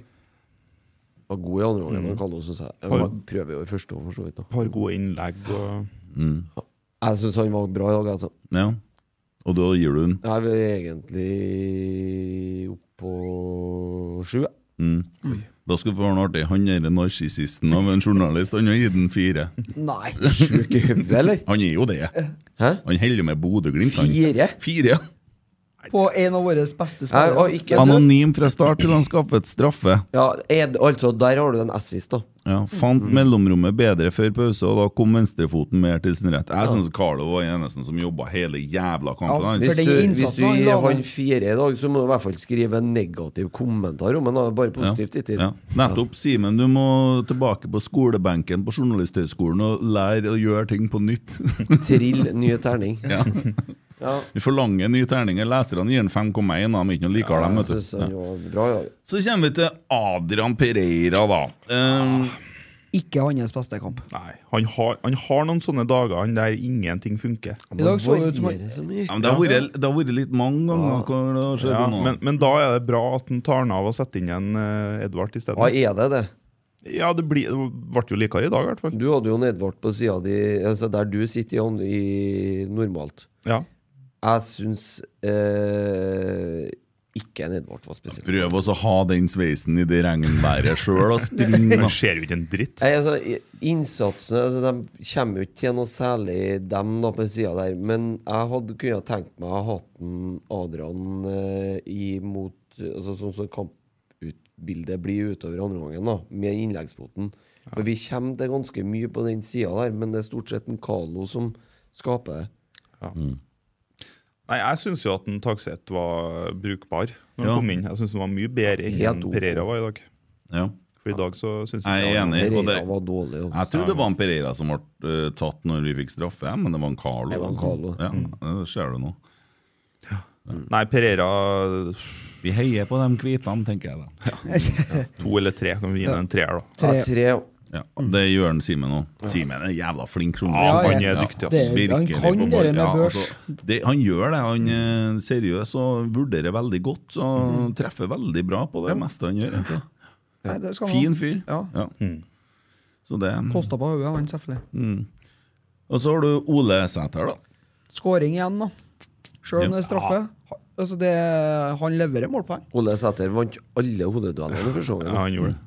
[SPEAKER 2] Var god i andre omgang, men Kallo synes jeg. Jeg prøver jo i første òg, for så vidt. da.
[SPEAKER 5] Et par gode innlegg og
[SPEAKER 2] Jeg syns han var bra i dag, altså.
[SPEAKER 4] Ja. Og da gir du den.
[SPEAKER 2] Jeg er egentlig opp på sju. jeg.
[SPEAKER 4] Da skal du få noe artig. Han er narsissisten av en journalist. Han har gitt den fire.
[SPEAKER 2] Nei, sjuk i hodet, eller?
[SPEAKER 4] Han er jo det.
[SPEAKER 2] Hæ?
[SPEAKER 4] Han holder med Bodø-Glimt. han.
[SPEAKER 2] Fire?
[SPEAKER 4] Fire, ja.
[SPEAKER 3] På en av våre beste
[SPEAKER 2] Jeg, og
[SPEAKER 3] spillere.
[SPEAKER 2] ikke,
[SPEAKER 4] Anonym fra start til han skaffet straffe.
[SPEAKER 2] ja, er, det- altså, der har du en assist, da.
[SPEAKER 4] Ja, Fant mellomrommet bedre før pause, og da kom venstrefoten mer til sin rett. Jeg syns Carlo var den eneste som jobba hele jævla kampen.
[SPEAKER 3] Ja,
[SPEAKER 4] Han
[SPEAKER 3] for
[SPEAKER 2] Hvis
[SPEAKER 3] den
[SPEAKER 2] du, hvis
[SPEAKER 3] innsatsen
[SPEAKER 2] du
[SPEAKER 3] han
[SPEAKER 2] gir
[SPEAKER 3] la
[SPEAKER 2] han
[SPEAKER 3] ned.
[SPEAKER 2] fire i dag, så må du i hvert fall skrive en negativ kommentar om han. da. Bare positivt hittil.
[SPEAKER 4] Ja. Nettopp. Simen, du må tilbake på skolebenken på Journalisthøgskolen og lære å gjøre ting på nytt.
[SPEAKER 2] Trill ny terning.
[SPEAKER 4] Ja.
[SPEAKER 2] Ja.
[SPEAKER 4] Vi forlanger nye terninger. Leserne gir den 5,1, de er ikke noe likere dem.
[SPEAKER 2] Jeg
[SPEAKER 4] vet du.
[SPEAKER 2] syns han var bra, ja.
[SPEAKER 4] Så kommer vi til Adrian Pereira, da. Eh,
[SPEAKER 3] Ikke hans beste kamp.
[SPEAKER 5] Nei, han har, han har noen sånne dager han der ingenting funker.
[SPEAKER 3] I dag så det ut som
[SPEAKER 2] Varierer så mye.
[SPEAKER 4] ja, men det har vært- det har vært litt mange ganger. hvor det har skjedd
[SPEAKER 5] Ja,
[SPEAKER 4] noe.
[SPEAKER 5] men, men da er det bra at han tar den av og setter inn en eh, Edvard i
[SPEAKER 2] Hva
[SPEAKER 5] stedet.
[SPEAKER 2] er det, det?
[SPEAKER 5] Ja, det, blir, det ble jo likere i dag, i hvert fall.
[SPEAKER 2] Du hadde jo en Edvard på sida di, altså der du sitter i, han- i normalt.
[SPEAKER 5] Ja.
[SPEAKER 2] Jeg syns eh, ikke en Edvard var spesiell.
[SPEAKER 4] Prøv også å ha den sveisen i det regnværet sjøl og springe.
[SPEAKER 5] Han ser jo ikke en dritt.
[SPEAKER 2] Nei, altså, i- innsatsen altså, De kommer jo ikke til noe særlig, dem da på sida der. Men jeg hadde kunnet tenkt meg å ha hatt en Adrian eh, imot altså, Sånn som kamputbildet blir utover andre gangen, da, med innleggsfoten. For vi kommer til ganske mye på den sida der, men det er stort sett en Carlo som skaper det.
[SPEAKER 5] Nei, Jeg syns jo at en Takseth var brukbar når han
[SPEAKER 4] Ja.
[SPEAKER 5] kom inn. Jeg syns han var mye bedre enn
[SPEAKER 2] Helt
[SPEAKER 5] en
[SPEAKER 2] ok.
[SPEAKER 5] Pereira var i dag.
[SPEAKER 4] Ja.
[SPEAKER 5] For i dag så syns jeg
[SPEAKER 4] Jeg er
[SPEAKER 5] ikke han-
[SPEAKER 4] enig. og det,
[SPEAKER 2] Pereira var dårlig. Og.
[SPEAKER 4] jeg tror det var en Pereira som ble eh, tatt når vi fikk straffe, men det var en Carlo.
[SPEAKER 2] Det var en Carlo. Mm.
[SPEAKER 4] Ja, det ser du nå.
[SPEAKER 5] Nei, Pereira
[SPEAKER 4] Vi heier på de hvitene, tenker jeg da.
[SPEAKER 5] to eller tre. Kan vi gi ham en treer, da?
[SPEAKER 2] Ja, tre.
[SPEAKER 4] Ja, det gjør han Simen òg. Simen er en jævla flink
[SPEAKER 5] Ja,
[SPEAKER 4] journalist.
[SPEAKER 5] han
[SPEAKER 3] ja.
[SPEAKER 5] er dyktig,
[SPEAKER 3] Det
[SPEAKER 5] ass.
[SPEAKER 3] er- han
[SPEAKER 4] altså, Virkelig
[SPEAKER 3] kan
[SPEAKER 4] på
[SPEAKER 3] det
[SPEAKER 4] ball.
[SPEAKER 3] med
[SPEAKER 4] Ja,
[SPEAKER 3] børs.
[SPEAKER 4] altså, det, han gjør det. Han er seriøs og vurderer veldig godt
[SPEAKER 3] Mhm.
[SPEAKER 4] og treffer veldig bra på det meste han gjør. egentlig.
[SPEAKER 3] Nei, det skal han ha.
[SPEAKER 4] Fin fyr.
[SPEAKER 3] Ja. Mhm.
[SPEAKER 4] Så det.
[SPEAKER 3] Kosta på hodet, han selvfølgelig.
[SPEAKER 4] Og så har du Ole Sæter, da.
[SPEAKER 3] Skåring igjen, da. Sjøl om det er straffe. Ha- Altså, det, han leverer målpoeng.
[SPEAKER 2] Ole Sæter vant alle hodeduellene for sesongen.
[SPEAKER 5] Ja, han gjorde det.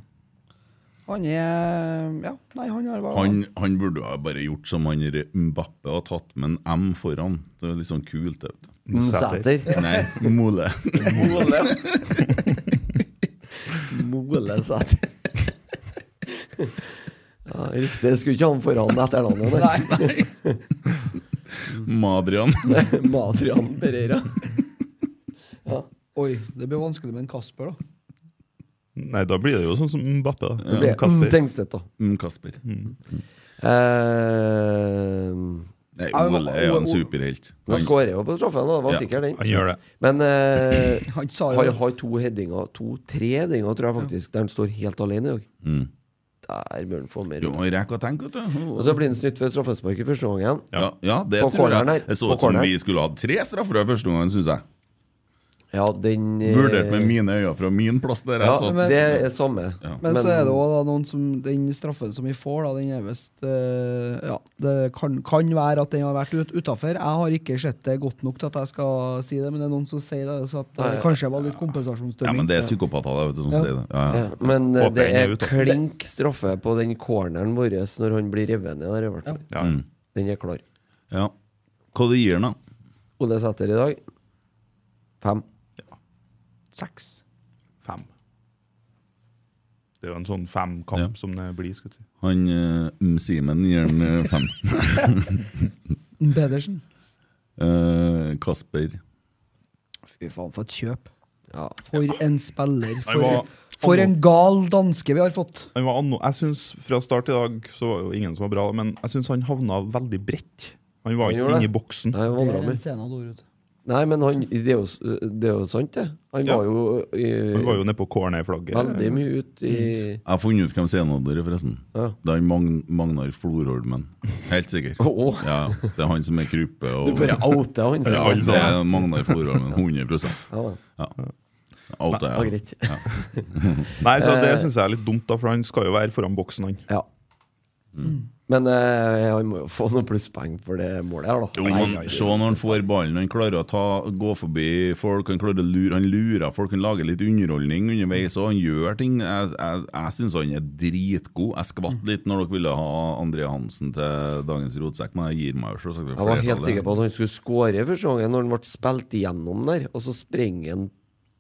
[SPEAKER 3] Han er Ja, nei, han har bare
[SPEAKER 4] Han, han burde ha bare gjort som han der Mbappe og tatt med en M foran. Det er litt sånn kult. Vet du.
[SPEAKER 2] Mm. Sæter.
[SPEAKER 4] Nei, Mole.
[SPEAKER 2] Mole. Mole Sæter. Ja, riktig. Jeg skulle ikke ha han foran etternavnet. der.
[SPEAKER 3] Nei.
[SPEAKER 4] Madrian.
[SPEAKER 2] Madrian Pereira.
[SPEAKER 3] Oi, det blir vanskelig med en Kasper, da.
[SPEAKER 5] Nei, da blir det jo sånn som Mbappe, da.
[SPEAKER 2] Det-
[SPEAKER 5] Kasper.
[SPEAKER 2] Tengstedt, da.
[SPEAKER 4] Mm, Kasper.
[SPEAKER 3] Mhm.
[SPEAKER 2] Eh,
[SPEAKER 4] Nei,
[SPEAKER 3] Ja,
[SPEAKER 4] Ole er jo en
[SPEAKER 3] Ole-
[SPEAKER 4] superhelt.
[SPEAKER 2] Han
[SPEAKER 4] Han-
[SPEAKER 2] skårer jo på straffen, da. Det var
[SPEAKER 4] Ja,
[SPEAKER 2] sikkert den.
[SPEAKER 5] Han gjør det.
[SPEAKER 2] Men eh,
[SPEAKER 3] Han sa jo
[SPEAKER 2] han har to headinger, to-tre headinger, tror jeg faktisk, der han står helt alene i dag.
[SPEAKER 4] Mm.
[SPEAKER 2] Der bør han få mer.
[SPEAKER 4] Jo, han rekker å tenke, vet du.
[SPEAKER 3] Altså,
[SPEAKER 2] Og så blir han snytt for et straffespark i første omgang.
[SPEAKER 4] Ja, ja, det
[SPEAKER 2] På
[SPEAKER 4] tror
[SPEAKER 2] corneren
[SPEAKER 4] jeg.
[SPEAKER 2] her.
[SPEAKER 4] Det så
[SPEAKER 2] På
[SPEAKER 4] ut som
[SPEAKER 2] corneren.
[SPEAKER 4] vi skulle hatt tre straffer i første omgang, syns jeg.
[SPEAKER 2] Ja, den eh,
[SPEAKER 4] Vurdert med mine øyne fra min plass der.
[SPEAKER 2] Ja,
[SPEAKER 4] Jeg satt.
[SPEAKER 2] det er samme.
[SPEAKER 3] Men, så er det også da noen som Den straffen som vi får, da, den er visst eh, Ja, det kan, kan være at den har vært ut, utafor. Jeg har ikke sett det godt nok til at jeg skal si det, men det er noen som sier det, så at det kanskje var litt
[SPEAKER 4] Ja,
[SPEAKER 3] kompensasjonsdømming.
[SPEAKER 4] men det er psykopater der, vet du, som sier det. Ja, ja.
[SPEAKER 2] Ja, men eh,
[SPEAKER 5] Håper
[SPEAKER 2] det
[SPEAKER 5] den er
[SPEAKER 2] er
[SPEAKER 5] ute.
[SPEAKER 2] klink straffe på den corneren vår når han blir revet ned der, i hvert fall.
[SPEAKER 5] Ja.
[SPEAKER 3] Mm.
[SPEAKER 2] Den er klar.
[SPEAKER 4] ja. Hva det gir han, da?
[SPEAKER 2] Ole Sæter i dag fem.
[SPEAKER 3] Seks.
[SPEAKER 5] Fem. Det er jo en sånn femkamp
[SPEAKER 4] Ja.
[SPEAKER 5] som det blir. skal jeg si.
[SPEAKER 4] Han eh, M. Simen gir han eh, fem.
[SPEAKER 3] Pedersen.
[SPEAKER 4] Eh, Kasper
[SPEAKER 3] Fy faen, for et kjøp.
[SPEAKER 2] Ja.
[SPEAKER 3] For en spiller.
[SPEAKER 5] Han var-
[SPEAKER 3] For, for en gal danske vi har fått.
[SPEAKER 5] Han var anno, jeg synes Fra start i dag så var jo ingen som var bra, men jeg syns han havna veldig bredt. Han var
[SPEAKER 2] Han
[SPEAKER 5] ikke
[SPEAKER 2] gjorde
[SPEAKER 5] inne
[SPEAKER 2] det.
[SPEAKER 5] i boksen.
[SPEAKER 2] Nei, han
[SPEAKER 3] Det
[SPEAKER 2] vandrer
[SPEAKER 3] er
[SPEAKER 2] med.
[SPEAKER 3] en scene av Dorud.
[SPEAKER 2] Nei, men han, det, er jo, s- det er jo sant, det. Han
[SPEAKER 5] Ja.
[SPEAKER 2] var jo, eh,
[SPEAKER 5] Han var jo Mm. nede på cornerflagget.
[SPEAKER 2] veldig mye ute i
[SPEAKER 4] Jeg har funnet ut hvem scenen av dere, forresten.
[SPEAKER 2] Ja.
[SPEAKER 4] Det er han Magn Magnar Florholmen. Helt sikker.
[SPEAKER 2] Åh.
[SPEAKER 4] Ja, det er han som er kruppe. Og,
[SPEAKER 2] Du bare outa han.
[SPEAKER 4] ja,
[SPEAKER 2] sier han.
[SPEAKER 4] det er Magnar Florholmen. 100
[SPEAKER 2] Ja, da.
[SPEAKER 4] ja. Out,
[SPEAKER 2] Det
[SPEAKER 4] ja.
[SPEAKER 2] var greit.
[SPEAKER 5] Nei, så Det
[SPEAKER 2] eh,
[SPEAKER 5] syns jeg er litt dumt, da, for han skal jo være foran boksen. han.
[SPEAKER 2] Ja.
[SPEAKER 3] Mm.
[SPEAKER 2] Men eh, han må jo få noen plusspoeng for det målet her, da.
[SPEAKER 4] Jo,
[SPEAKER 2] Nei,
[SPEAKER 4] men
[SPEAKER 2] nei,
[SPEAKER 4] Se når han får ballen, han klarer å ta, gå forbi folk, han klarer å lure Han lurer folk, han lager litt underholdning underveis, og han gjør ting. Jeg, jeg, jeg syns han er dritgod. Jeg skvatt
[SPEAKER 2] Mm.
[SPEAKER 4] litt når dere ville ha André Hansen til dagens rotsekk, men jeg gir meg jo selvsagt.
[SPEAKER 2] Jeg var helt sikker på at han skulle skåre første gangen når han ble spilt igjennom der, og så sprenger han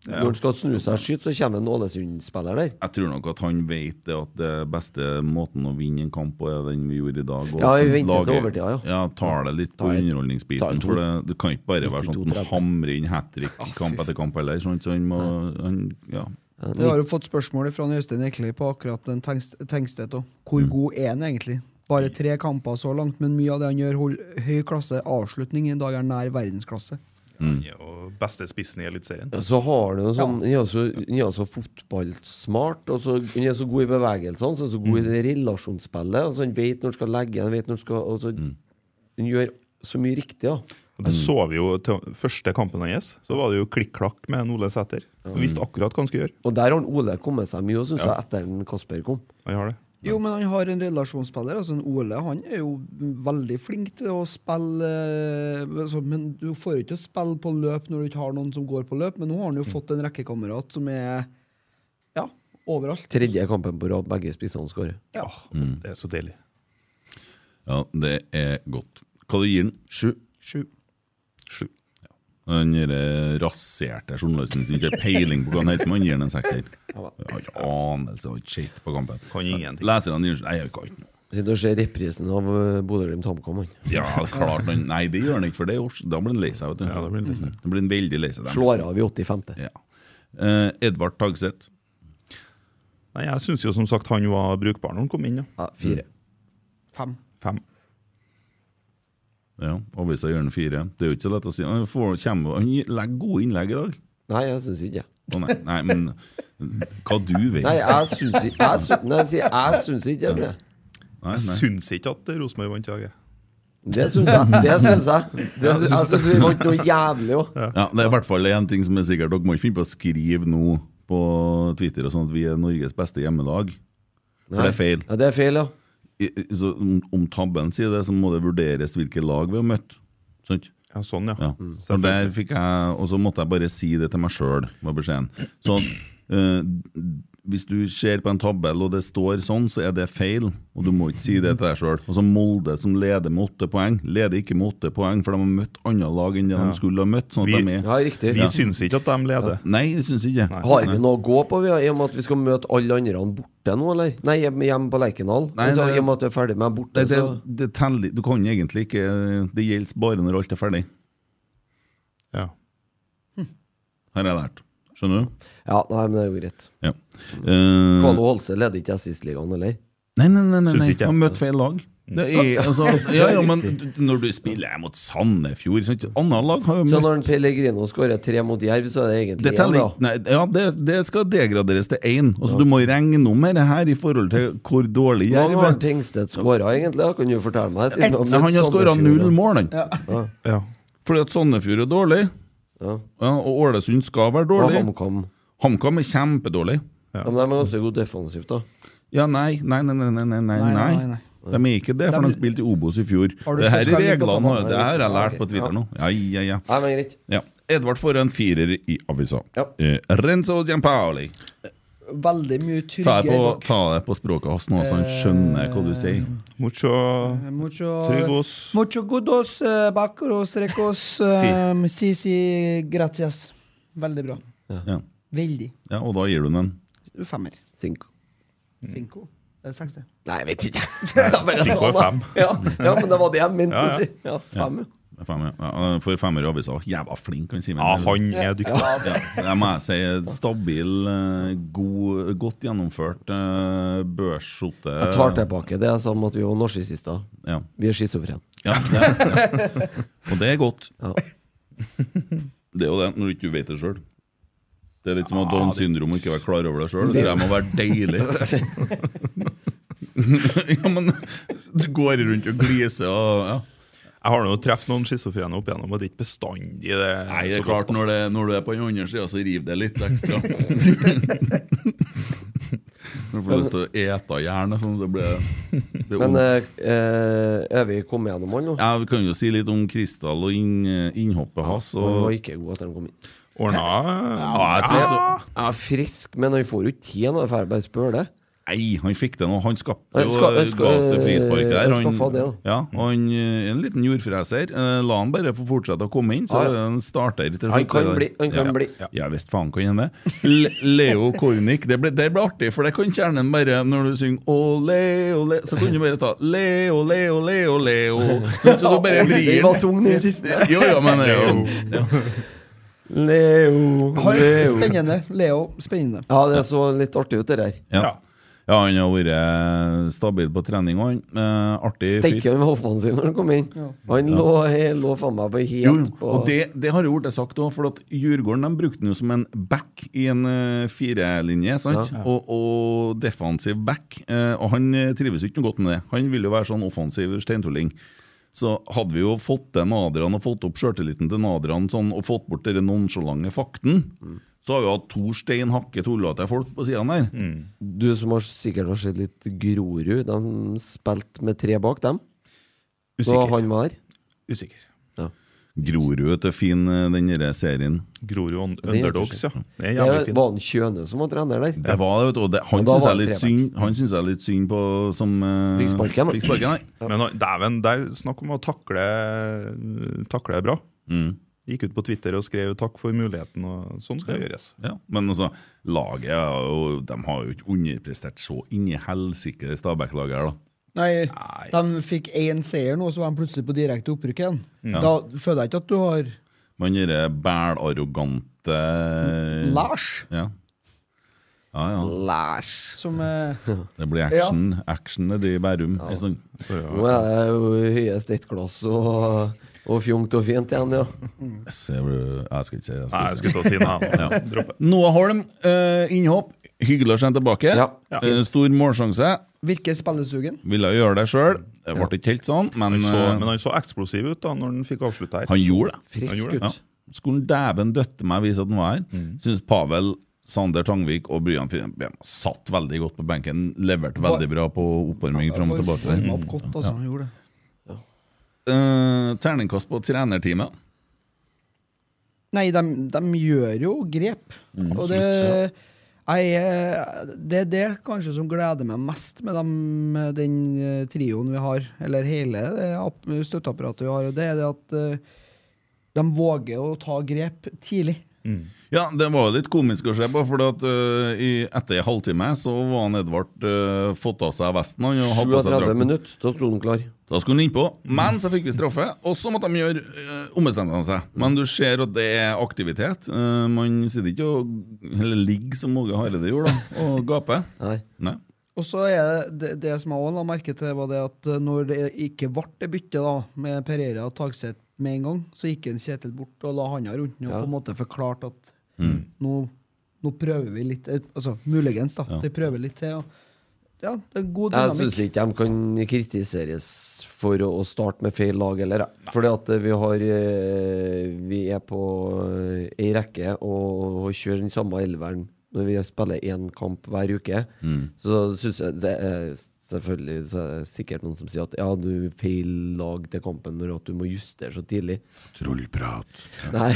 [SPEAKER 2] Når han skal snu seg og skyte, så kommer en Ålesund-spiller der.
[SPEAKER 4] Jeg tror nok at han vet det at det beste måten å vinne en kamp på, er den vi gjorde i dag. og
[SPEAKER 2] Ja,
[SPEAKER 4] at
[SPEAKER 2] vi venter
[SPEAKER 4] laget-
[SPEAKER 2] til overtida, ja.
[SPEAKER 4] Ja, tar det litt på
[SPEAKER 2] Ta et- ta et
[SPEAKER 4] underholdningsbiten.
[SPEAKER 2] to. Ah,
[SPEAKER 4] For det, det kan ikke bare være sånn at han
[SPEAKER 2] 92-30.
[SPEAKER 4] hamrer inn hat trick kamp etter kamp heller. Sånn, så han må han, ja.
[SPEAKER 3] Vi har jo fått spørsmål fra Øystein Ekli på akkurat den Tengst- Tengstedt òg. Hvor god er han egentlig? Bare tre kamper så langt, men mye av det han gjør, holder høy klasse. Avslutning i dag er nær verdensklasse.
[SPEAKER 5] Han er jo beste spissen i Eliteserien.
[SPEAKER 2] Ja, Så har du noe sånn Han er så, han er så fotballsmart, og så, han er så god i bevegelsene, så, er han så god i relasjonsspillet. Altså, han vet når han skal legge, han vet når han skal og så, Han gjør så mye riktig, ja.
[SPEAKER 5] Og Det så vi jo til første kampen hans. Så var det jo klikk-klakk med en Ole Sæter. Han
[SPEAKER 2] Mm.
[SPEAKER 5] Visste akkurat hva han skulle gjøre.
[SPEAKER 2] Og der har han Ole kommet seg mye, syns jeg, etter at Kasper kom.
[SPEAKER 5] Han har det.
[SPEAKER 3] Jo, men han har en relasjonsspiller. altså en Ole han er jo veldig flink til å spille eh, altså, Men du får jo ikke spille på løp når du ikke har noen som går på løp, men nå har han jo fått en rekkekamerat som er ja, overalt.
[SPEAKER 2] Tredje kampen på rad, begge spissene skårer.
[SPEAKER 5] Åh, det er så deilig.
[SPEAKER 4] ja, det er godt. Hva du gir han? Sju?
[SPEAKER 3] Sju.
[SPEAKER 5] Sju.
[SPEAKER 4] Den der raserte journalisten som ikke har peiling på hva han heter, men han gir han en sekser. Jeg har ikke anelse, jeg har ikke sett på kampen.
[SPEAKER 5] Kan ingenting.
[SPEAKER 4] Leserne gir han Nei, jeg kan ikke noe.
[SPEAKER 2] Sitter og ser reprisen av eh, Bodø-Glimt HamKam, han.
[SPEAKER 4] Ja, klart han Nei, det gjør han ikke, for det er års, da blir han lei seg. vet du.
[SPEAKER 5] Ja, da blir han lei seg.
[SPEAKER 4] Mm. Da blir han veldig lei seg. dem.
[SPEAKER 2] Slår av i 85.
[SPEAKER 4] Ja. Eh, Edvard Tagseth.
[SPEAKER 5] Nei, Jeg syns jo som sagt han var brukbar når han kom inn. Ja.
[SPEAKER 2] Ja, fire.
[SPEAKER 3] Fem.
[SPEAKER 5] Fem.
[SPEAKER 4] Ja, Avisa gjør den fire. Det er jo ikke så lett å si. Han, får, kommer, han legger gode innlegg i dag.
[SPEAKER 2] Nei, jeg syns ikke det.
[SPEAKER 4] Å nei, nei, men hva du vet
[SPEAKER 2] Nei, jeg syns ikke jeg syns- Nei, jeg sier jeg syns ikke det, sier jeg.
[SPEAKER 4] Nei,
[SPEAKER 5] Jeg
[SPEAKER 4] nei.
[SPEAKER 5] syns ikke at Rosenborg vant i dag. jeg.
[SPEAKER 2] Det syns jeg. Det syns jeg. Det syns, jeg syns vi vant noe jævlig òg.
[SPEAKER 4] Ja, Det er i hvert fall én ting som er sikkert. Dere må ikke finne på å skrive nå på Twitter og sånn at vi er Norges beste hjemmelag. For det er feil.
[SPEAKER 2] Ja, det er feil, ja.
[SPEAKER 4] I, i- så, om, om tabben sier det, så må det vurderes hvilke lag vi har møtt. Sant?
[SPEAKER 5] Ja, sånn, ja.
[SPEAKER 4] Ja. For der fikk jeg, og så måtte jeg bare si det til meg sjøl, var beskjeden. Så eh, hvis du ser på en tabell og det står sånn, så er det feil, og du må ikke si det til deg sjøl. Og så Molde, som leder med åtte poeng, leder ikke med åtte poeng, for de har møtt andre lag enn det de skulle ha møtt. Sånn at
[SPEAKER 5] Vi-
[SPEAKER 4] de er
[SPEAKER 2] Ja, riktig.
[SPEAKER 5] Vi syns ikke at de leder.
[SPEAKER 4] Nei, det syns jeg ikke.
[SPEAKER 2] Har vi noe å gå på, vi, da? i og med at vi skal møte alle andre borte nå, eller? Nei, hjem- hjemme på Lerkendal.
[SPEAKER 4] Nei,
[SPEAKER 2] Altså,
[SPEAKER 4] det-
[SPEAKER 2] I og med at vi er ferdig med borte,
[SPEAKER 4] Det, det,
[SPEAKER 2] så
[SPEAKER 4] det teller Du kan egentlig ikke Det gjelder bare når alt er ferdig,
[SPEAKER 5] Ja.
[SPEAKER 4] har jeg lært. Skjønner du?
[SPEAKER 2] Ja, nei, men det er jo greit.
[SPEAKER 4] Ja. Eh,
[SPEAKER 2] Kalo Holse leder ikke Assistligaen, eller?
[SPEAKER 4] Nei, nei, nei, nei,
[SPEAKER 5] Syns
[SPEAKER 4] nei.
[SPEAKER 5] ikke jeg.
[SPEAKER 4] han møtte feil lag. Det er, altså, ja, ja, men når du spiller mot Sandefjord sant? Annet lag har jo
[SPEAKER 2] Så
[SPEAKER 4] møtt
[SPEAKER 2] når en Pellegrino skårer tre mot Jerv, så er det
[SPEAKER 4] det,
[SPEAKER 2] egentlig én,
[SPEAKER 4] teller,
[SPEAKER 2] da?
[SPEAKER 4] ikke- nei, ja, det, det skal degraderes til én. Altså, Du må regne om det her i forhold til hvor dårlig
[SPEAKER 2] Hvor
[SPEAKER 4] Jerv
[SPEAKER 2] mange har
[SPEAKER 4] er.
[SPEAKER 2] Tengstedt skåra, egentlig? da? Kan du fortelle meg? siden
[SPEAKER 4] Nei, Han har
[SPEAKER 2] møtt
[SPEAKER 4] skåra
[SPEAKER 2] Sandefjord,
[SPEAKER 4] null
[SPEAKER 2] da.
[SPEAKER 4] mål, han.
[SPEAKER 5] ja.
[SPEAKER 4] Fordi at Sandefjord er dårlig,
[SPEAKER 2] Ja.
[SPEAKER 4] ja, og Ålesund skal være
[SPEAKER 2] Og
[SPEAKER 4] dårlig.
[SPEAKER 2] HamKam.
[SPEAKER 4] HamKam er kjempedårlig.
[SPEAKER 2] Ja, men de er ganske gode defensivt, da.
[SPEAKER 4] Ja, nei, nei, nei, nei, nei, nei, nei,
[SPEAKER 3] nei,
[SPEAKER 4] nei. De er ikke det, for de spilte i Obos i fjor.
[SPEAKER 3] Har du
[SPEAKER 4] Det her
[SPEAKER 3] sett
[SPEAKER 4] er
[SPEAKER 3] hva jeg liker på
[SPEAKER 4] reglene,
[SPEAKER 3] Sandefjord?
[SPEAKER 4] det her har jeg lært på
[SPEAKER 2] Ok,
[SPEAKER 4] Twitter
[SPEAKER 2] ja.
[SPEAKER 4] nå. Ja, ja, ja.
[SPEAKER 2] Nei, men greit.
[SPEAKER 4] Ja. Edvard får en firer i avisa.
[SPEAKER 2] Ja.
[SPEAKER 4] Eh, Renzo Giampaoli.
[SPEAKER 3] Veldig mye
[SPEAKER 4] Ta deg
[SPEAKER 3] tryggere
[SPEAKER 4] på,
[SPEAKER 3] bak.
[SPEAKER 4] ta deg på språket hans nå, så han skjønner hva du sier.
[SPEAKER 5] Mucho
[SPEAKER 3] Mucho,
[SPEAKER 5] Trygos.
[SPEAKER 3] mucho godos, eh, bacros, recos, eh, si, si, gracias. Veldig bra.
[SPEAKER 4] Ja.
[SPEAKER 3] Veldig.
[SPEAKER 4] ja, Og da gir du den en.
[SPEAKER 3] Femmer.
[SPEAKER 2] Cinco.
[SPEAKER 4] Mm.
[SPEAKER 3] Cinco. Eh, Seks, det.
[SPEAKER 2] Nei, jeg vet ikke. Jeg bare
[SPEAKER 5] Cinco
[SPEAKER 2] sa
[SPEAKER 5] er
[SPEAKER 2] det. sånn,
[SPEAKER 5] fem.
[SPEAKER 2] Ja, ja, men det var det jeg mente å si. Ja, fem, ja.
[SPEAKER 4] Fem, ja. Ja, han får femmer i avisa. Jævla flink, han Simen.
[SPEAKER 5] Ja, han er dyktig.
[SPEAKER 4] Ja, det må jeg si. Stabil, eh, god, godt gjennomført eh, børsskjorte.
[SPEAKER 2] Jeg tar tilbake det jeg sa om at vi var narsissister.
[SPEAKER 4] Ja.
[SPEAKER 2] Vi er schizofrene.
[SPEAKER 4] Ja, det, ja. Og det er godt.
[SPEAKER 2] Ja.
[SPEAKER 4] Det er jo det, når du ikke vet det sjøl. Det er litt som å ha Downs syndrom og ikke være klar over det sjøl. Det tror jeg må være deilig. ja, men du går rundt og gliser og ja.
[SPEAKER 5] Jeg har nå truffet noen schizofrene opp igjennom, og det er ikke bestandig det.
[SPEAKER 4] Nei, det er
[SPEAKER 5] så
[SPEAKER 4] klart,
[SPEAKER 5] godt, da.
[SPEAKER 4] når, det, når du er på den andre sida, så river det litt ekstra. Når du får lyst til å ete jernet, sånn, det blir det er
[SPEAKER 2] Men
[SPEAKER 4] vondt.
[SPEAKER 2] eh, eh, er vi kommet gjennom han nå?
[SPEAKER 4] Ja, Vi kan jo si litt om Kristall og inn, innhoppet hans.
[SPEAKER 2] Han var
[SPEAKER 4] Og,
[SPEAKER 2] ikke god etter han kom inn.
[SPEAKER 5] Ordna
[SPEAKER 4] ja, jeg synes, jo-
[SPEAKER 2] Jeg er frisk, men han får jo ikke til noe, jeg får bare spørre det.
[SPEAKER 4] nei, han fikk det nå. Han skapte
[SPEAKER 2] Han
[SPEAKER 4] jo
[SPEAKER 2] ska- han ska-
[SPEAKER 4] ga oss det frisparket der.
[SPEAKER 2] han skaffa det, da.
[SPEAKER 4] ja, og han eh, er en liten jordfreser. Eh, La han bare få fortsette å komme inn, så
[SPEAKER 2] Ja,
[SPEAKER 4] er
[SPEAKER 2] ja.
[SPEAKER 4] det en starter. til
[SPEAKER 2] Han
[SPEAKER 4] slutt,
[SPEAKER 2] kan
[SPEAKER 4] det der.
[SPEAKER 2] bli, han kan
[SPEAKER 4] ja.
[SPEAKER 2] bli.
[SPEAKER 4] Ja, ja visst faen kan hende. Le- Leo Kornik, det ble, det ble artig, for det kan kjernen bare Når du synger ole, ole, så kan du bare ta Leo, Leo, Leo, Leo. Så, så du bare vrir
[SPEAKER 2] Den var tung, den siste.
[SPEAKER 4] Jo, jo, men eh, det er jo- ja.
[SPEAKER 2] Leo,
[SPEAKER 3] Han er
[SPEAKER 2] Leo.
[SPEAKER 3] spennende. Leo, spennende.
[SPEAKER 2] Ja, det så litt artig ut, det der.
[SPEAKER 4] Ja. ja, han har vært eh, stabil på trening, og han. Eh, artig fyr.
[SPEAKER 2] Steike, han var offensiv når han kom inn. Han lå, he- lå faen meg på
[SPEAKER 4] Jo,
[SPEAKER 2] helt
[SPEAKER 4] jo,
[SPEAKER 2] på
[SPEAKER 4] og det, det har jo blitt sagt òg, for at Djurgården de brukte den jo som en back i en eh, firelinje. sant? Og, og defensiv back. eh, og han eh, trives jo ikke noe godt med det. Han vil jo være sånn offensiv steintulling. Så hadde vi jo fått til Nadran og fått opp sjøltilliten til Nadran sånn, og fått bort den nonsjalante fakten, så har vi hatt to stein hakke tullete folk på siden der.
[SPEAKER 2] Mm. Du som har sikkert har sett litt Grorud, de spilte med tre bak dem. Da
[SPEAKER 5] Usikker.
[SPEAKER 2] han var der.
[SPEAKER 5] Usikker.
[SPEAKER 4] Grorud vet du, fin, eh, den der serien.
[SPEAKER 5] Grorud und-
[SPEAKER 2] er
[SPEAKER 5] Underdogs, ja. Det er
[SPEAKER 2] Det
[SPEAKER 5] jævlig fint.
[SPEAKER 2] Eh, var han Kjøne som var trener der?
[SPEAKER 4] Det var det, vet du. Og det, han
[SPEAKER 2] Men da
[SPEAKER 4] syns
[SPEAKER 2] var
[SPEAKER 4] jeg er
[SPEAKER 2] det
[SPEAKER 4] litt
[SPEAKER 2] trebekk.
[SPEAKER 4] synd, han synes jeg er litt synd på som eh,
[SPEAKER 2] Fikk sparken, da.
[SPEAKER 4] Fikk sparken, nei.
[SPEAKER 5] Men han- dæven, der snakk om å takle, takle bra. Gikk ut på Twitter og skrev 'takk for muligheten', og sånn skal det gjøres.
[SPEAKER 4] Ja, men altså, laget er jo- de har jo ikke underprestert så inn i helsike, det Stabæk-laget her, da.
[SPEAKER 3] Nei, de fikk én seier nå, så var de plutselig på direkte opprykk igjen. Da føler jeg ikke at du har
[SPEAKER 4] Men dere bæl-arrogante
[SPEAKER 3] Lars,
[SPEAKER 4] Ja. ja, ja.
[SPEAKER 2] Læsj!
[SPEAKER 3] som eh,
[SPEAKER 4] Det blir action. Action nede i Bærum en stund.
[SPEAKER 2] Nå er det jo høyest ett glass og, og fjongt og fint igjen, ja.
[SPEAKER 4] Se, Jeg skal ikke si det. jeg skal
[SPEAKER 5] Nei, jeg
[SPEAKER 4] ikke si
[SPEAKER 5] skulle
[SPEAKER 4] det.
[SPEAKER 5] til å si det.
[SPEAKER 4] Ja.
[SPEAKER 5] jeg. Dropp det.
[SPEAKER 4] Noah Holm, eh, innhopp. Hyggelig å se ham tilbake.
[SPEAKER 2] Ja.
[SPEAKER 4] Eh, stor målsjanse.
[SPEAKER 3] virker spillesugen.
[SPEAKER 4] Ville gjøre det sjøl. Det ble ikke helt sånn, men,
[SPEAKER 5] Han så,
[SPEAKER 4] eh,
[SPEAKER 5] men han så eksplosiv ut da når han fikk avslutta her.
[SPEAKER 4] han gjorde det.
[SPEAKER 5] Han
[SPEAKER 2] Frisk
[SPEAKER 5] gjorde det,
[SPEAKER 2] gutt.
[SPEAKER 4] Ja. Skolen dæven døtte meg vise at den var her. Synes Pavel, Sander Tangvik og Bryan Finnem satt veldig godt på benken. Leverte veldig bra på oppvarming fram og tilbake.
[SPEAKER 3] Varma
[SPEAKER 4] der
[SPEAKER 3] opp godt, altså. han Gjorde det.
[SPEAKER 4] Eh, Terningkast på trenerteamet.
[SPEAKER 3] Nei, de, de gjør jo grep. og det, jeg, eh, det er det kanskje som gleder meg mest med dem, eh, den eh, trioen vi har, eller hele det app- støtteapparatet vi har, og det er det at eh, de våger å ta grep tidlig.
[SPEAKER 4] Ja, det var jo litt komisk å se på, for at, eh, i- etter en halvtime så var han Edvard eh, fått av seg vesten han, og hadde på seg
[SPEAKER 2] 37
[SPEAKER 4] drakten.
[SPEAKER 2] minutter, da sto han klar.
[SPEAKER 4] Da skulle han innpå, men så fikk vi straffe, og så måtte de gjøre eh, ombestemte han seg. Men du ser at det er aktivitet. Eh, man sitter ikke og eller ligger som Åge Hareide gjorde, da, og gaper.
[SPEAKER 2] Nei.
[SPEAKER 4] Nei.
[SPEAKER 3] Og så er det, det, det som jeg også la merke til, var det at eh, når det ikke ble det byttet da, med Pereira og Tagseth med en gang, så gikk en Kjetil bort og la handa rundt den og på en måte forklarte at
[SPEAKER 4] Mm.
[SPEAKER 3] nå, nå prøver vi litt, eh, altså muligens da, de prøver litt til. Og, ja, det er god
[SPEAKER 2] Jeg
[SPEAKER 3] dynamikk.
[SPEAKER 2] syns ikke de kan kritiseres for å å starte med feil lag heller. jeg. Fordi at eh, vi har eh, Vi er på eh, ei rekke og og kjører den samme elveren når vi spiller én kamp hver uke. Så syns jeg det er Selvfølgelig så er det sikkert noen som sier at ja, du er feil lag til kampen når at du må justere så tidlig.
[SPEAKER 4] Trollprat.
[SPEAKER 2] Nei,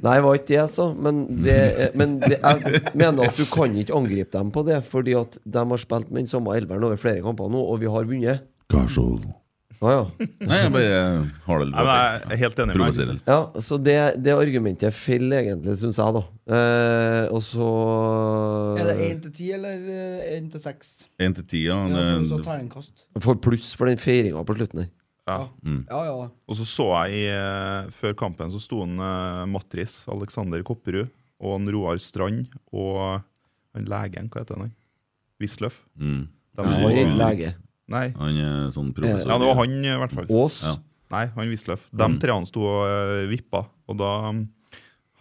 [SPEAKER 2] Nei det var ikke det jeg sa. Men, det, men det, jeg mener at du kan ikke angripe dem på det, fordi at de har spilt med den samme elveren over flere kamper nå, og vi har vunnet.
[SPEAKER 4] Garsol.
[SPEAKER 2] Ja, ja.
[SPEAKER 4] Nei, jeg bare har det litt
[SPEAKER 5] Nei, men jeg er helt enig med
[SPEAKER 4] Provoserer
[SPEAKER 5] deg.
[SPEAKER 4] litt.
[SPEAKER 2] ja så det, det argumentet faller egentlig, syns jeg, da. Eh, og så
[SPEAKER 3] Er det 1 til 10 eller 1 til 6?
[SPEAKER 4] Én til ti, ja.
[SPEAKER 3] Ja, for å så
[SPEAKER 4] det-
[SPEAKER 3] terningkast.
[SPEAKER 2] Får pluss for den feiringa på slutten her.
[SPEAKER 5] Ja.
[SPEAKER 3] Ja, ja.
[SPEAKER 5] Og så så jeg i, eh, før kampen så sto en eh, Matris, Alexander Kopperud, og en Roar Strand og han legen, hva heter han? Wisløff.
[SPEAKER 4] Mm.
[SPEAKER 5] De
[SPEAKER 2] Han er ikke
[SPEAKER 5] sto-
[SPEAKER 2] lege.
[SPEAKER 5] Nei.
[SPEAKER 4] Han er sånn professor.
[SPEAKER 5] Ja, det var han, eh, i hvert fall.
[SPEAKER 2] Ås.
[SPEAKER 4] Ja.
[SPEAKER 5] Nei, han Wisløff. De tre han sto og eh, vippa, og da mm,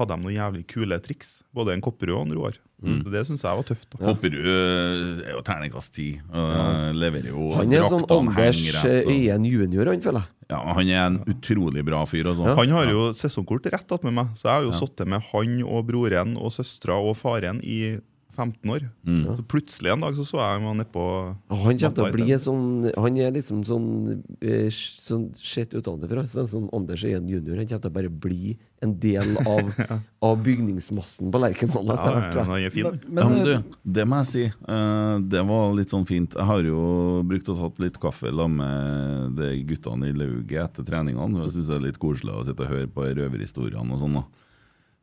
[SPEAKER 5] hadde de noen jævlig kule triks. Både en Kopperud og en Roar. Så Det syns jeg var tøft. da.
[SPEAKER 4] Hopperud eh, er jo terningkast ti. og eh, Leverer jo
[SPEAKER 2] Han er en sånn
[SPEAKER 4] draktene
[SPEAKER 2] Anders
[SPEAKER 4] henger rett, og-
[SPEAKER 2] Øyen junior, han, føler jeg.
[SPEAKER 4] Ja, han er en utrolig bra fyr. Altså.
[SPEAKER 5] Han har jo sesongkort rett attmed meg, så jeg har jo sittet med han og broren og søstera og faren i 15 år. Så plutselig en dag så, så jeg han nedpå
[SPEAKER 2] Og Han kommer til å bli en sånn Han er liksom sånn, eh, sånn sett utenfra. Sånn, sånn Anders Øyen junior. Han kommer til å bare bli en del av, av bygningsmassen på Lerkendal
[SPEAKER 5] ja,
[SPEAKER 2] sånn etter
[SPEAKER 5] men
[SPEAKER 2] hvert, tror jeg.
[SPEAKER 5] han er fin.
[SPEAKER 4] Ja,
[SPEAKER 3] Men
[SPEAKER 4] men
[SPEAKER 3] eh,
[SPEAKER 4] du, det må jeg si. eh, det var litt sånn fint. Jeg har jo brukt og tatt litt kaffe sammen med de guttene i lauget etter treningene. og Jeg syns det er litt koselig å sitte og høre på røverhistoriene og sånn. da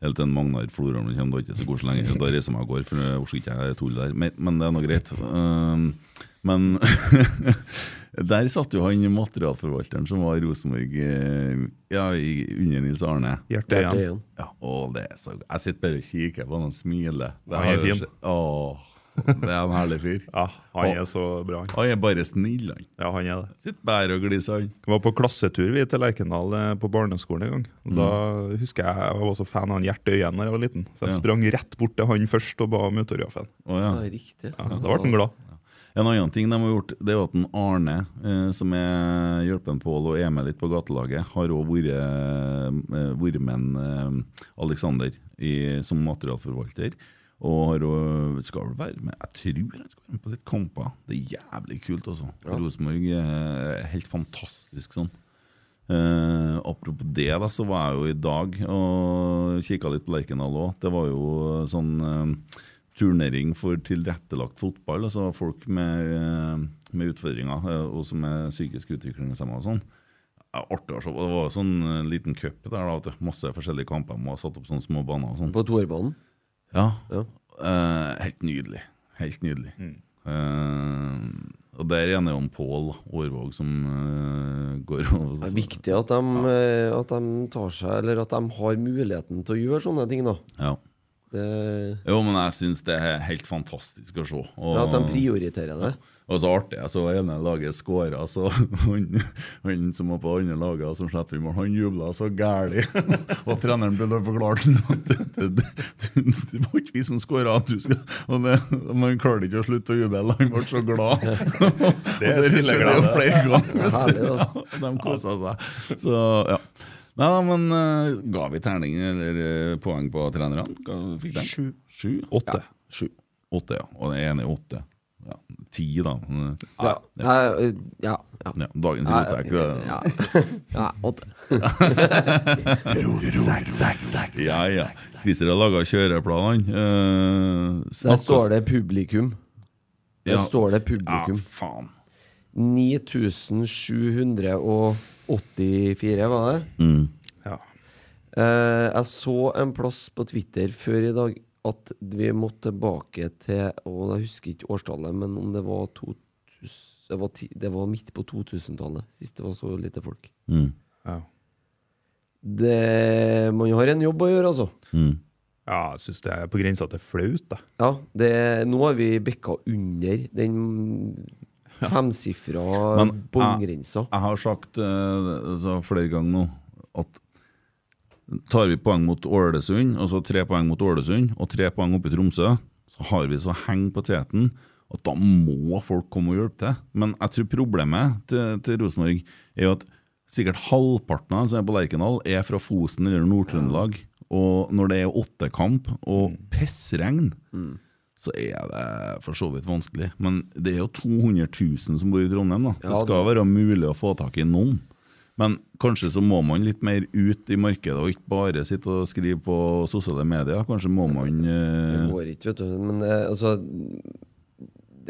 [SPEAKER 4] Helt til en Magnar Florholm kommer, da er det ikke så koselig lenger. Da reiser jeg meg og går, for jeg orker ikke jeg tull der. Men, men det er nå greit. Eh, men der satt jo han materialforvalteren som var i Rosenborg eh, ja, i- under Nils Arne.
[SPEAKER 5] Hjertet igjen.
[SPEAKER 2] Øyen.
[SPEAKER 4] Ja, å, det er så Jeg sitter bare og kikker på han og smiler. Det
[SPEAKER 5] Han er
[SPEAKER 4] har jo
[SPEAKER 5] fin.
[SPEAKER 4] skjedd- Åh, det er en herlig fyr.
[SPEAKER 5] Ja, han er så bra. han.
[SPEAKER 4] Han er bare snill, han.
[SPEAKER 5] Ja, han er det.
[SPEAKER 4] Sitter bare og gliser, han.
[SPEAKER 5] Vi var på klassetur vi til Lerkendal eh, på barneskolen en gang. Og Da husker jeg jeg var også fan av han Gjert Øyen da jeg var liten. Så jeg
[SPEAKER 4] Ja.
[SPEAKER 5] sprang rett bort til han først og ba om autografen.
[SPEAKER 4] Å, ja.
[SPEAKER 2] Ja, riktig.
[SPEAKER 5] Ja, da ble han glad.
[SPEAKER 4] En annen ting de har gjort, det er jo at en Arne, eh, som er hjelpen Pål og er med litt på gatelaget, har òg vært eh, vært med en, eh, Alexander i, som materialforvalter. Og har også, skal vel være med Jeg tror han skal være med på litt kamper. Det er jævlig kult, altså. Rosenborg eh, er helt fantastisk sånn. Eh, apropos det, da, så var jeg jo i dag og kikka litt på Lerkendal òg. Det var jo sånn eh, turnering for tilrettelagt fotball. Altså folk med, eh, med utfordringer eh, og som er psykisk utviklingshemma og sånn. Ja, artig å se på. Det var sånn eh, liten cup der, da. vet du. Masse forskjellige kamper. Må ha satt opp sånne små baner og sånn.
[SPEAKER 2] På toerbanen.
[SPEAKER 4] Ja.
[SPEAKER 2] Ja.
[SPEAKER 4] Eh, helt nydelig. Helt nydelig.
[SPEAKER 2] Mm.
[SPEAKER 4] Eh, og der igjen er jo en Pål Aarvåg som eh, går og
[SPEAKER 2] Det er viktig at de, eh, at de tar seg Eller at de har muligheten til å gjøre sånne ting, da.
[SPEAKER 4] Ja.
[SPEAKER 2] Det,
[SPEAKER 4] Jo, men jeg syns det er helt fantastisk å se. Og,
[SPEAKER 2] ja, at de prioriterer det.
[SPEAKER 4] og så artig. Jeg så ene laget skåra, så han, han som var på andre laget som slipper inn mål, han jubla så gæli. og treneren prøvde å forklare den at det, det, det, det var ikke vi som skåra. Og det, man klarte ikke å slutte å juble. Han ble så glad.
[SPEAKER 5] Det
[SPEAKER 4] Og
[SPEAKER 5] er
[SPEAKER 4] skjedde jo
[SPEAKER 5] spilleglede.
[SPEAKER 4] flere ganger. vet du.
[SPEAKER 2] Herlig, da.
[SPEAKER 4] De kosa seg. Så, ja. Nei, da, men eh, ga vi terning eller eh, poeng på trenerne? Ga- Fikk de? Sju. Åtte. Ja. Sju. Åtte, ja. Og den ene er åtte. Ja. Ti, da. Men, eh,
[SPEAKER 2] Ja. Nei, ja, ja.
[SPEAKER 4] Ja, dagens rotsekk. det-
[SPEAKER 2] Ja. ja. åtte.
[SPEAKER 4] Ja, ja. Christer har laga kjøreplanene. Eh,
[SPEAKER 2] Der
[SPEAKER 4] snakk oss-
[SPEAKER 2] står det publikum. Der
[SPEAKER 4] Ja.
[SPEAKER 2] står det
[SPEAKER 4] Ja,
[SPEAKER 2] publikum.
[SPEAKER 4] faen.
[SPEAKER 2] 9784, var det?
[SPEAKER 4] Mm.
[SPEAKER 5] Ja.
[SPEAKER 2] Eh, jeg så en plass på Twitter før i dag at vi måtte tilbake til Og jeg husker ikke årstallet, men om det var 2000, det, var ti, det var midt på 2000-tallet, sist det var så lite folk.
[SPEAKER 4] Mm.
[SPEAKER 5] Ja.
[SPEAKER 2] Det, man har en jobb å gjøre, altså.
[SPEAKER 4] Mm.
[SPEAKER 5] ja, jeg syns det er på grensa til flaut, da.
[SPEAKER 2] Ja, det, nå har vi bikka under den femsifra
[SPEAKER 4] Men,
[SPEAKER 2] båndgrensa.
[SPEAKER 4] Jeg har sagt eh, altså, flere ganger nå at tar vi poeng mot Ålesund, og så tre poeng mot Ålesund, og tre poeng oppe i Tromsø, så har vi så heng på teten at da må folk komme og hjelpe til. Men jeg tror problemet til, til Rosenborg er jo at sikkert halvparten av dem som er på Lerkendal, er fra Fosen eller Nord-Trøndelag. Og når det er åttekamp og pissregn, så er det for så vidt vanskelig. Men det er jo 200 000 som bor i Trondheim, da.
[SPEAKER 2] Ja,
[SPEAKER 4] Det skal være mulig å få tak i noen. Men kanskje så må man litt mer ut i markedet, og ikke bare sitte og skrive på sosiale medier. Kanskje må man
[SPEAKER 2] Det
[SPEAKER 4] eh,
[SPEAKER 2] går ikke, vet du. Men eh, altså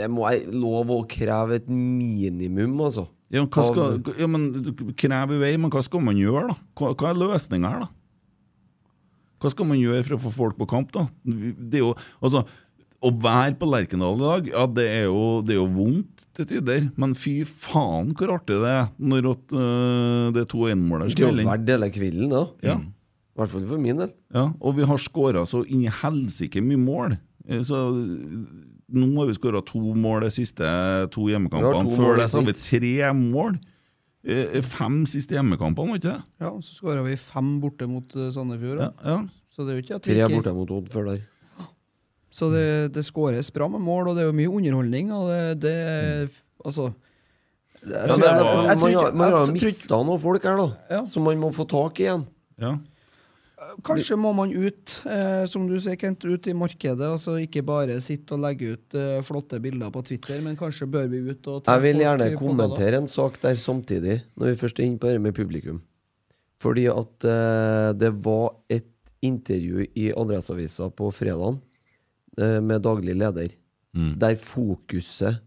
[SPEAKER 2] Det må jeg lov å kreve et minimum, altså.
[SPEAKER 4] ja, hva skal, ja, men Krev i vei, men hva skal man gjøre, da? Hva, hva er løsninga her, da? Hva skal man gjøre for å få folk på kamp, da? Det er jo, altså, å være på Lerkendal i dag, ja, det er jo, det er jo vondt til tider. Men fy faen hvor artig det er når at, øh, det er to enmålere
[SPEAKER 2] Det er
[SPEAKER 4] spiller
[SPEAKER 2] jo
[SPEAKER 4] inn.
[SPEAKER 2] verdt hele kvelden, da.
[SPEAKER 4] Ja.
[SPEAKER 3] Mm.
[SPEAKER 2] I hvert fall for min del.
[SPEAKER 4] Ja, og vi har skåra så inn i helsike mye mål. Eh, Så nå har vi skåra to mål de siste to
[SPEAKER 2] Vi har
[SPEAKER 4] hjemmekampene.
[SPEAKER 2] to mål
[SPEAKER 4] Før
[SPEAKER 2] i
[SPEAKER 4] det så har vi
[SPEAKER 2] snitt.
[SPEAKER 4] tre mål. eh, fem siste hjemmekampene, var ikke det?
[SPEAKER 3] Ja, Så skåra vi fem borte mot eh, Sandefjord.
[SPEAKER 4] Ja,
[SPEAKER 3] da.
[SPEAKER 4] ja.
[SPEAKER 3] Så det er jo ikke at vi
[SPEAKER 2] Tre
[SPEAKER 3] ikke
[SPEAKER 2] borte mot Odd før der.
[SPEAKER 3] Så det, det skåres bra med mål, og det er jo mye underholdning. Og det, det er f- Altså jeg
[SPEAKER 2] Ja,
[SPEAKER 3] tror-
[SPEAKER 2] men,
[SPEAKER 3] jeg- jeg-
[SPEAKER 2] man,
[SPEAKER 3] jeg
[SPEAKER 2] har-
[SPEAKER 3] tror ikke-
[SPEAKER 2] man
[SPEAKER 3] jeg
[SPEAKER 2] har
[SPEAKER 3] tror
[SPEAKER 2] jo
[SPEAKER 3] ikke-
[SPEAKER 2] mista noen folk her, da.
[SPEAKER 3] Ja.
[SPEAKER 2] Som man må få tak i igjen.
[SPEAKER 4] ja.
[SPEAKER 3] Kanskje må man ut, eh, som du sier, Kent, ut i markedet. altså Ikke bare sitte og legge ut eh, flotte bilder på Twitter, men kanskje bør vi ut og
[SPEAKER 2] Jeg vil
[SPEAKER 3] folk
[SPEAKER 2] gjerne
[SPEAKER 3] i- på
[SPEAKER 2] kommentere en sak der samtidig, når vi først er inne på det med publikum. Fordi at eh, det var et intervju i Adresseavisa på fredag med daglig leder,
[SPEAKER 3] Mm.
[SPEAKER 2] der fokuset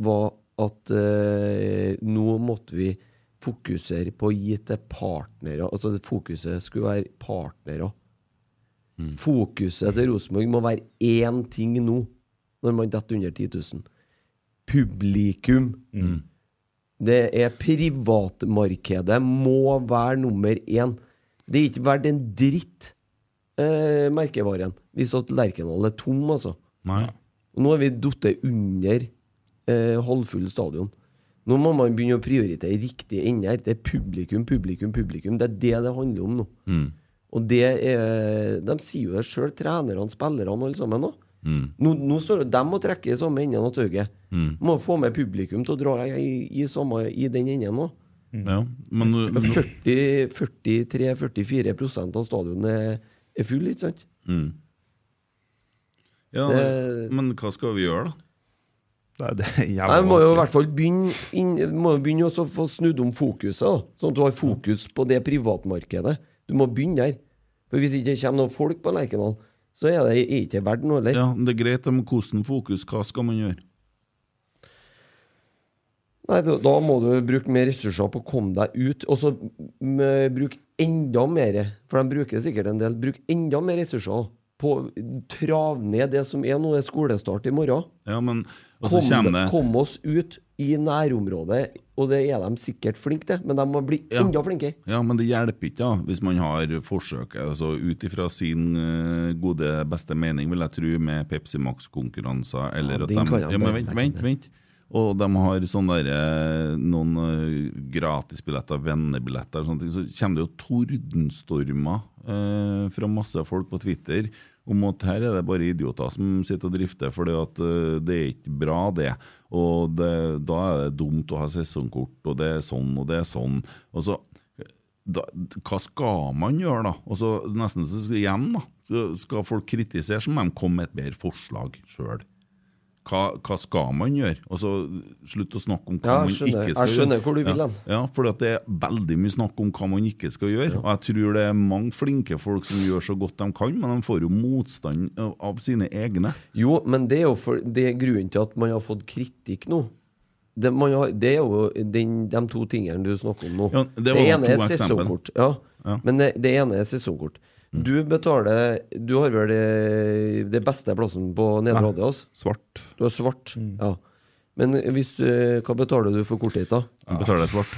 [SPEAKER 2] var at eh, nå måtte vi fokusere på å gi til partnere. Altså det fokuset skulle være partnere.
[SPEAKER 3] Mm.
[SPEAKER 2] Fokuset til Rosenborg må være én ting nå, når man detter under 10 000. Publikum. Det er privatmarkedet må være nummer én. Det er ikke verdt en dritt, eh, merkevaren, hvis at Lerkendal er tom, altså.
[SPEAKER 4] Nei.
[SPEAKER 2] Og nå er vi duttet under eh, halvfull stadion. Nå må man begynne å prioritere riktige ender. Det er publikum, publikum, publikum. Det er det det handler om nå.
[SPEAKER 4] Mm.
[SPEAKER 2] Og det er De sier jo det sjøl, trenerne, spillerne, alle sammen nå.
[SPEAKER 5] Mm.
[SPEAKER 2] Nå, nå står jo dem og trekker i samme enden av tauet. Må få med publikum til å dra i, i, samme, i den enden òg.
[SPEAKER 4] Ja. Men nå-
[SPEAKER 5] Mm.
[SPEAKER 4] nå-
[SPEAKER 2] 43-44 av stadionet er, er full, ikke sant?
[SPEAKER 4] mm. ja,
[SPEAKER 2] det-
[SPEAKER 4] Men hva skal vi gjøre, da?
[SPEAKER 5] Nei, det er jævla
[SPEAKER 2] Jeg må jo i
[SPEAKER 5] vanskelig.
[SPEAKER 2] hvert fall begynne, inn, må jo begynne også å få snudd om fokuset, da. sånn at du har fokus på det privatmarkedet. Du må begynne der. For Hvis ikke det kommer noen folk på Lerkendal, så er det er ikke verdt noe heller.
[SPEAKER 4] Ja, Det er greit, men hvordan fokus? Hva skal man gjøre?
[SPEAKER 2] Nei, da, da må du bruke mer ressurser på å komme deg ut, og så mm, bruk enda mer, for de bruker sikkert en del, bruk enda mer ressurser på å trave ned det som er nå, det er skolestart i morgen.
[SPEAKER 4] Ja, men og så
[SPEAKER 2] Kom,
[SPEAKER 4] kommer det
[SPEAKER 2] kom oss ut i nærområdet, og det er de sikkert flinke til, men de må bli
[SPEAKER 4] Ja.
[SPEAKER 2] enda flinkere.
[SPEAKER 4] Ja, men det hjelper ikke da, hvis man har forsøk. Altså, ut ifra sin eh, gode, beste mening, vil jeg tro, med Pepsi Max-konkurranser eller
[SPEAKER 2] Ja,
[SPEAKER 4] at
[SPEAKER 2] den
[SPEAKER 4] de,
[SPEAKER 2] kan jeg
[SPEAKER 4] ja, men
[SPEAKER 2] bare
[SPEAKER 4] vent,
[SPEAKER 2] legge
[SPEAKER 4] vent,
[SPEAKER 2] ned.
[SPEAKER 4] vent. Og de har sånne der, eh, noen eh, gratisbilletter, vennebilletter og sånne ting. Så kommer det jo tordenstormer eh, fra masse folk på Twitter om at her er det bare idioter som sitter og drifter, for det er ikke bra, det. Og det, da er det dumt å ha sesongkort, og det er sånn, og det er sånn. Og så da, hva skal man gjøre, da? Og så nesten så skal, igjen, da. Så skal folk kritisere, så må de komme med et bedre forslag sjøl. Hva, hva skal man gjøre? Og så Slutt å snakke om hva
[SPEAKER 2] Ja,
[SPEAKER 4] man ikke skal
[SPEAKER 2] jeg skjønner.
[SPEAKER 4] gjøre.
[SPEAKER 2] Jeg skjønner hvor du vil
[SPEAKER 4] ja.
[SPEAKER 2] hen.
[SPEAKER 4] Ja, for det er veldig mye snakk om hva man ikke skal gjøre. Og jeg tror det er mange flinke folk som gjør så godt de kan, men de får jo motstand av- av sine egne.
[SPEAKER 2] Jo, men det er jo for, det er grunnen til at man har fått kritikk nå. Det, man har, det er jo den, de to tingene du snakker om nå.
[SPEAKER 4] Ja, det var
[SPEAKER 2] ene
[SPEAKER 4] to
[SPEAKER 2] er
[SPEAKER 4] eksempel.
[SPEAKER 2] sesongkort. Ja.
[SPEAKER 4] Ja. Mm.
[SPEAKER 2] Men det, det ene er sesongkort. Du betaler Du har vel eh, det, det beste plassen på Nedre Adias?
[SPEAKER 5] Svart.
[SPEAKER 2] Du har svart. Ja. Men hvis, eh, hva betaler du for kortet ditt, da?
[SPEAKER 4] De betaler det svart.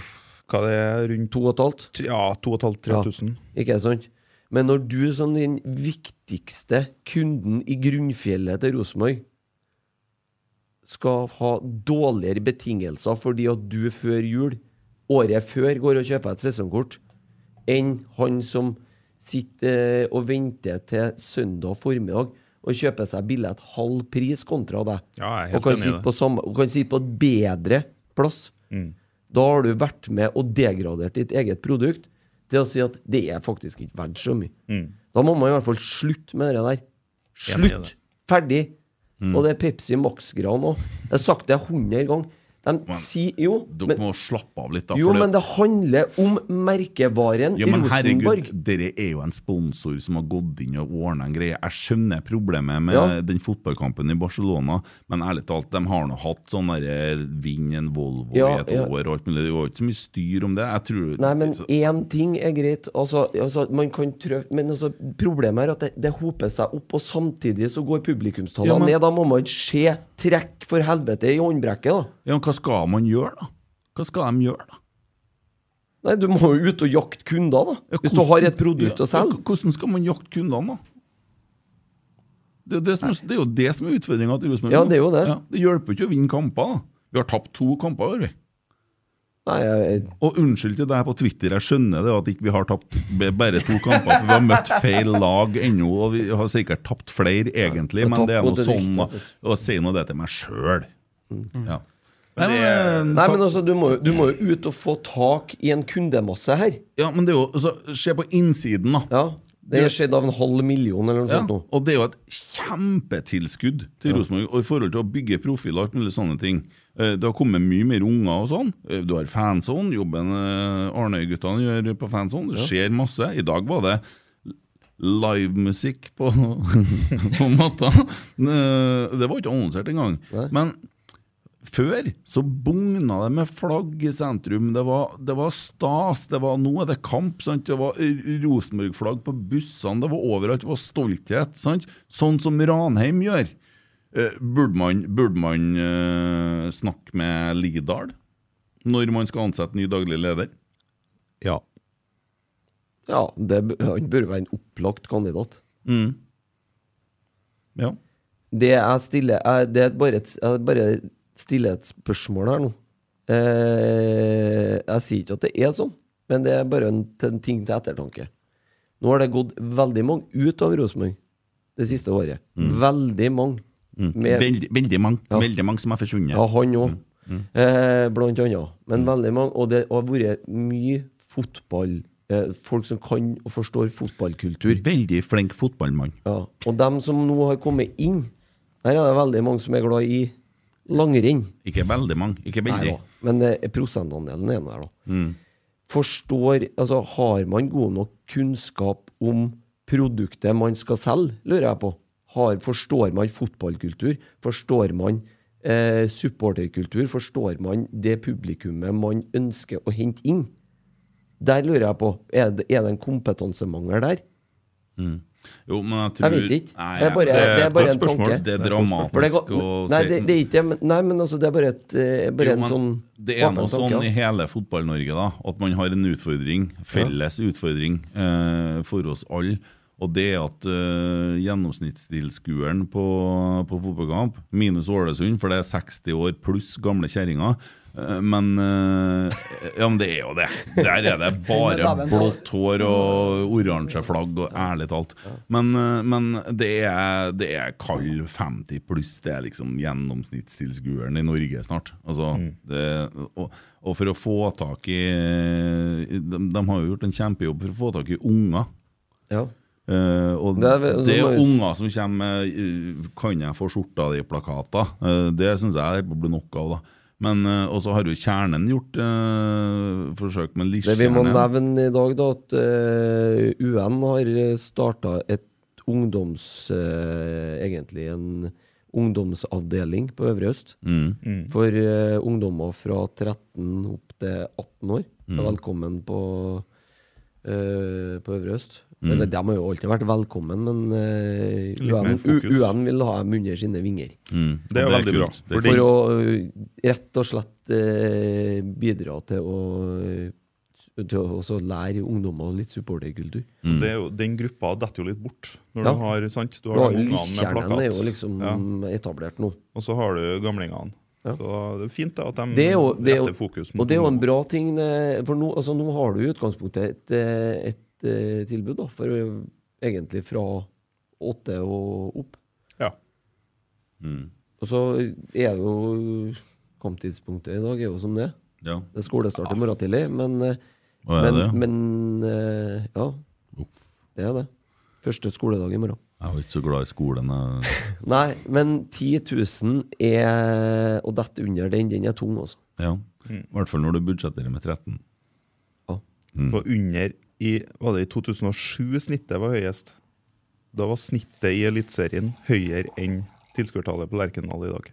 [SPEAKER 5] Hva det er rundt
[SPEAKER 2] To og et halvt?
[SPEAKER 5] Ja, 2500-3000.
[SPEAKER 2] Ikke sant? Men når du som den viktigste kunden i grunnfjellet til Rosenborg skal ha dårligere betingelser fordi at du før jul, året før, går og kjøper et sesongkort, enn han som sitter eh, og venter til søndag formiddag og kjøper seg billett halv pris kontra deg,
[SPEAKER 5] Ja, jeg er helt
[SPEAKER 2] og, kan
[SPEAKER 5] enig i
[SPEAKER 2] sitte
[SPEAKER 5] det. Mm.
[SPEAKER 2] på samme, og kan sitte på et bedre plass, da har du vært med og degradert ditt eget produkt til å si at det er faktisk ikke verdt så mye.
[SPEAKER 5] Mm.
[SPEAKER 2] Da må man i hvert fall slutte med det der.
[SPEAKER 5] Enig i det.
[SPEAKER 2] Slutt! Ferdig!
[SPEAKER 4] Mm.
[SPEAKER 2] Og det er Pepsi Max-gran òg. Jeg har sagt det hundre ganger. De sier jo
[SPEAKER 4] Dere
[SPEAKER 2] men,
[SPEAKER 4] må slappe av litt, da.
[SPEAKER 2] Jo,
[SPEAKER 4] for
[SPEAKER 2] men det handler om merkevaren
[SPEAKER 4] Ja, men
[SPEAKER 2] Rosenborg.
[SPEAKER 4] herregud, dere er jo en sponsor som har gått inn og ordna en greie. Jeg skjønner problemet med
[SPEAKER 2] Ja.
[SPEAKER 4] den fotballkampen i Barcelona, men ærlig talt, de har nå hatt sånn derre vinn en Volvo
[SPEAKER 2] Ja,
[SPEAKER 4] i et
[SPEAKER 2] ja.
[SPEAKER 4] år og alt mulig. Det var jo ikke så mye styr om det. Jeg tror
[SPEAKER 2] Nei, men
[SPEAKER 4] så,
[SPEAKER 2] én ting er greit. Altså, altså, man kan trø men altså, problemet er at det, det hoper seg opp, og samtidig så går publikumstallene
[SPEAKER 4] Ja, men-
[SPEAKER 2] ned. Da må man se trekk for helvete i håndbrekket, da.
[SPEAKER 4] ja, men hva skal man gjøre, da? Hva skal de gjøre, da?
[SPEAKER 2] Nei, du må jo ut og jakte kunder, da.
[SPEAKER 4] Ja,
[SPEAKER 2] Hvis du har
[SPEAKER 4] hvordan-
[SPEAKER 2] et produkt
[SPEAKER 4] ja,
[SPEAKER 2] å selge.
[SPEAKER 4] ja, Hvordan skal man jakte kundene, da? Det, er det, som, er- det er jo det som er utfordringa til Rosenborg.
[SPEAKER 2] Ja,
[SPEAKER 4] nå.
[SPEAKER 2] det er jo det.
[SPEAKER 4] det hjelper jo ikke å vinne kamper, da. Vi har tapt to kamper, har vi.
[SPEAKER 2] Nei, jeg,
[SPEAKER 4] Og unnskyld til deg på Twitter, jeg skjønner det at ikke vi har tapt b- bare to kamper, for vi har møtt feil lag ennå, og vi har sikkert tapt flere egentlig,
[SPEAKER 2] Ja,
[SPEAKER 4] men det er
[SPEAKER 2] topp
[SPEAKER 4] nå
[SPEAKER 2] mot et
[SPEAKER 4] sånn
[SPEAKER 2] riktig,
[SPEAKER 4] da.
[SPEAKER 2] vet du. Mm.
[SPEAKER 4] å si nå det til meg sjøl. Ja. Nei,
[SPEAKER 5] det-
[SPEAKER 4] men,
[SPEAKER 2] nei
[SPEAKER 4] så-
[SPEAKER 2] men altså, du må, jo- du må jo ut og få tak i en kundemasse her.
[SPEAKER 4] ja, men det er jo altså, Se på innsiden, da.
[SPEAKER 2] Ja, Det er skjedd av en halv million eller noe
[SPEAKER 4] Ja,
[SPEAKER 2] sånt nå.
[SPEAKER 4] og det er jo et kjempetilskudd til Rosenborg og i forhold til å bygge profil og alt mulig sånne ting. Eh, Det har kommet mye mer unger og sånn. Eh, Du har fanzone, jobben eh, Arnøy-guttene gjør på fanzone. Det skjer masse. I dag var det livemusikk på, på matta. Eh, Det var ikke annonsert engang. Men før så bugna det med flagg i sentrum. Det var, det var stas. det var Nå er det kamp. sant? Det var R- Rosenborg-flagg på bussene. Det var overalt. Det var stolthet. sant? Sånn som Ranheim gjør. Eh, burde man, burde man eh, snakke med Lidahl når man skal ansette ny daglig leder?
[SPEAKER 5] Ja.
[SPEAKER 2] Ja, det, b- Han bør være en opplagt kandidat.
[SPEAKER 4] Mm. Ja.
[SPEAKER 2] Det jeg stiller jeg, Det er bare et, jeg bare stiller et spørsmål her nå. Eh, jeg sier ikke at det er sånn, men det er bare en, til- en ting til ettertanke. Nå har det gått veldig mange ut av Rosenborg det siste året. Veldig mange.
[SPEAKER 4] Mm.
[SPEAKER 2] Med-
[SPEAKER 4] Veldig, veldig mange
[SPEAKER 2] Ja.
[SPEAKER 4] veldig mange som er forsvunnet.
[SPEAKER 2] Ja, han òg. Eh, blant annet. Men veldig mange. Og det har vært mye fotball. Eh, folk som kan og forstår fotballkultur.
[SPEAKER 4] Veldig flink fotballmann.
[SPEAKER 2] Ja. Og dem som nå har kommet inn, der er det veldig mange som er glad i langrenn.
[SPEAKER 4] Ikke veldig mange. Ikke
[SPEAKER 2] Nei
[SPEAKER 4] veldig. Mm.
[SPEAKER 2] da. Men eh, prosentandelen er nå der, da. Forstår Altså, har man god nok kunnskap om produktet man skal selge, lurer jeg på? Har, forstår man fotballkultur? Forstår man eh, supporterkultur? Forstår man det publikummet man ønsker å hente inn? Der lurer jeg på. Er det, er det en kompetansemangel der?
[SPEAKER 4] Jo, men jeg tror
[SPEAKER 2] Jeg vet ikke.
[SPEAKER 4] Nei,
[SPEAKER 2] det er bare,
[SPEAKER 5] det er
[SPEAKER 2] det er
[SPEAKER 5] et
[SPEAKER 2] bare
[SPEAKER 5] godt
[SPEAKER 2] en
[SPEAKER 5] spørsmål.
[SPEAKER 2] tanke.
[SPEAKER 4] det er
[SPEAKER 2] For det er
[SPEAKER 4] dramatisk
[SPEAKER 2] godt-
[SPEAKER 4] å
[SPEAKER 2] nei,
[SPEAKER 4] si.
[SPEAKER 2] det, det er ikke det. men- Nei, men altså, det er bare, et, eh, bare
[SPEAKER 4] Jo,
[SPEAKER 2] en
[SPEAKER 4] men
[SPEAKER 2] sånn
[SPEAKER 4] det er
[SPEAKER 2] åpen
[SPEAKER 4] noe
[SPEAKER 2] tanke,
[SPEAKER 4] sånn
[SPEAKER 2] ja.
[SPEAKER 4] i hele Fotball-Norge da at man har en utfordring, felles utfordring, eh, for oss alle. Og det er at eh, gjennomsnittstilskueren på, på fotballkamp, minus Ålesund, for det er 60 år pluss gamle kjerringer eh, Men eh, Ja, men det er jo det. Der er det bare
[SPEAKER 3] Daven.
[SPEAKER 4] blått hår og oransje flagg, og ærlig talt. Men, eh, men det, er, det er kald 50 pluss. Det er liksom gjennomsnittstilskueren i Norge snart. Altså,
[SPEAKER 2] Mm.
[SPEAKER 4] det, og, og for å få tak i de, de har jo gjort en kjempejobb for å få tak i unger.
[SPEAKER 2] Ja.
[SPEAKER 4] Eh, og
[SPEAKER 2] Det
[SPEAKER 4] det
[SPEAKER 2] er
[SPEAKER 4] er,
[SPEAKER 2] vel- det må jo-
[SPEAKER 4] unger som kommer med eh, 'Kan jeg få skjorta di?'-plakater. Eh, det syns jeg det blir nok av. da men, eh, Og så har jo Kjernen gjort eh, forsøk med
[SPEAKER 2] Det vi må
[SPEAKER 4] Lisjkjernen.
[SPEAKER 2] nevne i dag, da, at eh, UN har starta et ungdoms... eh, egentlig en ungdomsavdeling på Øvre Øst.
[SPEAKER 4] Mm.
[SPEAKER 5] Mm.
[SPEAKER 2] For eh, ungdommer fra 13 opp til 18 år.
[SPEAKER 5] Mm.
[SPEAKER 2] er Velkommen på, eh, på Øvre Øst. Eller, de har jo alltid vært velkommen, men eh,
[SPEAKER 5] Mm. mer
[SPEAKER 2] UN,
[SPEAKER 5] fokus.
[SPEAKER 2] UN vil ha dem under sine vinger.
[SPEAKER 5] Det er jo
[SPEAKER 4] Mm. Det er
[SPEAKER 5] veldig bra.
[SPEAKER 4] kult. Det er
[SPEAKER 5] Fordi
[SPEAKER 2] For å ø, rett og slett eh, bidra til å, ø, s- til å også lære ungdommer litt supporterkultur.
[SPEAKER 4] Mm.
[SPEAKER 5] det er jo, den gruppa detter jo litt bort. Når
[SPEAKER 2] Ja.
[SPEAKER 5] du har, sant? Du har
[SPEAKER 2] Ja,
[SPEAKER 5] de ungene med plakat.
[SPEAKER 2] Lyskjernen er jo liksom
[SPEAKER 5] Ja.
[SPEAKER 2] etablert nå.
[SPEAKER 5] Og så har du gamlingene.
[SPEAKER 2] Ja.
[SPEAKER 5] Så det er fint da, at de
[SPEAKER 2] Det er jo, det er jo,
[SPEAKER 5] retter fokus
[SPEAKER 2] og det er jo en
[SPEAKER 5] ungdom.
[SPEAKER 2] bra ting, eh, for nå, altså, nå har du i utgangspunktet et, eh, et eh, tilbud, da, for ø, egentlig fra åtte og opp.
[SPEAKER 5] Ja.
[SPEAKER 4] Mm.
[SPEAKER 2] Og så er det jo eh, Kamptidspunktet i dag er jo som det er.
[SPEAKER 4] Ja.
[SPEAKER 2] Det er skolestart i morgen tidlig, men, eh,
[SPEAKER 4] Hva er
[SPEAKER 2] men,
[SPEAKER 4] det?
[SPEAKER 2] men eh, Ja,
[SPEAKER 4] Uff,
[SPEAKER 2] det er det. Første skoledag i morgen.
[SPEAKER 4] Jeg er jo ikke så glad i skolen. Jeg.
[SPEAKER 2] Nei, men 10 000 er Å dette under den, den er tung, altså.
[SPEAKER 4] Ja.
[SPEAKER 5] Mm.
[SPEAKER 4] I hvert fall når du budsjetterer med 13. Mm.
[SPEAKER 5] Det var under i Var det i 2007 snittet var høyest? Da var snittet i Eliteserien høyere enn tilskuertallet på Lerkendal i dag.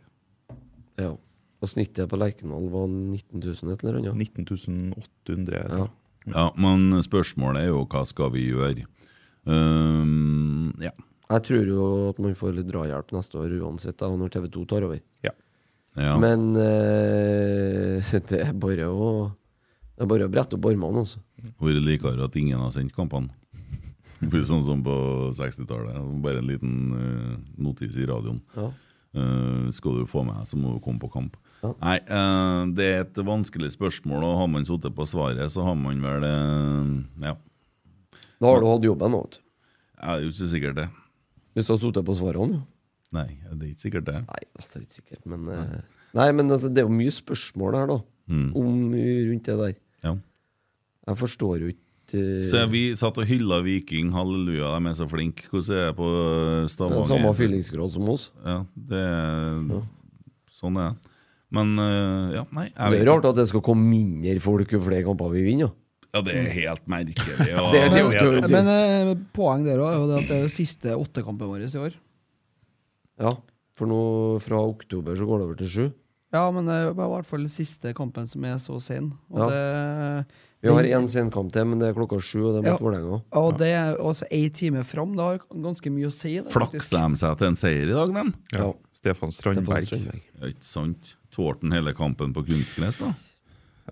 [SPEAKER 2] Ja. Og snittet på Lerkendal var 19 000 et eller annet.
[SPEAKER 5] 19.800
[SPEAKER 2] Ja.
[SPEAKER 4] Ja, Men spørsmålet er jo hva skal vi gjøre? Ehm, ja.
[SPEAKER 2] Jeg tror jo at man får litt drahjelp neste år uansett, da, når TV 2 tar over.
[SPEAKER 5] Ja.
[SPEAKER 4] ja.
[SPEAKER 2] Men eh, det er bare å Det er bare å brette opp armene, altså.
[SPEAKER 4] Vært likere at ingen har sendt kampene. For sånn som på 60-tallet. Bare en liten eh, notis i radioen.
[SPEAKER 2] Ja.
[SPEAKER 4] Eh, Eh, skal du få med, så må du komme på kamp.
[SPEAKER 2] Ja.
[SPEAKER 4] Nei, eh, det er et vanskelig spørsmål, og har man sittet på svaret, så har man vel eh, Ja,
[SPEAKER 2] Da har du hatt jobben nå, vet du.
[SPEAKER 4] jeg er jo ikke sikkert det.
[SPEAKER 2] Hvis du har sittet på svarene, jo.
[SPEAKER 4] Nei, det er ikke sikkert det.
[SPEAKER 2] Nei, altså, det er ikke sikkert, men eh, Nei, men altså, det er jo mye spørsmål her, da. Om eh, rundt det der.
[SPEAKER 4] Ja.
[SPEAKER 2] Jeg forstår jo ikke eh,
[SPEAKER 4] Så vi satt og hylla Viking, halleluja, de er så flinke. Hvordan er det på eh,
[SPEAKER 2] det er
[SPEAKER 4] Stavanger?
[SPEAKER 2] samme fyllingsgrad som oss.
[SPEAKER 4] Ja, det er Sånn er det. Men eh, ja, nei. Jeg
[SPEAKER 2] Det
[SPEAKER 4] vet
[SPEAKER 2] er
[SPEAKER 4] ikke.
[SPEAKER 2] rart at det skal komme mindre folk jo flere kamper vi vinner. da.
[SPEAKER 4] Ja, det er helt merkelig. Og,
[SPEAKER 2] Det er det jo
[SPEAKER 5] det er
[SPEAKER 2] ikke å si.
[SPEAKER 3] Men eh, poeng der òg er jo det at det er jo siste åttekampen vår i år.
[SPEAKER 2] Ja, for nå fra oktober så går det over til sju.
[SPEAKER 3] Ja, men eh, det var i hvert fall siste kampen som er så sen. Og
[SPEAKER 2] Ja.
[SPEAKER 3] det
[SPEAKER 2] Vi har én senkamp til, men det er klokka sju, og det er
[SPEAKER 3] Ja.
[SPEAKER 2] mot Vålerenga.
[SPEAKER 3] Og det er også ei time fram. Det har ganske mye å si. Det, faktisk.
[SPEAKER 4] Flakser de seg til en seier i dag, dem?
[SPEAKER 2] Ja.
[SPEAKER 5] Stefan Strandberg.
[SPEAKER 2] Stefan Strandberg.
[SPEAKER 4] Ja, Ikke sant? Tålte han hele kampen på kunstgress, da?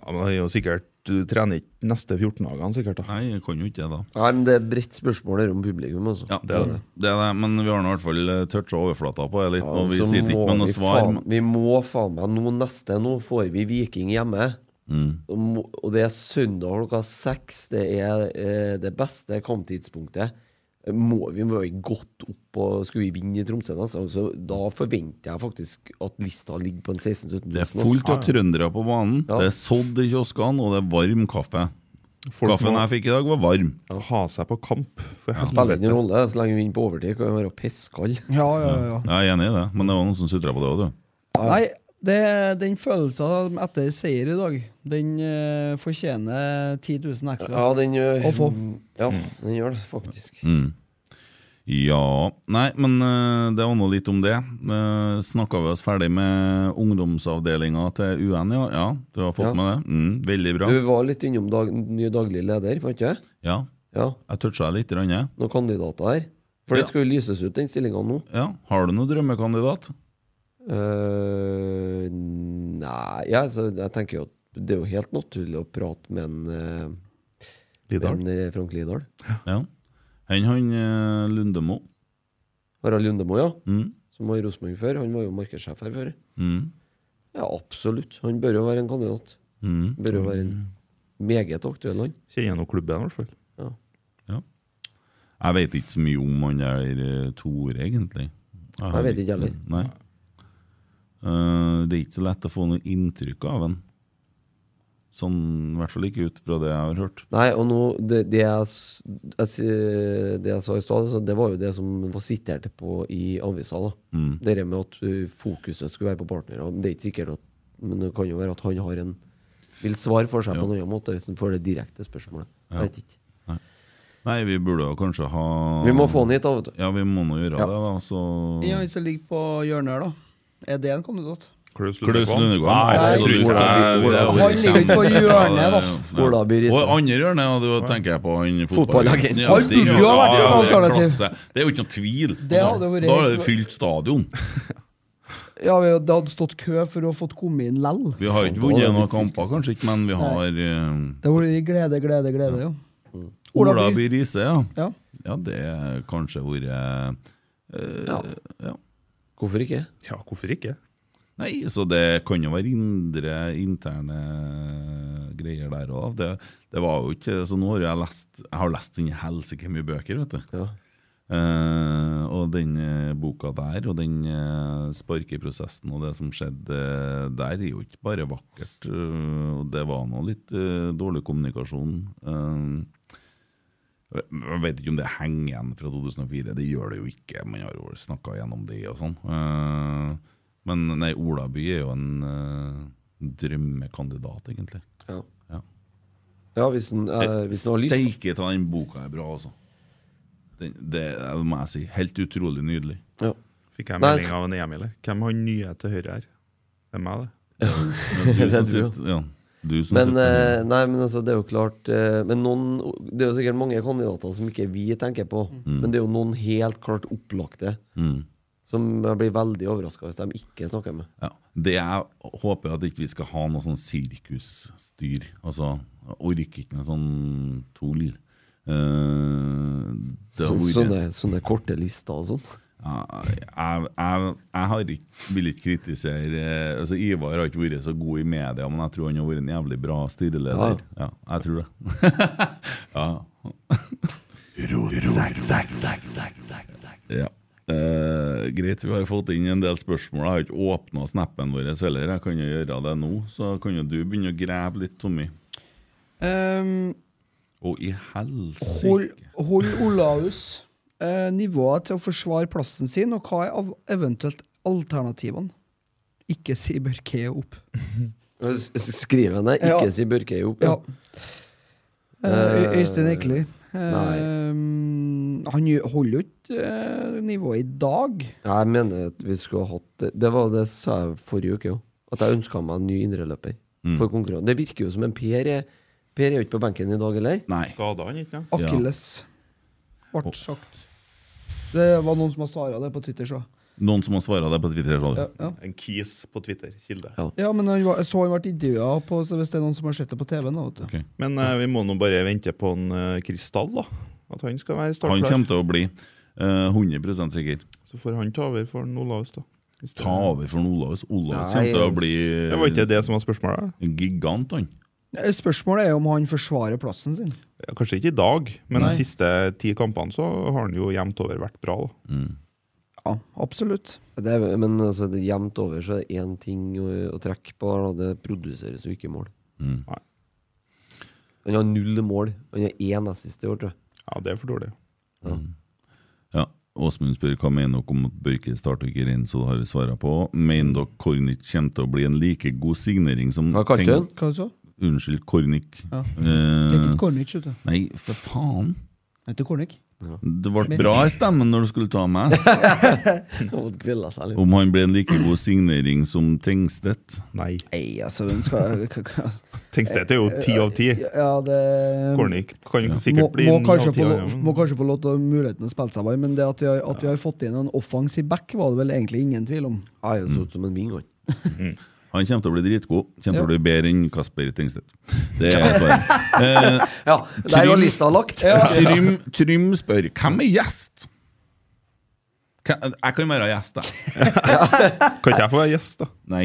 [SPEAKER 5] Ja, men det er jo sikkert, Du trener ikke neste 14 dagene, sikkert. da.
[SPEAKER 4] Nei, jeg kan jo ikke det, da.
[SPEAKER 2] Nei, men det er et bredt spørsmål her om publikum, altså.
[SPEAKER 4] Ja, det er det. er det. Men vi har nå i hvert fall eh, toucha overflata på det litt, og vi
[SPEAKER 2] så
[SPEAKER 4] sitter
[SPEAKER 2] må
[SPEAKER 4] ikke med noe
[SPEAKER 2] vi
[SPEAKER 4] svar.
[SPEAKER 2] Faen, vi må faen meg nå neste Nå får vi Viking hjemme.
[SPEAKER 4] Mm.
[SPEAKER 2] Og må- Og det er søndag klokka seks. Det er eh, det beste kamptidspunktet. Må vi må vi godt opp og skulle vi vinne i Tromsø, altså, så da forventer jeg faktisk at lista ligger på en 16 000-17 000.
[SPEAKER 4] Det er
[SPEAKER 2] altså.
[SPEAKER 4] fullt av trøndere på banen.
[SPEAKER 2] Ja.
[SPEAKER 4] Det er sådd i kioskene, og det er varm kaffe.
[SPEAKER 5] Folk
[SPEAKER 4] Kaffen jeg fikk i dag, var varm.
[SPEAKER 5] må ha seg på kamp. For
[SPEAKER 2] Spiller
[SPEAKER 5] helvete.
[SPEAKER 2] ingen rolle, så lenge vi vinner på overtid, kan vi være pisskald.
[SPEAKER 3] Ja, ja, ja.
[SPEAKER 4] Jeg er enig i det, men det var noen som sutra på det òg, du.
[SPEAKER 3] Nei, det, den følelsen etter seier i dag, den eh, fortjener 10 000 ekstra.
[SPEAKER 2] Ja, den gjør
[SPEAKER 3] Å få.
[SPEAKER 2] Ja, den gjør det, faktisk.
[SPEAKER 4] Mm. Ja Nei, men eh, det var nå litt om det. Uh, Snakka vi oss ferdig med ungdomsavdelinga til UN i år? Ja, du har fått
[SPEAKER 2] Ja.
[SPEAKER 4] med det? Mm, veldig bra.
[SPEAKER 2] Du var litt innom dag, ny daglig leder, var ikke det?
[SPEAKER 4] Ja,
[SPEAKER 2] Ja,
[SPEAKER 4] jeg toucha litt. Rann, jeg.
[SPEAKER 2] noen kandidater her. For
[SPEAKER 4] Ja.
[SPEAKER 2] det skal jo lyses ut, den stillinga nå.
[SPEAKER 4] Ja. Har du noen drømmekandidat?
[SPEAKER 2] Eh, nei, ja, altså, jeg tenker jo at det er jo helt naturlig å prate med en, eh, med
[SPEAKER 5] Lidar.
[SPEAKER 2] en eh, Frank Lidahl.
[SPEAKER 4] Ja. Han, han eh, Lundemo.
[SPEAKER 2] Harald Lundemo, ja.
[SPEAKER 4] Mm.
[SPEAKER 2] Som var i Rosenborg før. Han var jo markedssjef her før.
[SPEAKER 4] Mm.
[SPEAKER 2] Ja, absolutt. Han bør jo være en kandidat.
[SPEAKER 4] Mm.
[SPEAKER 2] Bør jo være en meget aktuell han.
[SPEAKER 5] Kjenner nå klubben, i hvert fall.
[SPEAKER 2] Ja.
[SPEAKER 4] Jeg vet ikke så mye om han der eh, Tore, egentlig. har
[SPEAKER 2] vet ikke heller.
[SPEAKER 4] Nei. Eh, det er ikke så lett å få noe inntrykk av han. Sånn, I hvert fall ikke ut fra det jeg har hørt.
[SPEAKER 2] Nei, og nå, det, det, jeg, s- jeg, si- det jeg sa i stad, altså, det var jo det som var sitert på i avisa. da.
[SPEAKER 4] Mm.
[SPEAKER 2] Det der med at ø, fokuset skulle være på partnere. Det er ikke sikkert at, men det kan jo være at han har en vil svare for seg på en annen måte hvis han får det direkte spørsmålet. Jeg vet ikke.
[SPEAKER 4] Nei, vi burde jo kanskje ha
[SPEAKER 2] Vi må få han hit, da. vet du.
[SPEAKER 4] Ja, vi må nå gjøre
[SPEAKER 2] Ja.
[SPEAKER 4] det, da. Så
[SPEAKER 3] I han som ligger på hjørnet her, da. Er det en kandidat?
[SPEAKER 5] Klaus
[SPEAKER 4] Klaus
[SPEAKER 5] Lundekvam.
[SPEAKER 4] Lundegård.
[SPEAKER 5] Nei,
[SPEAKER 4] absolutt.
[SPEAKER 5] jeg tror ikke det.
[SPEAKER 4] Nei, det er jo
[SPEAKER 3] Han ligger ikke på hjørnet, da.
[SPEAKER 4] Ja.
[SPEAKER 2] Ola By Riise.
[SPEAKER 4] Og andre hjørnet, og da tenker jeg på han Ja, det er
[SPEAKER 2] Fotballagent.
[SPEAKER 4] jo-
[SPEAKER 3] Han burde jo ha vært et
[SPEAKER 4] Ja, det er
[SPEAKER 3] alternativ.
[SPEAKER 4] klasse. Det er jo ikke noe tvil.
[SPEAKER 3] Det hadde vært-
[SPEAKER 4] Da er det fylt stadion.
[SPEAKER 3] Ja, vi- Det hadde stått kø for å fått komme inn lell.
[SPEAKER 4] Vi har ikke
[SPEAKER 2] Faen, da er det
[SPEAKER 4] vunnet noen
[SPEAKER 2] litt
[SPEAKER 4] kamper, kanskje ikke, men vi har eh,
[SPEAKER 3] Det var glede, glede, glede, jo. Ola
[SPEAKER 4] Ola
[SPEAKER 3] By.
[SPEAKER 4] By Riise, ja.
[SPEAKER 3] Ja.
[SPEAKER 4] Ja, det er kanskje vært eh,
[SPEAKER 2] Ja.
[SPEAKER 4] ja.
[SPEAKER 2] Hvorfor ikke?
[SPEAKER 5] Ja, hvorfor ikke?
[SPEAKER 4] Nei, så det kan jo være indre, interne greier der òg. Det, det var jo ikke Så nå har jeg lest Jeg har lest inn i helsike mye bøker, vet du.
[SPEAKER 2] Ja.
[SPEAKER 4] Eh, og den eh, boka der, og den eh, sparkeprosessen og det som skjedde eh, der, er jo ikke bare vakkert. eh, og det var nå litt eh, dårlig kommunikasjon. Eh, jeg vet ikke om det henger igjen fra 2004. Det gjør det jo ikke. Man har jo snakka gjennom det og sånn. Eh, men nei, Olaby er jo en eh, drømmekandidat, egentlig.
[SPEAKER 2] Ja,
[SPEAKER 4] Ja.
[SPEAKER 2] ja hvis han eh, hvis han har lyst.
[SPEAKER 4] Steike ta den boka er bra, altså. Den, det er, må jeg si. Helt utrolig nydelig.
[SPEAKER 2] Ja.
[SPEAKER 5] Fikk jeg
[SPEAKER 2] Nei,
[SPEAKER 5] melding av en Emil? her. Hvem er han nye til høyre her? Det er meg, det.
[SPEAKER 4] Du som
[SPEAKER 2] Det tror jeg.
[SPEAKER 4] sitter, ja, du som
[SPEAKER 2] Men,
[SPEAKER 4] sitter
[SPEAKER 2] eh, nei, men altså, det er jo klart eh, Men noen, Det er jo sikkert mange kandidater som ikke vi tenker på, men det er jo noen helt klart opplagte
[SPEAKER 4] mm.
[SPEAKER 2] som jeg blir veldig overraska hvis de ikke snakker med.
[SPEAKER 4] ja. Det jeg håper at ikke vi skal ha noe sånn sirkusstyr. Altså, jeg orker ikke noe sånn tull. Eh, det har
[SPEAKER 2] Så,
[SPEAKER 4] vært-
[SPEAKER 2] sånne, sånne korte lister og sånn.
[SPEAKER 4] Ah, Jeg, jeg, jeg har ikke, vil ikke kritisere eh, altså Ivar har ikke vært så god i media, men jeg tror han har vært en jævlig bra styreleder. Ja, jeg tror det. ja. ja. Eh, greit, vi har fått inn en del spørsmål. Jeg har ikke åpna snappen vår heller. Jeg kan jo gjøre det nå, så kan jo du begynne å grave litt, Tommy.
[SPEAKER 3] Ehm,
[SPEAKER 4] Å, i helsike!
[SPEAKER 3] hold, hold Olaus eh, nivået til å forsvare plassen sin, og hva er av eventuelt alternativene? Ikke si Børke opp.
[SPEAKER 2] S- s- Skriv henne,
[SPEAKER 3] Ja.
[SPEAKER 2] ikke si Børkøy opp.
[SPEAKER 3] Ja.
[SPEAKER 2] Ja.
[SPEAKER 3] Eh,
[SPEAKER 2] Eh,
[SPEAKER 3] Øystein Ekeli.
[SPEAKER 2] nei.
[SPEAKER 3] Eh, han jo- holder jo ikke eh, nivået i dag.
[SPEAKER 2] Jeg mener at vi skulle ha hatt det. Det var det jeg sa jeg forrige uke òg. At jeg ønska meg en ny indreløper for konkurranse. Det virker jo som en Per er Per er jo ikke på benken i dag heller.
[SPEAKER 4] Nei.
[SPEAKER 5] Skada han ikke? Ja.
[SPEAKER 3] Akilles. Ble sagt. Det var noen som har svara det på Twitter, så.
[SPEAKER 4] Noen som har svara deg på Twitter? sa du?
[SPEAKER 3] Ja, ja.
[SPEAKER 5] En kis på Twitter. Kilde.
[SPEAKER 2] Ja.
[SPEAKER 3] ja men han var, så han ble intervjua på så hvis det er noen som har sett det på TV. Nå, vet du.
[SPEAKER 4] Ok.
[SPEAKER 5] Men eh, vi må nå bare vente på en eh, Kristall, da. At han skal
[SPEAKER 4] Han
[SPEAKER 5] være startklar.
[SPEAKER 4] kommer til å bli eh, 100 sikker.
[SPEAKER 5] Så får han ta over for en Olaus, da. Hvis det-
[SPEAKER 4] Ta over for Olaus. Olaus
[SPEAKER 2] Mm. Nei,
[SPEAKER 4] kommer til å bli
[SPEAKER 5] Det var ikke det som var spørsmålet.
[SPEAKER 4] en gigant, han.
[SPEAKER 3] Eh, Spørsmålet er om han forsvarer plassen sin.
[SPEAKER 5] Ja, Kanskje ikke i dag, men de siste ti kampene så har han jo jevnt over vært bra. da.
[SPEAKER 4] Mm.
[SPEAKER 3] Ja, absolutt.
[SPEAKER 2] Det er, men altså, det, jevnt over så er det én ting å, å trekke på. her, og Det produseres jo ikke mål.
[SPEAKER 4] Mm.
[SPEAKER 5] Nei.
[SPEAKER 2] Han har null mål. Han har én assist i år, tror jeg.
[SPEAKER 5] Ja, det er for dårlig.
[SPEAKER 4] Ja. Åsmund spør hva mener dere om at Børke starter ikke inn, så det har vi svaret på. Mener dere Kornic kommer til å bli en like god signering som
[SPEAKER 2] Hva kalte du
[SPEAKER 4] Tenk-
[SPEAKER 2] den?
[SPEAKER 3] Hva sa du?
[SPEAKER 4] Unnskyld, Kornic.
[SPEAKER 3] Ja.
[SPEAKER 4] Eh,
[SPEAKER 3] Det er ikke Kornic, vet du.
[SPEAKER 4] nei, for faen!
[SPEAKER 3] Det er Kornic.
[SPEAKER 4] Det ble bra i stemmen når du skulle ta meg.
[SPEAKER 2] Og kvilla seg litt.
[SPEAKER 4] Om han blir en like god signering som Tengstedt.
[SPEAKER 5] Nei.
[SPEAKER 3] Nei, altså den skal k- k-
[SPEAKER 5] Tenkstedt er jo ti av ti.
[SPEAKER 3] Ja, det
[SPEAKER 5] Kornik kan jo
[SPEAKER 3] eh, må,
[SPEAKER 5] sikkert bli
[SPEAKER 3] må,
[SPEAKER 5] ni av
[SPEAKER 3] kanskje
[SPEAKER 5] ti.
[SPEAKER 3] få,
[SPEAKER 5] han,
[SPEAKER 3] lov-
[SPEAKER 5] ja, men-
[SPEAKER 3] må kanskje få lov til å muligheten å spille seg varm, men det at vi har, at vi har fått inn en offensiv back, var det vel egentlig ingen tvil om.
[SPEAKER 2] Jeg er jo sånn som en ving, han.
[SPEAKER 4] Han kommer til å bli dritgod. Kommer til å
[SPEAKER 3] Ja.
[SPEAKER 4] bli bedre enn Kasper Tengstedt. Det er svaret.
[SPEAKER 2] Ja, der var
[SPEAKER 4] Trym-
[SPEAKER 2] lista lagt.
[SPEAKER 4] Trym, Trym spør hvem er gjest? Hvem- Jeg kan være gjest, jeg.
[SPEAKER 5] Kan ikke jeg få være gjest, da?
[SPEAKER 4] Nei,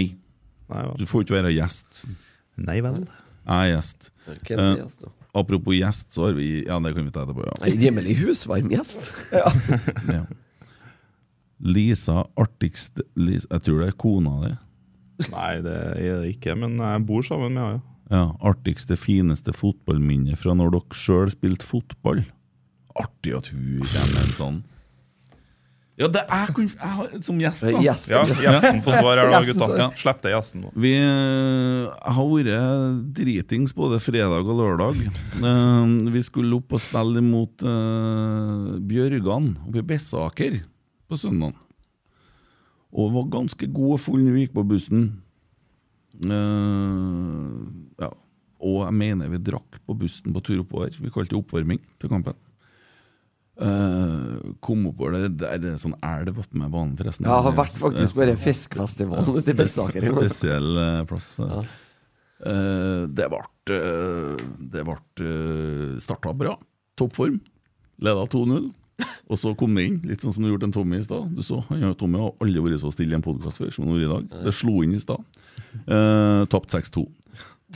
[SPEAKER 5] Nei vel.
[SPEAKER 4] du får ikke være gjest.
[SPEAKER 5] Nei vel.
[SPEAKER 4] Jeg er gjest.
[SPEAKER 2] Hvem er gjest, da?
[SPEAKER 4] Apropos gjest, så har vi Ja, det kan vi ta etterpå, ja.
[SPEAKER 2] En Rimelig husvarm gjest.
[SPEAKER 4] ja. Lisa artigste Lis- Jeg tror det er kona di.
[SPEAKER 5] Nei, det er det ikke, men jeg bor sammen med henne. ja.
[SPEAKER 4] Ja, artigste, fineste fotballminne fra når dere sjøl spilte fotball. Artig at hun kommer med en sånn. Ja, det er kun, jeg, har- som gjest, da.
[SPEAKER 2] Gjest.
[SPEAKER 5] Ja, gjesten får svar her, da,
[SPEAKER 3] Gjesten
[SPEAKER 5] gutta.
[SPEAKER 4] svarer.
[SPEAKER 5] Slipp til gjesten nå.
[SPEAKER 4] Vi eh, har vært dritings både fredag og lørdag. Eh, Vi skulle opp og spille imot eh, Bjørgan oppe i Bessaker på søndag. Og var ganske god og full når vi gikk på bussen. Eh, ja. Og jeg mener vi drakk på bussen på tur oppover. Vi kalte det oppvarming til kampen. Eh, kom oppover det, det er en sånn elv attmed banen, forresten. Eh,
[SPEAKER 2] Ja, jeg har vært faktisk på denne fiskefestivalen ute i Bessaker. i morgen.
[SPEAKER 4] Spesiell eh, plass. eh. Eh, det ble eh, Det ble eh, starta bra. Toppform. Leda 2-0. Og så kom det inn, litt sånn som du gjorde en Tommy i stad. Du så, han og Tommy har aldri vært så stille i en podkast før som han har vært i dag. Det slo inn i stad. Uh, Tapt 6-2.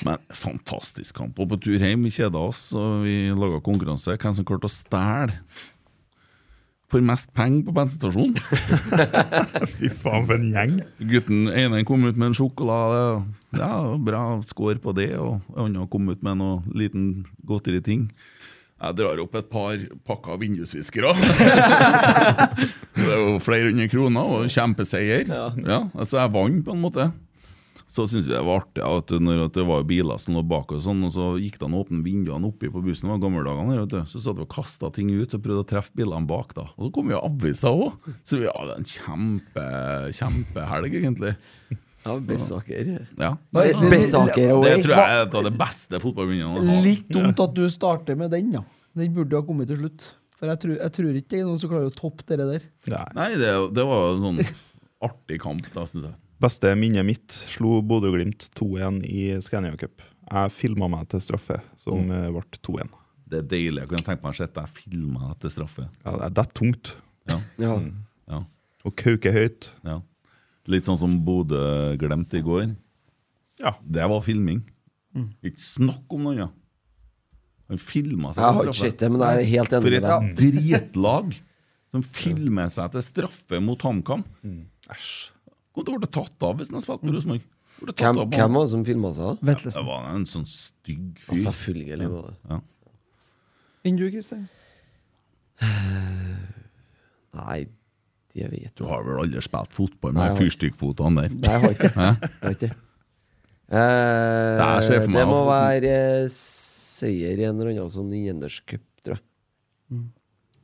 [SPEAKER 4] Men fantastisk kamp. Og på tur hjem, vi kjeda oss, og vi laga konkurranse. Hvem som klarte å stjele for mest penger på bensinstasjonen?
[SPEAKER 5] Fy faen, for en gjeng.
[SPEAKER 4] Gutten ene kom ut med en sjokolade. og Ja, bra score på det. Og andre kom ut med noe liten godteriting. Jeg drar opp et par pakker vindusviskere. det er jo flere hundre kroner og kjempeseier. Ja. altså jeg vant på en måte. Så syntes vi det var artig at når at det var biler som lå bak og sånn, og så gikk det an å åpne vinduene oppi på bussen. Det var gammeldagene her, vet du. Så satt vi og kasta ting ut og prøvde å treffe bilene bak. da. Og så kom jo aviser òg. Så ja, det er en kjempe, kjempehelg, egentlig.
[SPEAKER 2] Ja, Bessaker.
[SPEAKER 4] Ja.
[SPEAKER 3] Nei,
[SPEAKER 4] Det
[SPEAKER 2] Bessaker away.
[SPEAKER 4] tror jeg er et av de beste fotballminnene jeg har.
[SPEAKER 3] Litt dumt at du starter med den, ja. Den burde ha kommet til slutt. For jeg tror, jeg tror ikke det er noen som klarer å toppe det der.
[SPEAKER 4] Nei, det, det var en sånn artig kamp, da, syns jeg.
[SPEAKER 5] Beste minnet mitt slo Bodø-Glimt 2-1 i Scania Cup. Jeg filma meg til straffe, som eh, ble 2-1.
[SPEAKER 4] Det er deilig. Jeg kunne tenkt meg å sette deg filma etter straffe.
[SPEAKER 5] Ja, det er- det er tungt.
[SPEAKER 4] Ja.
[SPEAKER 2] Ja.
[SPEAKER 4] Ja.
[SPEAKER 5] og kauke høyt.
[SPEAKER 4] Ja. Litt sånn som Bodø glemte i går.
[SPEAKER 5] Ja.
[SPEAKER 4] Det var filming. Ikke snakk om noe annet. Han filma seg
[SPEAKER 2] Jeg har
[SPEAKER 4] til
[SPEAKER 2] ikke
[SPEAKER 4] straffe.
[SPEAKER 2] sett det, men jeg er helt enig
[SPEAKER 4] For
[SPEAKER 2] med deg.
[SPEAKER 4] et dritlag som filmer seg til straffe mot HamKam. Æsj. Kom til å bli tatt av hvis han hadde spilt med Rosenborg. Burde tatt
[SPEAKER 2] Hvem,
[SPEAKER 4] av på
[SPEAKER 2] hvem Altså,
[SPEAKER 4] han.
[SPEAKER 2] var det som filma seg, da?
[SPEAKER 3] Vetlesen.
[SPEAKER 4] Det var en sånn stygg fyr.
[SPEAKER 2] Selvfølgelig var det
[SPEAKER 4] Ja.
[SPEAKER 3] Enn du, Kristian?
[SPEAKER 2] Nei, det vet
[SPEAKER 4] Du
[SPEAKER 2] du
[SPEAKER 4] har vel aldri spilt fotball
[SPEAKER 2] Nei,
[SPEAKER 4] med
[SPEAKER 2] jeg har-
[SPEAKER 4] fyrstikkfotene der?
[SPEAKER 2] Nei, jeg har ikke det. Jeg har ikke det. Eh,
[SPEAKER 4] Nei, jeg ser for meg
[SPEAKER 2] det må
[SPEAKER 4] at-
[SPEAKER 2] være eh, seier i en eller annen sånn Ingenderscup, tror jeg.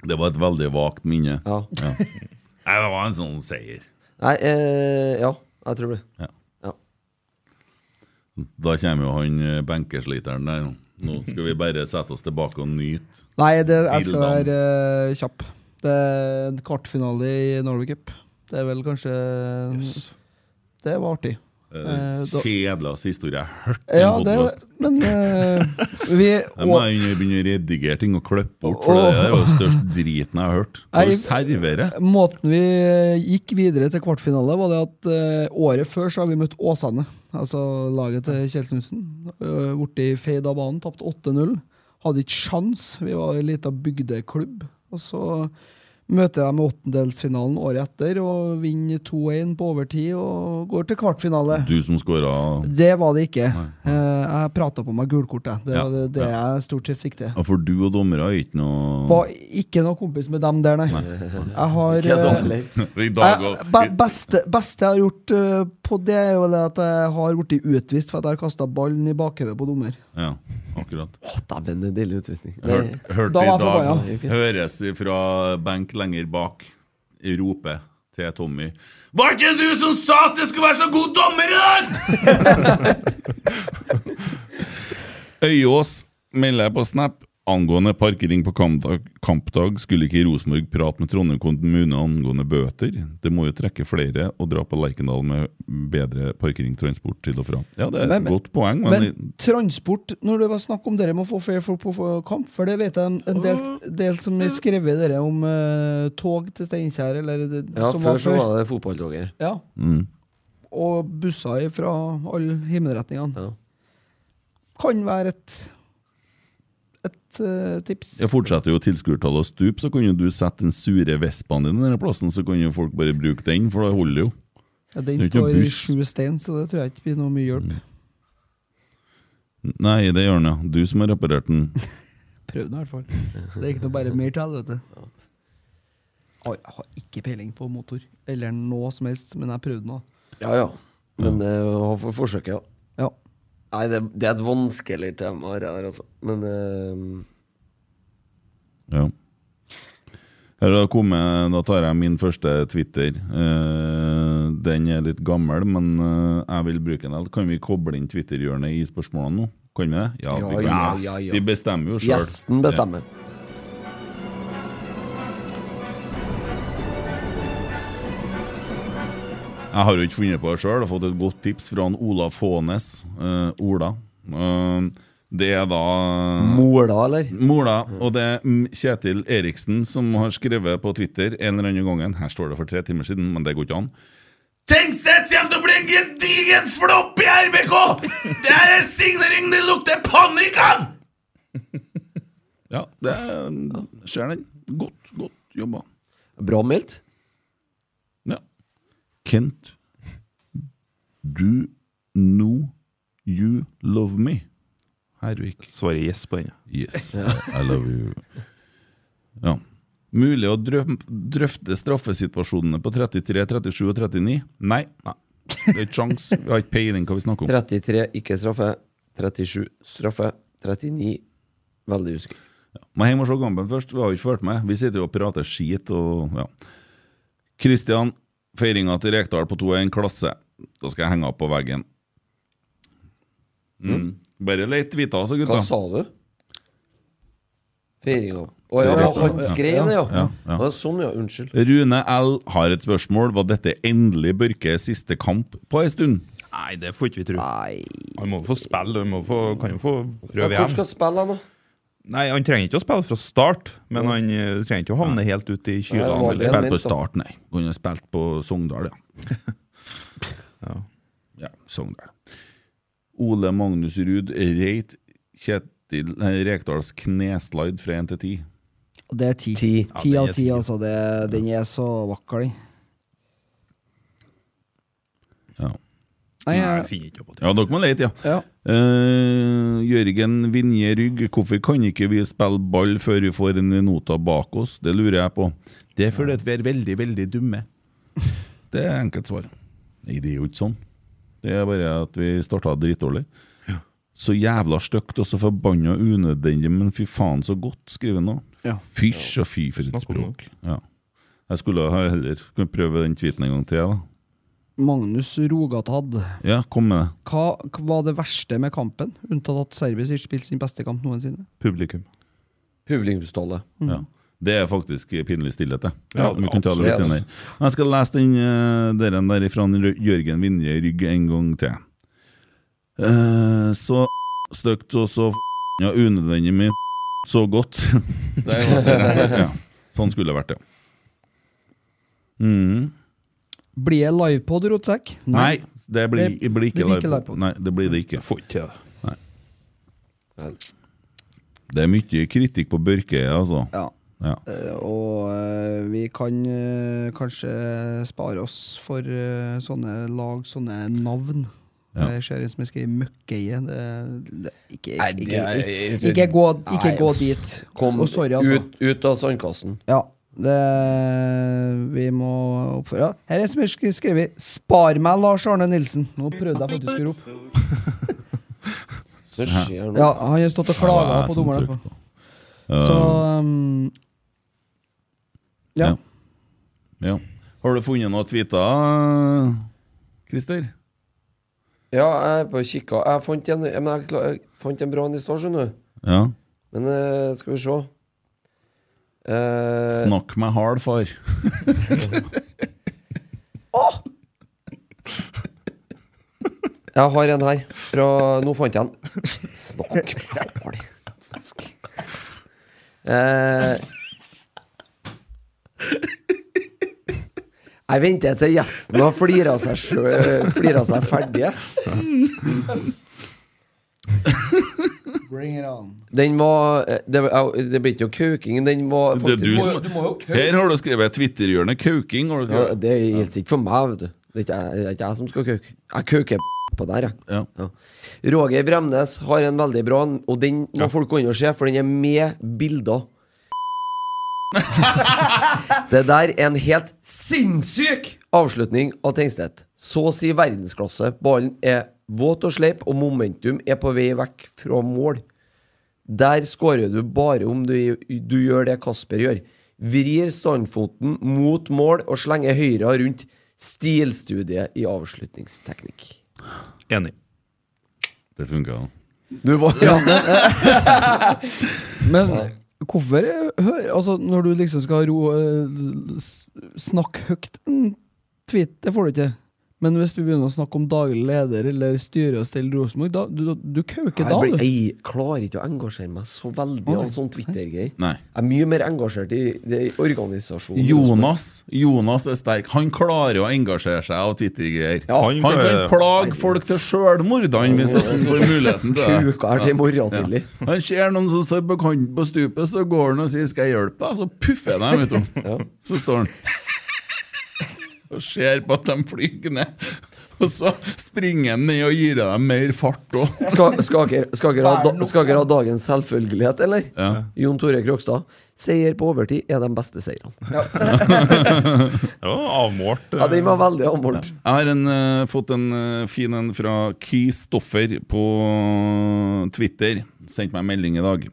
[SPEAKER 4] Det var et veldig vagt minne.
[SPEAKER 2] Ja.
[SPEAKER 4] Ja. Nei, det var en sånn seier.
[SPEAKER 2] Nei, eh, ja, jeg tror det.
[SPEAKER 4] Ja.
[SPEAKER 2] Ja.
[SPEAKER 4] Da kommer jo han eh, benkesliteren der. nå. Nå skal vi bare sette oss tilbake og nyte.
[SPEAKER 3] Nei, det, jeg skal
[SPEAKER 4] Bildan.
[SPEAKER 3] være eh, kjapp. Det er en kvartfinale i Norway Cup. Det er vel kanskje Det var artig.
[SPEAKER 4] Eh,
[SPEAKER 3] Eh, da-
[SPEAKER 4] Kjedeligste historie jeg har hørt. i en
[SPEAKER 3] Ja, det
[SPEAKER 4] podcast.
[SPEAKER 3] Men eh, vi
[SPEAKER 4] Jeg må
[SPEAKER 3] og,
[SPEAKER 4] begynne begynne å redigere ting og klippe bort, for det der er jo den største driten jeg har hørt. Å
[SPEAKER 3] Nei,
[SPEAKER 4] servere.
[SPEAKER 3] Måten vi eh, gikk videre til kvartfinale, var det at eh, året før så har vi møtt Åsane. Altså laget til Kjell Knutsen. Uh, borti Feid av banen, tapte 8-0. Hadde ikke sjans. Vi var en lita bygdeklubb. Og så møter jeg med åttendelsfinalen året etter og vinner 2-1 på overtid og går til kvartfinale.
[SPEAKER 4] Du som skåra
[SPEAKER 3] Det var det ikke. Eh, jeg prata på meg gulkortet. Det
[SPEAKER 4] Ja,
[SPEAKER 3] var det, det jeg stort sett fikk til.
[SPEAKER 4] For du og dommere er ikke noe
[SPEAKER 3] Var ikke noe kompis med dem der, nei. Jeg har
[SPEAKER 2] Ikke
[SPEAKER 3] eh,
[SPEAKER 2] sånn heller.
[SPEAKER 4] I dag
[SPEAKER 3] jeg,
[SPEAKER 4] og-
[SPEAKER 3] be, Eh, beste, beste jeg har gjort eh, på det, er jo det at jeg har blitt utvist for at jeg har kasta ballen i bakhodet på dommer.
[SPEAKER 4] Ja, akkurat.
[SPEAKER 2] Å, dæven, det er deilig utvisning.
[SPEAKER 4] Hør,
[SPEAKER 2] Det-
[SPEAKER 4] hørte
[SPEAKER 3] Da
[SPEAKER 4] i
[SPEAKER 3] var jeg
[SPEAKER 4] dag
[SPEAKER 3] forbanna.
[SPEAKER 4] Høres fra benk lenger bak rope til Tommy Var ikke du som sa at det skulle være så god dommer i dag?! Øyås melder jeg på Snap angående parkering på kampdag, kampdag skulle ikke Rosenborg prate med Trondheim kommune angående bøter. Det må jo trekke flere og dra på Lerkendal med bedre parkering, transport til og fra. Ja, det er et
[SPEAKER 3] Men-
[SPEAKER 4] godt poeng, men,
[SPEAKER 3] Men transport, når det var snakk om dere med å få flere folk på få- kamp For det vet jeg en, en del, del som har skrevet dere om eh, tog til Steinkjer, eller det,
[SPEAKER 2] Ja,
[SPEAKER 3] som
[SPEAKER 2] før
[SPEAKER 3] var
[SPEAKER 2] så
[SPEAKER 3] før.
[SPEAKER 2] var det fotballtoget.
[SPEAKER 3] Ja.
[SPEAKER 4] mm.
[SPEAKER 3] Og busser fra alle himmelretningene.
[SPEAKER 2] Ja.
[SPEAKER 3] Kan være et et eh, tips.
[SPEAKER 4] Ja, Fortsetter jo tilskuertallet å stupe, så kan jo du sette den sure vespaen din i den plassen, så kan jo folk bare bruke den, for det holder jo.
[SPEAKER 3] Ja, Den
[SPEAKER 4] det er ikke
[SPEAKER 3] står i
[SPEAKER 4] buss.
[SPEAKER 3] sju stein, så det tror jeg ikke blir noe mye hjelp.
[SPEAKER 4] Nei, det gjør den, ja. Du som har reparert den.
[SPEAKER 3] Prøv den i hvert fall. Det er ikke noe bare mer til, vet du. Oi, Jeg har ikke peiling på motor, eller noe som helst, men jeg prøvde nå.
[SPEAKER 2] Ja ja. Men det var for forsøket, ja.
[SPEAKER 3] Ja.
[SPEAKER 2] Nei, det, det er et vanskelig tema, det der, altså. Men eh,
[SPEAKER 4] Ja. Her har det kommet, Da tar jeg min første Twitter. Eh, den er litt gammel, men eh, jeg vil bruke den. Kan vi koble inn Twitter-hjørnet i spørsmålene nå? Kan vi det? Ja,
[SPEAKER 2] Ja,
[SPEAKER 4] vi, kan.
[SPEAKER 2] ja, ja, ja.
[SPEAKER 4] vi bestemmer jo sjøl.
[SPEAKER 2] gjesten bestemmer.
[SPEAKER 4] Jeg har jo ikke funnet på det sjøl, har fått et godt tips fra han Olav Fånes. eh, Ola. Eh, det er da
[SPEAKER 2] Mola, eller?
[SPEAKER 4] Mola, og det er M- Kjetil Eriksen som har skrevet på Twitter en eller annen gangen. Her står det for tre timer siden, men det går ikke an. Tengstedt kommer til å bli en gedigen flopp i RBK! Det her er signering det lukter panikk av! Ja, det er- ser den. Godt, godt jobba.
[SPEAKER 2] Bra meldt.
[SPEAKER 4] Ja. Kent, do know you love me? Hervik.
[SPEAKER 5] Svarer yes på den.
[SPEAKER 4] Yes, I love you. Ja. Mulig å drøm- drøfte straffesituasjonene på 33, 37 og 39? Nei. Nei. Det er ikke sjans. Vi har ikke peiling hva vi snakker om.
[SPEAKER 2] 33 ikke straffe. 37 straffe. 39 veldig usikker.
[SPEAKER 4] Må hjem og se kampen først. Vi har jo ikke fulgt med. Vi sitter jo og prater skit og ja. Kristian, feiringa til Rekdal på 2 er en klasse. Da skal jeg henge opp på veggen. Mm. Bare leit hvita, altså,
[SPEAKER 2] Hva
[SPEAKER 4] gutta.
[SPEAKER 2] sa du? Feiringa. Å ja,
[SPEAKER 4] Feiringa.
[SPEAKER 2] han skrev det, ja.
[SPEAKER 4] Ja, ja.
[SPEAKER 2] Å, Sånn, ja. Unnskyld.
[SPEAKER 4] Rune L har et spørsmål. Var dette endelig Børkes siste kamp på ei stund?
[SPEAKER 5] Nei, det får ikke vi tro. Han må få spille, han må få, kan jo få prøve
[SPEAKER 2] Hvor
[SPEAKER 5] igjen.
[SPEAKER 2] skal spille, han da?
[SPEAKER 5] Nei, han trenger ikke å spille fra start, men han eh, trenger ikke å havne helt ut i
[SPEAKER 2] Nei,
[SPEAKER 5] kyla.
[SPEAKER 2] det var
[SPEAKER 5] eller-
[SPEAKER 2] det.
[SPEAKER 4] Ikke spilt
[SPEAKER 2] ment,
[SPEAKER 4] på
[SPEAKER 2] da.
[SPEAKER 4] Start, nei. Kunne spilt på Sogndal, ja. ja. Sogndal. Ole Magnus Ruud Reit Kjetil eh, Rekdals kneslide fra 1 til 10.
[SPEAKER 3] Og det er ti.
[SPEAKER 2] Ti.
[SPEAKER 3] Ti
[SPEAKER 5] Ja, den er
[SPEAKER 3] av ti,
[SPEAKER 5] ti.
[SPEAKER 3] altså. Det, den er så vakker, den.
[SPEAKER 4] Ja.
[SPEAKER 3] Nei,
[SPEAKER 5] Nei, jeg
[SPEAKER 3] jeg,
[SPEAKER 5] finner ikke opp på det.
[SPEAKER 4] ja, dere må lete, ja.
[SPEAKER 3] ja.
[SPEAKER 4] Eh, Jørgen Vinje Rygg, hvorfor kan ikke vi spille ball før vi får en nota bak oss? Det lurer jeg på. Det er fordi at vi er veldig, veldig dumme. Det er enkelt svar. Nei, det er jo ikke sånn. Det er bare at vi starta dritdårlig. Så jævla stygt og så forbanna unødvendig, men fy faen så godt, skriver han nå.
[SPEAKER 3] Ja.
[SPEAKER 4] Fysj og fy for et
[SPEAKER 5] Snakk om
[SPEAKER 4] språk. Ja. Jeg skulle ha heller kunne prøve den tweeten en gang til, da.
[SPEAKER 3] Magnus Rogatad.
[SPEAKER 4] Ja, kom med det.
[SPEAKER 3] Hva hva var det verste med kampen, unntatt at Serbia ikke spilte sin beste kamp noensinne?
[SPEAKER 5] Publikum.
[SPEAKER 2] Publikumstallet.
[SPEAKER 4] Ja. Det er faktisk pinlig stillhet, det.
[SPEAKER 5] Ja,
[SPEAKER 4] Vi kan ta det litt
[SPEAKER 2] absolutt.
[SPEAKER 4] senere. Jeg skal lese den eh, der, en der fra Jørgen Vinje Rygg en gang til. Eh, så stygt og så f***a unødvendig mye så godt. Der var det. Ja. Sånn skulle det vært, ja. Mm.
[SPEAKER 3] Blir det livepod, Rotsekk?
[SPEAKER 4] Nei, det blir,
[SPEAKER 3] Det-
[SPEAKER 4] blir
[SPEAKER 3] det
[SPEAKER 4] ikke
[SPEAKER 3] blir ikke
[SPEAKER 4] live.
[SPEAKER 3] livepod.
[SPEAKER 4] Nei, det blir det ikke.
[SPEAKER 5] Får ikke til det.
[SPEAKER 4] Det er mye kritikk på Børke, altså.
[SPEAKER 3] Ja.
[SPEAKER 4] Ja.
[SPEAKER 3] eh, Og eh, vi kan eh, kanskje spare oss for eh, sånne lag, sånne navn.
[SPEAKER 4] Ja.
[SPEAKER 3] Det ser ut som jeg skriver Møkkeie. Det- det- Ikke,
[SPEAKER 2] Nei,
[SPEAKER 3] ikke,
[SPEAKER 2] det er-
[SPEAKER 3] ikke, ikke, gå, ikke
[SPEAKER 2] Nei.
[SPEAKER 3] gå dit.
[SPEAKER 2] Kom
[SPEAKER 3] Og sorry, altså.
[SPEAKER 2] ut, ut av sandkassen.
[SPEAKER 3] Ja, det Vi må oppføre ja. Her er en som har sk- skrevet 'Spar meg, Lars Arne Nilsen'. Nå prøvde jeg faktisk å rope.
[SPEAKER 2] Det
[SPEAKER 4] Sånn.
[SPEAKER 2] skjer noe.
[SPEAKER 3] Ja, han har stått og klaga
[SPEAKER 4] Ja,
[SPEAKER 3] på
[SPEAKER 4] sånn
[SPEAKER 3] dommeren.
[SPEAKER 4] trykk
[SPEAKER 3] etterpå.
[SPEAKER 4] på.
[SPEAKER 3] Så um, ja.
[SPEAKER 4] Ja. Ja. Har du funnet noe tweeter, Christer?
[SPEAKER 2] Ja, jeg er på kikka. Jeg fant en, men jeg, kla- jeg fant en bra en i stad, skjønner du.
[SPEAKER 4] Ja.
[SPEAKER 2] Men eh, skal vi se eh,
[SPEAKER 4] Snakk meg hard, far.
[SPEAKER 2] Jeg har en her. Fra, nå fant jeg den. Snakk med dårlig. Eh, jeg venter til gjesten har flira seg, sjø- flira seg ferdig.
[SPEAKER 3] Bring it on.
[SPEAKER 2] Den var eh, Det, var- au, det blir ikke noe kauking. Den var
[SPEAKER 4] Det er
[SPEAKER 2] faktisk
[SPEAKER 4] du som- Her har du skrevet Twitterhjørnet Kauking. Har du
[SPEAKER 2] ja,
[SPEAKER 4] skrevet.
[SPEAKER 2] Det gjelder ikke for meg, vet du. Det er ikke jeg, det er ikke jeg som skal kauke. Jeg kauker på der, jeg.
[SPEAKER 4] Ja.
[SPEAKER 2] Ja. Roger Bremnes har en veldig bra en, og den må folk gå inn og se, for den er med bilder. det der er en helt sinnssyk avslutning av Tengstedt. Så å si verdensklasse. Ballen er våt og sleip, og momentum er på vei vekk fra mål. Der skårer du bare om du, du gjør det Kasper gjør. Vrir standfoten mot mål og slenger høyre rundt. Stilstudiet i avslutningsteknikk.
[SPEAKER 5] Enig.
[SPEAKER 4] Det funka.
[SPEAKER 2] Du var
[SPEAKER 3] Men hvorfor eh, hø- Altså, når du liksom skal ro eh, s- Snakke høyt en tweet, det får du ikke. Men hvis vi begynner å snakke om daglig leder eller styre og stelle Rosenborg, da du, du kauker da,
[SPEAKER 2] Jeg, blir-
[SPEAKER 3] du.
[SPEAKER 2] jeg klarer ikke å engasjere meg så veldig av sånn Twitter-greier.
[SPEAKER 4] Nei.
[SPEAKER 2] Jeg er mye mer engasjert i, det- i organisasjonen.
[SPEAKER 4] Jonas Jonas er sterk. Han klarer å engasjere seg av Twitter-greier.
[SPEAKER 5] han
[SPEAKER 4] han, kan
[SPEAKER 5] klarer-
[SPEAKER 4] plage folk til sjølmord, han, hvis han får muligheten til det.
[SPEAKER 2] Uka er til i morgen tidlig.
[SPEAKER 4] Han ser noen som står på kanten på stupet, så går han og sier 'skal jeg hjelpe deg?' Så puffer han dem, vet du. Så står han og ser på at de flyr ned. Og så springer han ned og gir dem mer fart òg.
[SPEAKER 2] Skal, skal, dere- skal, dere ha, da- skal dere ha dagens selvfølgelighet, eller?
[SPEAKER 4] Ja.
[SPEAKER 2] Jon Tore Krokstad. Seier på overtid er de beste seirene.
[SPEAKER 5] Det var avmålt. eh,
[SPEAKER 2] Ja, den var veldig avmålt.
[SPEAKER 4] Jeg har en, eh, fått en eh, fin en fra Kristoffer på Twitter. Sendte meg en melding i dag.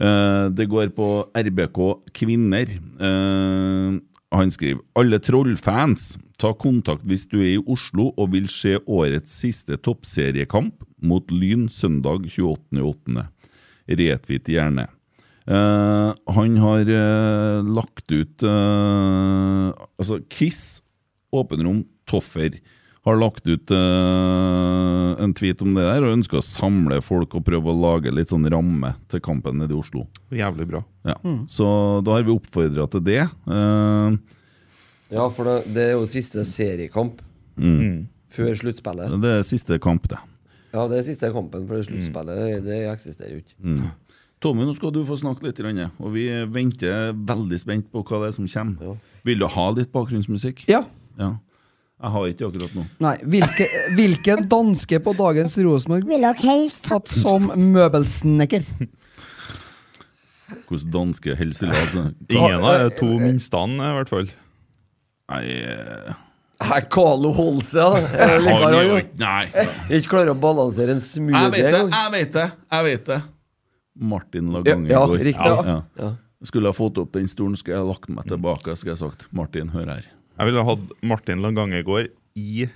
[SPEAKER 4] Eh, det går på RBK Kvinner. Eh, han skriver Alle trollfans, ta kontakt hvis du er i Oslo og vil se årets siste toppseriekamp mot Lyn søndag 28.8. Retweet gjerne. Eh, han har eh, lagt ut eh, Altså Kiss, Åpenrom, Toffer. har lagt ut eh, en tweet om det der og ønsker å samle folk og prøve å lage litt sånn ramme til kampen nede i Oslo.
[SPEAKER 5] Jævlig bra.
[SPEAKER 4] Ja. Så da har vi oppfordra til det. Eh,
[SPEAKER 2] Ja, for det, det er jo siste seriekamp
[SPEAKER 4] Mm.
[SPEAKER 2] før sluttspillet.
[SPEAKER 4] det er siste kamp, det.
[SPEAKER 2] Ja, det er siste kampen, for det sluttspillet det- det eksisterer jo ikke.
[SPEAKER 4] Tommy, nå skal du få snakke litt, Rønne, og vi venter veldig spent på hva det er som kommer. Vil du ha litt bakgrunnsmusikk?
[SPEAKER 3] Ja.
[SPEAKER 4] Ja. Jeg har ikke akkurat nå.
[SPEAKER 3] Nei, hvilke, hvilken danske på dagens Rosenborg
[SPEAKER 6] Ville dere helst hatt
[SPEAKER 3] tatt som møbelsnekker?
[SPEAKER 4] Hvordan danske helselag altså.
[SPEAKER 5] Ingen av
[SPEAKER 2] eh,
[SPEAKER 5] de to minstene, i hvert fall.
[SPEAKER 4] Nei, eh,
[SPEAKER 2] Nei, Carlo Holse, ja. Jeg
[SPEAKER 4] han
[SPEAKER 2] liker han
[SPEAKER 4] gjør
[SPEAKER 2] jo.
[SPEAKER 4] ikke- Nei.
[SPEAKER 2] Ikke klarer å balansere en
[SPEAKER 4] Jeg vet
[SPEAKER 2] smoothie
[SPEAKER 4] det,
[SPEAKER 2] engang.
[SPEAKER 4] jeg vet det, jeg vet det. Martin
[SPEAKER 2] Ja,
[SPEAKER 4] Lagangen
[SPEAKER 2] ja,
[SPEAKER 4] går.
[SPEAKER 2] riktig.
[SPEAKER 4] Ja,
[SPEAKER 2] Ja.
[SPEAKER 4] ja. Skulle jeg fått opp den stolen, skulle jeg lagt meg tilbake. Skulle jeg sagt Martin, hør her.
[SPEAKER 5] Jeg ville hatt Martin Langangegård i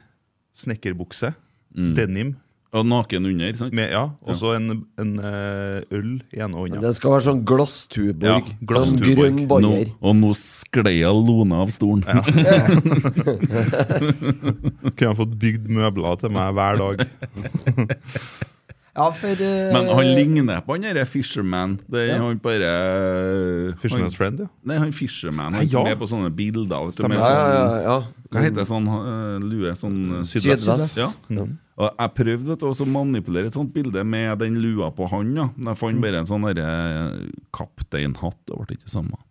[SPEAKER 5] snekkerbukse, denim,
[SPEAKER 4] Og naken under, sant?
[SPEAKER 5] med, Mm. ja, og så en, en eh, øl i ene hånda.
[SPEAKER 2] Det skal være sånn
[SPEAKER 5] Ja,
[SPEAKER 2] glasstuborg. sånn
[SPEAKER 5] glasstuborg.
[SPEAKER 2] grønn
[SPEAKER 4] Nå,
[SPEAKER 2] banner.
[SPEAKER 4] og nå sklei jeg lona av stolen.
[SPEAKER 5] Kunne jeg fått bygd møbler til meg hver dag.
[SPEAKER 3] Ja, for eh,
[SPEAKER 4] Men han ligner på han derre Fisherman. Det er han bare
[SPEAKER 5] Fisherman's friend, ja.
[SPEAKER 4] Nei, han Fisherman. Han
[SPEAKER 5] Nei, ja.
[SPEAKER 4] som er på sånne bilder. Vet du, med
[SPEAKER 2] Ja, ja, ja.
[SPEAKER 4] sånn,
[SPEAKER 2] ja.
[SPEAKER 4] hva heter det sånn øh, lue? Sånn øh,
[SPEAKER 2] Sydvest. Sydvest. Mm.
[SPEAKER 4] Ja. Og jeg prøvde vet du, også å manipulere et sånt bilde med den lua på han. Ja. Men Jeg
[SPEAKER 2] Mm.
[SPEAKER 4] fant bare en sånn derre kapteinhatt. Det ble ikke det samme.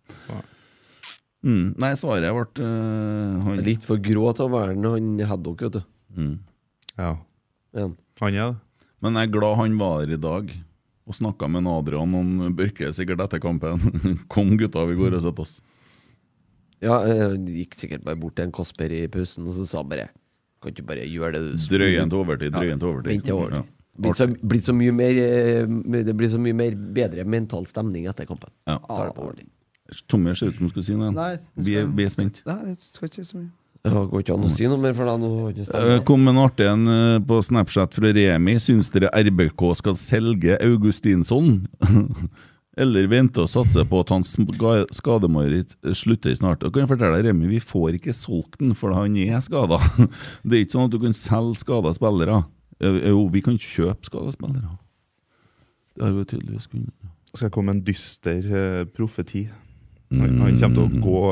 [SPEAKER 4] Mm. Nei, svaret ble øh, han.
[SPEAKER 2] Litt for grå til å være den han Haddock, vet du.
[SPEAKER 5] ja.
[SPEAKER 2] Men.
[SPEAKER 5] Han er det.
[SPEAKER 4] Men jeg er glad han var her i dag. Og snakka med en Adrian om Børke sikkert etter kampen. Kom, gutta, vi går og setter oss.
[SPEAKER 2] Ja, jeg gikk sikkert bare bort til en Kosper i pausen, og så sa han bare Kan ikke bare gjøre det du skulle?»
[SPEAKER 4] Drøyen til overtid, drøyen til
[SPEAKER 2] Vent
[SPEAKER 4] overtid.
[SPEAKER 2] til over.
[SPEAKER 4] Ja.
[SPEAKER 2] Blir så, blir så mye mer, eh, det blir så mye mer bedre mental stemning etter kampen.
[SPEAKER 4] Ja.
[SPEAKER 3] Ah.
[SPEAKER 2] Tar det på ordentlig.
[SPEAKER 4] Tommy ser ut som hun skulle si noe.
[SPEAKER 3] Nei,
[SPEAKER 4] vi, er, vi er spent.
[SPEAKER 3] Nei, jeg skal ikke si så mye.
[SPEAKER 2] Ja, det går ikke an å si noe mer for deg nå. har jeg ikke
[SPEAKER 4] Eh,
[SPEAKER 2] stemt.
[SPEAKER 4] Kom en artig en eh, på Snapchat fra Remi. Syns dere RBK skal selge Augustinsson? Eller vente og satse på at hans ga- skademareritt eh, slutter snart? Og kan jeg fortelle deg, Remi, vi får ikke solgt den, for han er skada. Det er ikke sånn at du kan selge skada spillere. Eh, Jo, vi kan kjøpe skada spillere. Det har vi tydeligvis kunnet.
[SPEAKER 5] skal jeg komme med en dyster eh, profeti. Han, han kommer til å gå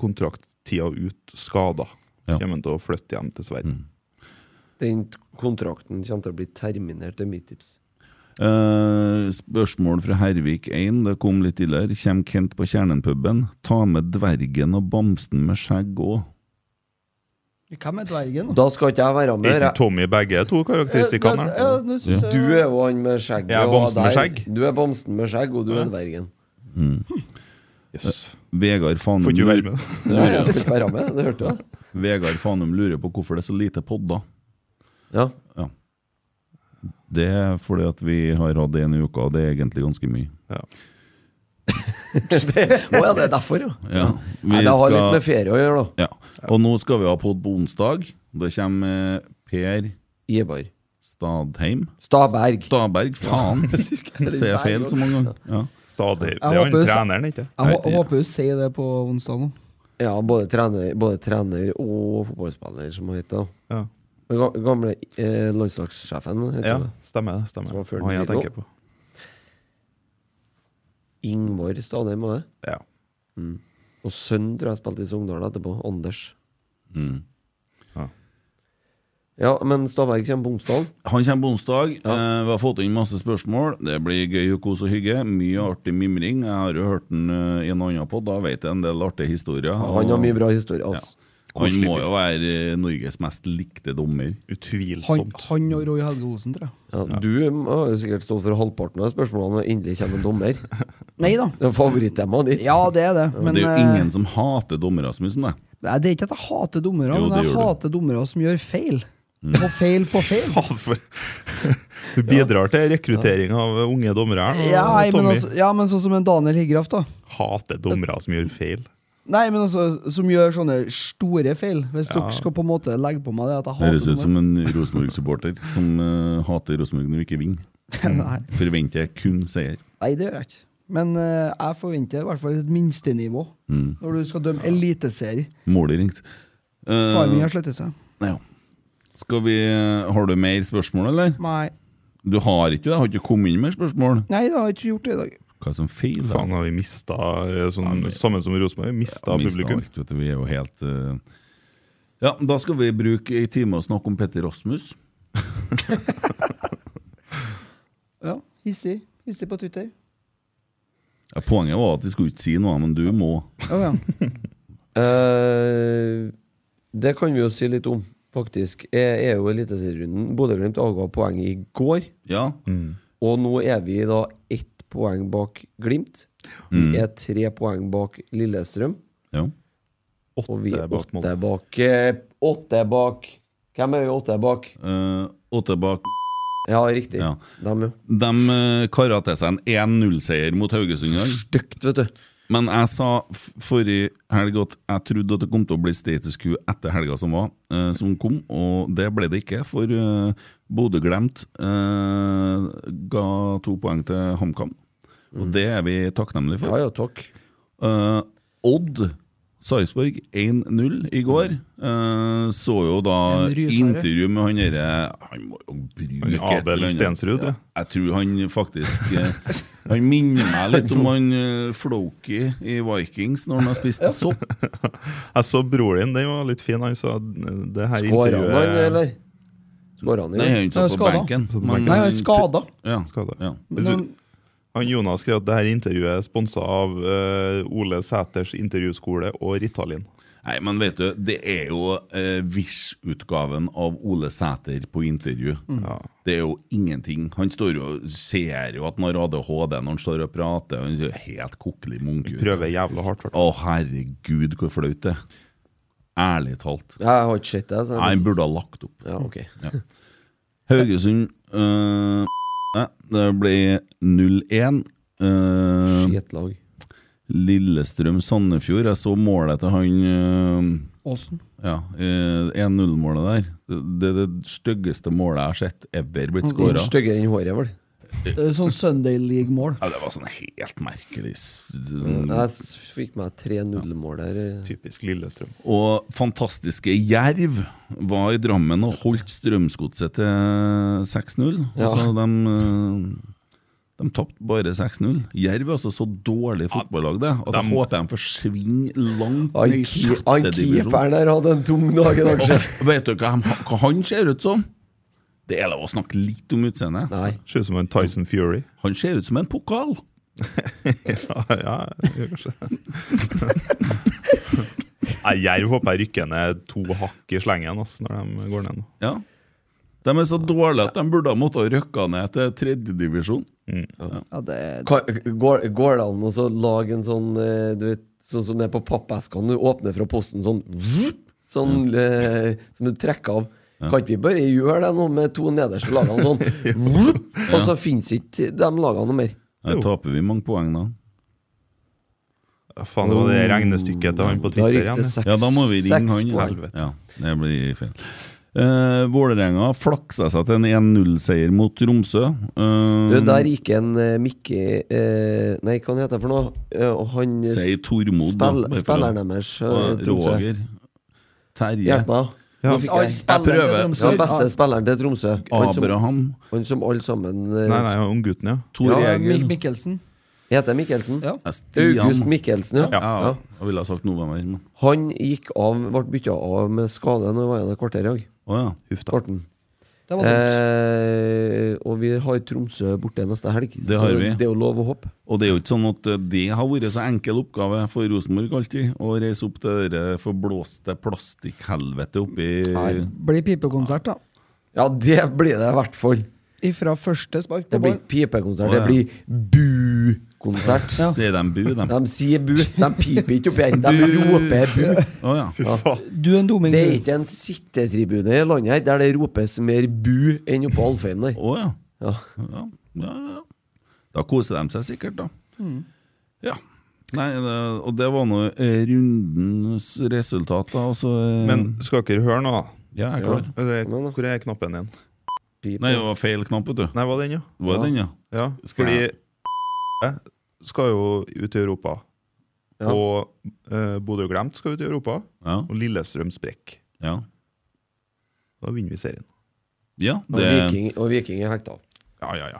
[SPEAKER 5] kontrakttida ut skada.
[SPEAKER 4] Ja.
[SPEAKER 5] Kommer han til å flytte hjem til Sverige.
[SPEAKER 2] Den kontrakten kommer til å bli terminert, det er mitt tips.
[SPEAKER 4] Eh, spørsmål fra Hervik 1, det kom litt tidligere. Kjem Kent på Kjernenpuben? Ta med dvergen og bamsen med skjegg òg.
[SPEAKER 3] Hvem er dvergen? da?
[SPEAKER 2] Da skal ikke jeg være
[SPEAKER 5] Er
[SPEAKER 2] med.
[SPEAKER 5] ikke Tommy begge to karakteristikkene
[SPEAKER 3] Ja,
[SPEAKER 5] her?
[SPEAKER 3] nå synes jeg-
[SPEAKER 2] Du er jo han med skjegg.
[SPEAKER 5] Jeg er
[SPEAKER 2] og han
[SPEAKER 5] bamsen med
[SPEAKER 2] der.
[SPEAKER 5] skjegg.
[SPEAKER 2] Du er bamsen med skjegg, og du er dvergen.
[SPEAKER 4] Hmm.
[SPEAKER 5] Yes.
[SPEAKER 4] Vegard
[SPEAKER 5] Får
[SPEAKER 4] Fanum,
[SPEAKER 5] ikke være
[SPEAKER 4] lurer,
[SPEAKER 5] med.
[SPEAKER 2] Nei, jeg skal ikke være med, det hørte du.
[SPEAKER 4] Vegard Fanum lurer på hvorfor det er så lite podder.
[SPEAKER 2] Ja.
[SPEAKER 4] Det er fordi at vi har hatt en i uka, og det er egentlig ganske mye.
[SPEAKER 5] Ja.
[SPEAKER 2] Å ja, det er derfor, ja.
[SPEAKER 4] Ja, vi
[SPEAKER 2] Nei, det har litt
[SPEAKER 4] skal-
[SPEAKER 2] med ferie å gjøre, da.
[SPEAKER 4] ja. Og nå skal vi ha pod på onsdag. Da kommer eh, Per
[SPEAKER 2] Ivar.
[SPEAKER 4] Stadheim
[SPEAKER 2] Staberg.
[SPEAKER 4] Staberg, faen! Ser jeg feil så mange ganger? Ja.
[SPEAKER 5] Stadig. Det
[SPEAKER 3] Jeg
[SPEAKER 5] er han
[SPEAKER 3] håper-
[SPEAKER 5] treneren, ikke
[SPEAKER 3] Jeg
[SPEAKER 4] Nei,
[SPEAKER 3] hå- håper hun sier det på onsdag nå.
[SPEAKER 2] Ja, både trener, både trener og fotballspiller, som han heter. da.
[SPEAKER 5] Ja,
[SPEAKER 2] Den ga- gamle eh, landslagssjefen, heter
[SPEAKER 5] ja
[SPEAKER 2] det.
[SPEAKER 5] stemmer det. stemmer
[SPEAKER 2] Så
[SPEAKER 5] det.
[SPEAKER 2] føler
[SPEAKER 5] Han jeg
[SPEAKER 2] vi nå.
[SPEAKER 5] tenker på.
[SPEAKER 2] Ingvar Stadheim var det.
[SPEAKER 5] Ja.
[SPEAKER 2] Og sønn tror jeg spilte i Sogndal etterpå. Anders.
[SPEAKER 4] Mm.
[SPEAKER 5] Ja.
[SPEAKER 2] Ja, men Staberg kommer på onsdag.
[SPEAKER 4] Han kommer på onsdag. Eh, vi har fått inn masse spørsmål. Det blir gøy og kos og hygge. Mye artig mimring. Jeg har jo hørt den eh, i en annen podd, da vet jeg en del artige historier.
[SPEAKER 5] Ah.
[SPEAKER 2] Han har mye bra historier. Altså.
[SPEAKER 4] Han må jo være eh, Norges mest likte dommer.
[SPEAKER 3] Han,
[SPEAKER 5] Utvilsomt.
[SPEAKER 3] han og Roy Helge Osen, tror jeg.
[SPEAKER 2] Ja, du har jo sikkert stått for halvparten av spørsmålene når endelig kommer en dommer.
[SPEAKER 3] Nei da.
[SPEAKER 2] Det er favorittemaet ditt.
[SPEAKER 3] Ja, det er det. Men
[SPEAKER 4] det er jo
[SPEAKER 3] eh,
[SPEAKER 4] ingen som hater dommere så mye som deg.
[SPEAKER 3] nei, det er ikke at jeg hater dommere,
[SPEAKER 4] Jo, det
[SPEAKER 3] men jeg
[SPEAKER 4] gjør du. Mm.
[SPEAKER 3] hater dommere som gjør feil. Og feil på feil.
[SPEAKER 5] Faen, for- Du bidrar til rekruttering av unge dommere her. nå,
[SPEAKER 3] Ja, nei, men
[SPEAKER 5] Tommy
[SPEAKER 3] altså, ja, men sånn som en Daniel Higraff, da.
[SPEAKER 5] hater dommere som gjør feil.
[SPEAKER 3] Nei, men altså, Som gjør sånne store feil. Hvis dere skal på en måte legge på meg det at jeg hater
[SPEAKER 4] Høres ut som
[SPEAKER 3] dommere.
[SPEAKER 4] en Rosenborg-supporter som eh, hater Rosenborg når vi ikke vinner.
[SPEAKER 3] nei,
[SPEAKER 4] Forventer jeg kun seier.
[SPEAKER 3] nei, det gjør jeg ikke. Men eh, jeg forventer i hvert fall et minstenivå
[SPEAKER 4] Mm.
[SPEAKER 3] når du skal dømme eliteserie.
[SPEAKER 4] Målet ringt. Eh,
[SPEAKER 3] Timing har slettet seg.
[SPEAKER 4] ja. Skal vi, eh, har du mer spørsmål, eller?
[SPEAKER 3] Nei.
[SPEAKER 4] Du har ikke det? Har ikke kommet inn mer spørsmål?
[SPEAKER 3] Nei, det har jeg ikke gjort det i dag.
[SPEAKER 4] Hva er som feiler?
[SPEAKER 5] Faen, har vi mista eh, sånn, Sammen som Rosenborg, mista
[SPEAKER 4] Mistet
[SPEAKER 5] publikum.
[SPEAKER 4] alt, vet du, vi er jo helt eh, Ja, da skal vi bruke ei time og snakke om Petter Rasmus.
[SPEAKER 3] Ja, Hissig. Hissig på Twitter.
[SPEAKER 4] Ja, poenget var at vi skulle ikke si noe, men du må.
[SPEAKER 3] Å ja.
[SPEAKER 2] Eh, det kan vi jo si litt om, faktisk. Jeg er jo i Eliteserierunden. Bodø-Glimt avga poeng i går,
[SPEAKER 4] Ja.
[SPEAKER 2] og nå er vi da ett poeng bak Glimt. Vi er tre poeng bak Lillestrøm,
[SPEAKER 4] ja.
[SPEAKER 2] og vi
[SPEAKER 5] Åtte
[SPEAKER 2] er
[SPEAKER 5] bak
[SPEAKER 2] åtte
[SPEAKER 5] Molde.
[SPEAKER 2] bak eh, Åtte bak Hvem er vi åtte bak?
[SPEAKER 4] Eh, åtte bak
[SPEAKER 2] Ja, riktig.
[SPEAKER 4] Ja.
[SPEAKER 2] Dem, ja.
[SPEAKER 4] De uh, kara til seg en 1-0-seier mot Haugesund i dag.
[SPEAKER 2] Stygt, vet du.
[SPEAKER 4] Men jeg sa f- forrige helg at jeg trodde at det kom til å bli status quo etter helga som var, eh, som kom, og det ble det ikke. For eh, Bodø-Glemt eh, ga to poeng til HamKam, og det er vi takknemlige for.
[SPEAKER 2] Ja ja, takk.
[SPEAKER 4] Eh, Odd Sarpsborg 1-0 i går. Eh, så jo da
[SPEAKER 3] En rysere.
[SPEAKER 4] intervju med han derre Han må jo bruke
[SPEAKER 5] Han Abel
[SPEAKER 4] et eller annet.
[SPEAKER 5] Stensrud,
[SPEAKER 4] Ja,
[SPEAKER 5] ja.
[SPEAKER 4] jeg tror han faktisk eh, Han minner meg litt om han eh, Floki i Vikings når han har spist sopp.
[SPEAKER 5] Jeg så broren din, den var litt fin. Han sa eh, det her
[SPEAKER 2] Skåra han, han,
[SPEAKER 5] intervjuet
[SPEAKER 2] eller? Skåra han,
[SPEAKER 4] Nei,
[SPEAKER 2] ja.
[SPEAKER 4] han satt på
[SPEAKER 3] Skada.
[SPEAKER 4] benken.
[SPEAKER 5] Satt på
[SPEAKER 4] men-
[SPEAKER 5] benken.
[SPEAKER 3] Nei, han er skada.
[SPEAKER 4] Ja,
[SPEAKER 5] Skada.
[SPEAKER 4] ja.
[SPEAKER 3] Men han-
[SPEAKER 5] Han Jonas skrev at det her intervjuet er sponsa av eh, Ole Sæters intervjuskole og Ritalin.
[SPEAKER 4] Nei, men vet du, det er jo eh, Vish-utgaven av Ole Sæter på intervju. Det er jo ingenting. Han står jo, ser jo at han har ADHD når han står og prater. Han ser jo helt kokkelig munk ut.
[SPEAKER 5] Prøver jævla hardt. hvertfall.
[SPEAKER 4] Å, herregud, hvor flaut det er. Ærlig talt.
[SPEAKER 2] Jeg har ikke sett det. Så
[SPEAKER 4] Nei, han burde ha lagt opp.
[SPEAKER 2] ja, ok.
[SPEAKER 4] Haugesund eh, Det ble 0-1. Eh,
[SPEAKER 2] Skitlag.
[SPEAKER 4] Lillestrøm-Sandefjord. Jeg så målet til han eh,
[SPEAKER 3] Åsen.
[SPEAKER 4] Ja, eh, 1-0-målet der. Det det, det styggeste målet jeg har sett ever
[SPEAKER 2] Mm,
[SPEAKER 4] blitt skåra.
[SPEAKER 2] Styggere enn håret, vel.
[SPEAKER 3] Det er Sånn Sunday League-mål.
[SPEAKER 4] Ja, det var sånn helt merkelig s- Mm.
[SPEAKER 2] Jeg s- fikk meg 3-0-mål der.
[SPEAKER 5] Typisk Lillestrøm.
[SPEAKER 4] Og fantastiske Jerv var i Drammen og holdt Strømsgodset til 6-0.
[SPEAKER 2] Ja.
[SPEAKER 4] Altså, de eh, de tapte bare 6-0. Jerv er altså så dårlig fotballag det, at jeg håper de forsvinner langt
[SPEAKER 2] Han
[SPEAKER 4] ned i
[SPEAKER 2] ke- han
[SPEAKER 4] sjette divisjon.
[SPEAKER 2] keeperen der hadde en tung dag i dag, sjø.
[SPEAKER 4] Og Vet dere hva han, hva han ser ut som? Det er lov å snakke litt om utseendet.
[SPEAKER 2] Nei.
[SPEAKER 5] Ser ut som en Tyson Fury.
[SPEAKER 4] Han ser ut som en pokal.
[SPEAKER 5] Ja, ja, kanskje Nei, Jerv håper jeg rykker ned to hakk i slengen ass, når de går ned nå.
[SPEAKER 4] Ja. De er så dårlige at de burde ha måttet røkke ned til tredjedivisjon.
[SPEAKER 3] Ja, det er
[SPEAKER 2] Ka- Går, går det an å så lage en sånn eh, Du vet, sånn som det er på pappeskene, du åpner fra posten sånn vrup, Sånn eh, som du trekker av. Kan ikke vi bare gjøre det nå med to nederste lagene sånn? vrup, Og så fins ikke de lagene noe mer.
[SPEAKER 4] Her taper vi mange poeng da.
[SPEAKER 5] Ja, faen, det var det regnestykket til han på
[SPEAKER 2] Da
[SPEAKER 5] Twitter
[SPEAKER 2] ryker
[SPEAKER 5] igjen.
[SPEAKER 2] det
[SPEAKER 5] det.
[SPEAKER 2] seks,
[SPEAKER 4] Ja, da må vi ringe
[SPEAKER 2] seks
[SPEAKER 4] han. ja.
[SPEAKER 2] poeng.
[SPEAKER 4] Ja, det blir feil. Eh, Vålerenga flaksa seg til en 1-0-seier mot Tromsø. Eh,
[SPEAKER 2] Du, der gikk en eh, Mikke eh, Nei, hva han heter han for noe? Eh, og han eh,
[SPEAKER 4] sier Tormod. da,
[SPEAKER 2] spill,
[SPEAKER 4] bare for å-
[SPEAKER 2] spilleren deres. eh,
[SPEAKER 4] Og
[SPEAKER 2] Tromsø.
[SPEAKER 4] Roger. Terje.
[SPEAKER 2] Hjelp meg, da. Nå fikk
[SPEAKER 3] Alle
[SPEAKER 2] jeg-
[SPEAKER 3] spillerne til
[SPEAKER 4] prøver.
[SPEAKER 3] Tromsø-
[SPEAKER 2] Ja, beste spilleren til Tromsø.
[SPEAKER 4] Ah,
[SPEAKER 2] Han som,
[SPEAKER 4] Abraham.
[SPEAKER 2] han som alle sammen eh,
[SPEAKER 5] Nei, nei, unggutten, ja.
[SPEAKER 4] Tor
[SPEAKER 3] Ja,
[SPEAKER 4] Egil.
[SPEAKER 3] Mik- Mikkelsen.
[SPEAKER 2] Heter Mikkelsen?
[SPEAKER 3] Ja.
[SPEAKER 4] Stian.
[SPEAKER 2] August Mikkelsen, ja.
[SPEAKER 4] Ja,
[SPEAKER 2] Ja.
[SPEAKER 4] jeg ville ha sagt november. men-
[SPEAKER 2] Han gikk av, ble bytta av med skade når det var igjen et kvarter i dag.
[SPEAKER 4] Å ja.
[SPEAKER 5] Huff da.
[SPEAKER 2] Ble han.
[SPEAKER 3] Det var dumt.
[SPEAKER 2] Eh, og vi har Tromsø borte neste helg,
[SPEAKER 4] Det har vi.
[SPEAKER 2] det er jo lov å håpe.
[SPEAKER 4] Og det er jo ikke sånn at det har vært så enkel oppgave for Rosenborg alltid, å reise opp til det der eh, forblåste plastikkhelvetet oppi
[SPEAKER 2] Nei.
[SPEAKER 3] Blir pipekonsert, da.
[SPEAKER 2] Ja, det blir det i hvert fall.
[SPEAKER 3] Ifra første spark
[SPEAKER 2] Det blir
[SPEAKER 3] på ball.
[SPEAKER 2] ikke pipekonsert,
[SPEAKER 4] Å, ja.
[SPEAKER 2] det blir bu-konsert.
[SPEAKER 4] Sier de bu, de.
[SPEAKER 2] De sier bu, de piper ikke oppi her, de
[SPEAKER 4] Bu.
[SPEAKER 2] roper bu.
[SPEAKER 4] Å ja.
[SPEAKER 5] Fy faen.
[SPEAKER 3] Du er en dumming.
[SPEAKER 2] Det er
[SPEAKER 3] du.
[SPEAKER 2] ikke en sittetribune i landet her der det ropes mer bu enn oppe på Alfheim der.
[SPEAKER 4] Å ja.
[SPEAKER 2] Ja.
[SPEAKER 4] Ja, ja, ja. Da koser de seg sikkert, da.
[SPEAKER 2] Mm.
[SPEAKER 4] Ja. Nei, det, og det var nå eh, rundens resultat, da. Altså, eh,
[SPEAKER 5] Men skal dere høre nå?
[SPEAKER 4] Ja, jeg er klar.
[SPEAKER 5] Eller,
[SPEAKER 2] Mm. Kom igjen, da.
[SPEAKER 5] hvor er knappen din?
[SPEAKER 2] Pip.
[SPEAKER 4] Nei, det var feil knapp, vet du.
[SPEAKER 5] Nei, var den, ja?
[SPEAKER 4] Var det den, ja?
[SPEAKER 5] ja
[SPEAKER 4] Skal
[SPEAKER 5] fordi
[SPEAKER 4] jeg-
[SPEAKER 5] skal jo ut i Europa.
[SPEAKER 2] Ja.
[SPEAKER 5] Og eh, Bodø Glemt skal ut i Europa.
[SPEAKER 4] Ja.
[SPEAKER 5] Og Lillestrøm sprekker.
[SPEAKER 4] ja.
[SPEAKER 5] Da vinner vi serien.
[SPEAKER 4] Ja,
[SPEAKER 2] Og,
[SPEAKER 4] det,
[SPEAKER 2] viking, og Viking er hekta.
[SPEAKER 5] Ja, ja, ja.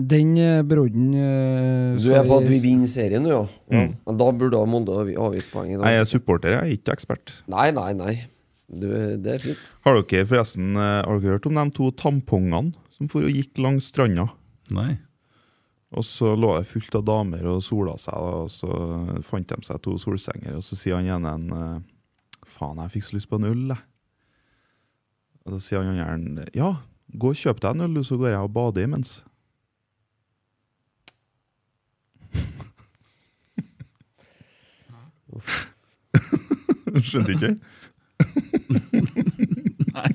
[SPEAKER 3] Den eh, brodden eh,
[SPEAKER 2] Du
[SPEAKER 3] skal
[SPEAKER 2] er på at vi
[SPEAKER 3] s-
[SPEAKER 2] vinner serien nå, ja? ja. Men da burde Molde ha avgitt poeng i dag.
[SPEAKER 5] Nei, Jeg er supporter, jeg er ikke ekspert.
[SPEAKER 2] Nei, nei, nei. Du, det er fint.
[SPEAKER 5] Har dere forresten eh, har dere hørt om de to tampongene som for og gikk langs stranda?
[SPEAKER 4] nei.
[SPEAKER 5] Og så lå det fullt av damer og sola seg, da, og så fant de seg to solsenger. Og så sier han ene en, eh, Faen, jeg fikk så lyst på en øl, jeg. Og så sier han andre Ja, gå og kjøp deg en øl, du, så går jeg og bader imens. Skjønte ikke?
[SPEAKER 4] nei.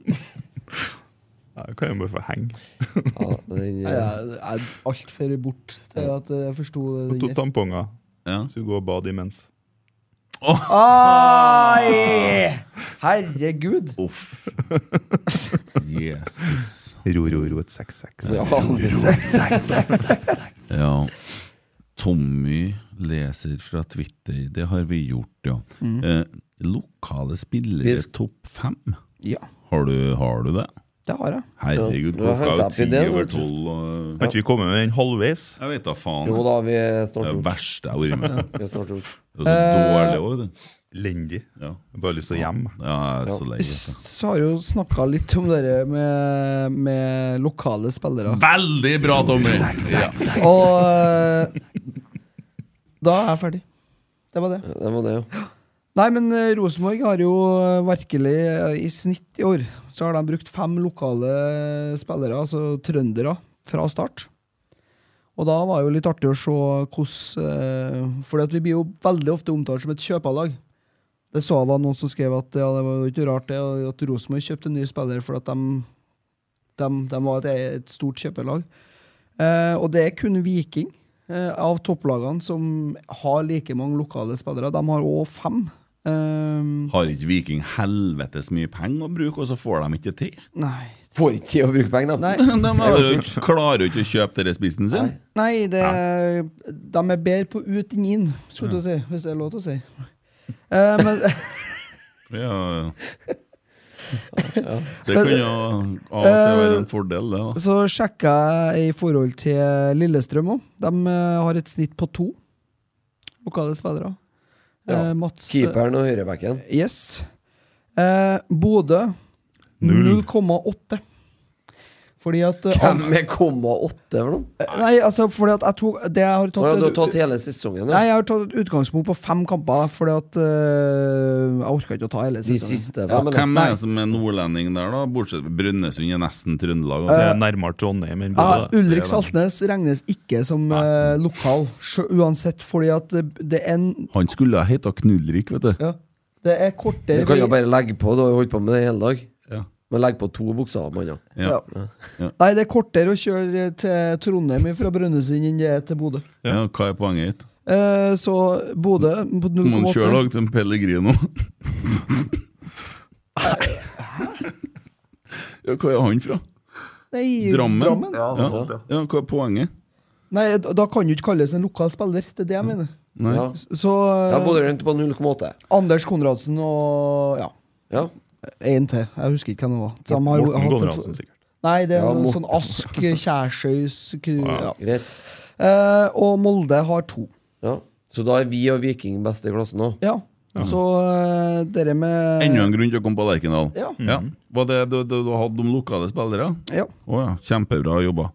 [SPEAKER 5] Nei, Det kan jeg bare få henge.
[SPEAKER 2] Ja, den,
[SPEAKER 3] Nei, Jeg er altfor bort til at jeg forsto det.
[SPEAKER 5] To
[SPEAKER 3] der.
[SPEAKER 5] tamponger,
[SPEAKER 4] Ja.
[SPEAKER 5] så gå og bade imens.
[SPEAKER 3] Ah, Ai! Herregud.
[SPEAKER 4] Uff. Jesus.
[SPEAKER 5] Ro, ro, ro, et 6-6.
[SPEAKER 2] ja, det-
[SPEAKER 4] Ja. Tommy leser fra Twitter. Det har vi gjort, ja. Eh, lokale
[SPEAKER 2] Mm. Vi
[SPEAKER 4] spillere
[SPEAKER 2] sk-
[SPEAKER 4] topp fem.
[SPEAKER 3] Ja,
[SPEAKER 4] Har du, har du det?
[SPEAKER 3] det har jeg.
[SPEAKER 4] Herregud,
[SPEAKER 2] Ja, nå
[SPEAKER 4] klokka er jo
[SPEAKER 2] hentet jeg
[SPEAKER 4] ti
[SPEAKER 2] opp ideen,
[SPEAKER 4] over
[SPEAKER 2] vet du.
[SPEAKER 4] tolv. og-
[SPEAKER 5] Har ikke vi kommet med den halvveis?
[SPEAKER 4] Jeg vet da faen.
[SPEAKER 2] jo da, vi er
[SPEAKER 4] Det
[SPEAKER 2] snart
[SPEAKER 4] er det
[SPEAKER 2] gjort.
[SPEAKER 4] verste jeg har vært med på.
[SPEAKER 2] Vi er snart gjort.
[SPEAKER 4] Det er så
[SPEAKER 2] Eh,
[SPEAKER 4] dårlig òg, vet du.
[SPEAKER 5] Lendig.
[SPEAKER 4] Ja.
[SPEAKER 5] Jeg bare har lyst til å hjem.
[SPEAKER 4] Ja, jeg er så lei. vet du.
[SPEAKER 3] Så har jeg jo snakka litt om det der med, med lokale spillere.
[SPEAKER 4] Veldig bra, Tommy! Ja.
[SPEAKER 3] Og eh, da er jeg ferdig. Det var det.
[SPEAKER 2] Det var det, ja.
[SPEAKER 3] Nei, men eh, Rosenborg har jo eh, virkelig eh, I snitt i år så har de brukt fem lokale spillere, altså trøndere, fra start. Og da var jo litt artig å se hvordan uh, For vi blir jo veldig ofte omtalt som et kjøpalag. Det så jeg var noen som skrev at ja, det var jo ikke rart det, at Rosenborg kjøpte en ny spiller fordi at de, de, de var et, et stort kjøpelag. Eh, og det er kun Viking eh, av topplagene som har like mange lokale spillere. De har òg fem. Eh,
[SPEAKER 4] Har ikke Viking helvetes mye penger å bruke, og så får de ikke til?
[SPEAKER 3] nei.
[SPEAKER 2] Får ikke tid å bruke penger, da.
[SPEAKER 3] Nei.
[SPEAKER 4] De har jo ikke- klarer jo ikke å kjøpe denne spissen sin.
[SPEAKER 3] nei, det De er bedre på ut enn inn, skulle du si, hvis det er lov til å si. Eh, men
[SPEAKER 4] Ja. Det kan jo av og til være
[SPEAKER 2] Eh,
[SPEAKER 4] en fordel, det. da
[SPEAKER 3] så sjekka jeg i forhold til Lillestrøm òg. De eh, har et snitt på to lokale spillere.
[SPEAKER 2] Ja.
[SPEAKER 3] Eh, Mats
[SPEAKER 2] Keeperen og høyrebacken.
[SPEAKER 3] Yes. Eh, Bodø
[SPEAKER 5] Null.
[SPEAKER 3] 0,8. Fordi at eh,
[SPEAKER 2] Hvem er komma åtte for noe?
[SPEAKER 3] an- Nei, altså, fordi at jeg tok Det jeg har
[SPEAKER 2] Å
[SPEAKER 3] tatt,
[SPEAKER 2] ja, du har
[SPEAKER 3] et-
[SPEAKER 2] tatt hele sesongen,
[SPEAKER 3] Nei,
[SPEAKER 2] ja?
[SPEAKER 3] jeg har tatt et utgangspunkt på fem kamper, fordi at eh, Jeg orka ikke å ta hele
[SPEAKER 2] De
[SPEAKER 3] sesongen.
[SPEAKER 2] siste
[SPEAKER 4] Ja,
[SPEAKER 2] fem, eller?
[SPEAKER 4] Hvem er det som er nordlending der, da? Bortsett fra Brønnøysund er nesten Trøndelag.
[SPEAKER 5] Det
[SPEAKER 2] Eh,
[SPEAKER 4] da.
[SPEAKER 5] er nærmere Trondheim enn
[SPEAKER 3] Eh, Ja,
[SPEAKER 5] Bodø.
[SPEAKER 3] Ulrik Saltnes regnes ikke som eh, lokal, sjø- uansett, fordi at eh, det er en
[SPEAKER 4] Han skulle ha heta Knullrik, vet du.
[SPEAKER 3] ja, Det er
[SPEAKER 2] Du
[SPEAKER 3] kortere
[SPEAKER 2] kan jo bare
[SPEAKER 3] vei-
[SPEAKER 2] legge på, du har jo holdt på med det hele dag.
[SPEAKER 4] Ja.
[SPEAKER 2] Men legg på to bokstaver, mann. ja.
[SPEAKER 4] Ja. Ja.
[SPEAKER 3] Nei, det er kortere å kjøre til Trondheim fra Brønnøysund enn det er til Bodø.
[SPEAKER 4] Ja, hva er poenget ditt?
[SPEAKER 3] Eh, så Bodø på
[SPEAKER 4] Må han
[SPEAKER 3] 0,8
[SPEAKER 4] kjøre lag til en Pellegrino? ja, hva er han fra?
[SPEAKER 3] Nei,
[SPEAKER 4] Drammen?
[SPEAKER 3] Drammen?
[SPEAKER 4] Ja. ja, hva er poenget?
[SPEAKER 3] Nei, da da kan du ikke kalles en lokal spiller. Det er det jeg mener.
[SPEAKER 4] Nei.
[SPEAKER 2] Ja,
[SPEAKER 3] Så eh,
[SPEAKER 2] ja Bodø Glimt på 0,8.
[SPEAKER 3] Anders Konradsen og ja,
[SPEAKER 2] Ja.
[SPEAKER 3] en til. Jeg husker ikke hvem det var. Så de har jo
[SPEAKER 5] Morten
[SPEAKER 3] hatt en- sånn-
[SPEAKER 5] Konradsen, sikkert.
[SPEAKER 3] Nei, det er
[SPEAKER 2] Ja,
[SPEAKER 3] noe
[SPEAKER 2] Morten.
[SPEAKER 3] sånn Ask, Kjærsøys ku- ja.
[SPEAKER 2] Greit.
[SPEAKER 3] eh, Og Molde har to.
[SPEAKER 2] Ja. Så da er vi og Viking best i klassen òg.
[SPEAKER 3] Ja. Så eh, dere med
[SPEAKER 4] Enda en grunn til å komme på Lerkendal.
[SPEAKER 3] Ja.
[SPEAKER 4] Var det du, du, du hadde om lokale spillere?
[SPEAKER 3] Ja.
[SPEAKER 4] Å ja, kjempebra jobba.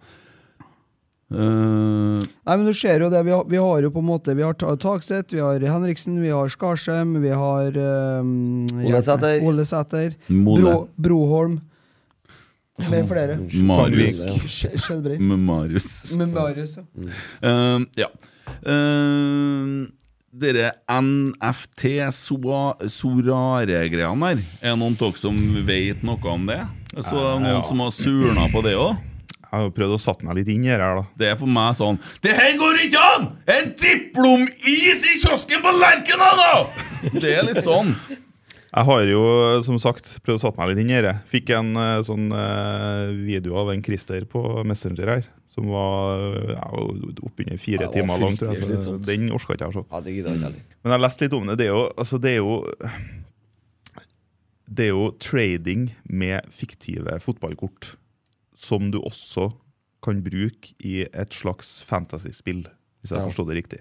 [SPEAKER 4] Eh,
[SPEAKER 3] Nei, men du ser jo det. Vi har, vi har jo på en måte Vi har Ta- Takseth, vi har Henriksen, vi har Skarsheim, vi har um,
[SPEAKER 2] Ole Sæter.
[SPEAKER 3] Ole Sæter.
[SPEAKER 4] Mole.
[SPEAKER 3] Bro, Broholm. Med flere.
[SPEAKER 4] Marius.
[SPEAKER 3] Skj- Skjelbrei.
[SPEAKER 4] Med Marius.
[SPEAKER 3] Med Marius, ja.
[SPEAKER 4] Eh, ja. Eh, dere NFT Soa- Sorare-greiene der, er det noen av dere som vet noe om det? Så er det noen som har surna på det òg?
[SPEAKER 5] Jeg har jo prøvd å satte meg litt inn i det her, da.
[SPEAKER 4] Det er for meg sånn Det her går ikke an! En diplomis i kiosken på Lerkendal, da! Det er litt sånn.
[SPEAKER 5] Jeg har jo, som sagt, prøvd å satte meg litt inn i det. Fikk en eh, sånn eh, video av en Christer på Messenger her, som var eh, ja, oppunder fire
[SPEAKER 2] Det var
[SPEAKER 5] timer lang. tror jeg,
[SPEAKER 2] fryktelig
[SPEAKER 5] så
[SPEAKER 2] slitsomt.
[SPEAKER 5] Den orka ikke jeg å se.
[SPEAKER 2] Ja, det gidder jeg ikke heller.
[SPEAKER 5] Men jeg har lest litt om det. Det er jo, altså, det er jo det er jo trading med fiktive fotballkort, som du også kan bruke i et slags fantasyspill, hvis jeg
[SPEAKER 2] Ja.
[SPEAKER 5] forstod det riktig.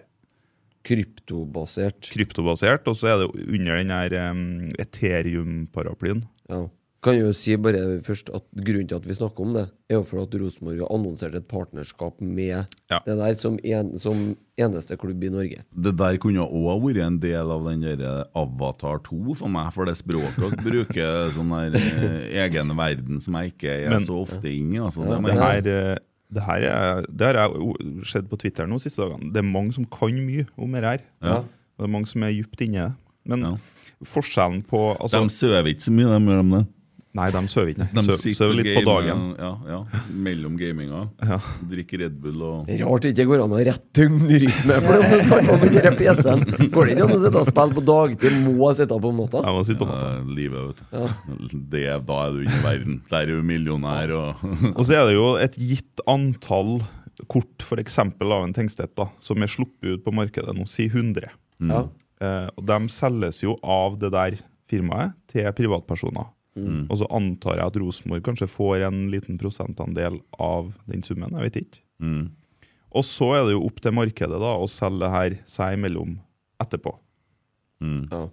[SPEAKER 2] Kryptobasert.
[SPEAKER 5] Kryptobasert, og så er det jo under den her em, Ethereum-paraplyen.
[SPEAKER 2] Ja. Kan jo si bare først at Grunnen til at vi snakker om det, er jo for at Rosenborg har annonsert et partnerskap med
[SPEAKER 5] Ja.
[SPEAKER 2] det der som, en, som eneste klubb i Norge.
[SPEAKER 4] Det der kunne òg ha vært en del av den der eh, Avatar 2 for meg, for det språket dere bruker, sånn der eh, egen verden som jeg ikke er
[SPEAKER 5] Men-
[SPEAKER 4] så ofte inne i. Altså, det,
[SPEAKER 5] Det
[SPEAKER 4] men,
[SPEAKER 5] her, eh, det her er, det har jeg o- sett på Twitter nå siste dagene. Det er mange som kan mye om det her.
[SPEAKER 4] Ja.
[SPEAKER 5] Og Det er mange som er dypt inne i det. Men
[SPEAKER 4] Ja.
[SPEAKER 5] forskjellen på altså,
[SPEAKER 4] de søver ikke så mye, de gjør de det.
[SPEAKER 5] Nei, de sover ikke.
[SPEAKER 4] De
[SPEAKER 5] De søv,
[SPEAKER 4] sitter
[SPEAKER 5] søv
[SPEAKER 4] og
[SPEAKER 5] litt på
[SPEAKER 4] gamer,
[SPEAKER 5] dagen.
[SPEAKER 4] Ja, ja, mellom gaminga. Drikker Red Bull og
[SPEAKER 2] Rart det ikke går an å ha rett døgnrytme for dem som skal på den der PC-en. Går det ikke an å sitte og spille på dagtid? Må jeg sitte opp om natta?
[SPEAKER 5] Jeg må sitte på natta.
[SPEAKER 4] eh, livet, vet du. Det, da er du inne i verden. Der er du millionær og
[SPEAKER 5] Og så er det jo et gitt antall kort, f.eks. av en Tengstedt, da, som er sluppet ut på markedet nå. Si 100.
[SPEAKER 2] Ja.
[SPEAKER 5] Eh, og de selges jo av det der firmaet til privatpersoner.
[SPEAKER 4] Mm.
[SPEAKER 5] Og så antar jeg at Rosenborg kanskje får en liten prosentandel av den summen. jeg vet ikke.
[SPEAKER 4] Mm.
[SPEAKER 5] Og så er det jo opp til markedet da, å selge det her seg imellom etterpå.
[SPEAKER 2] ja.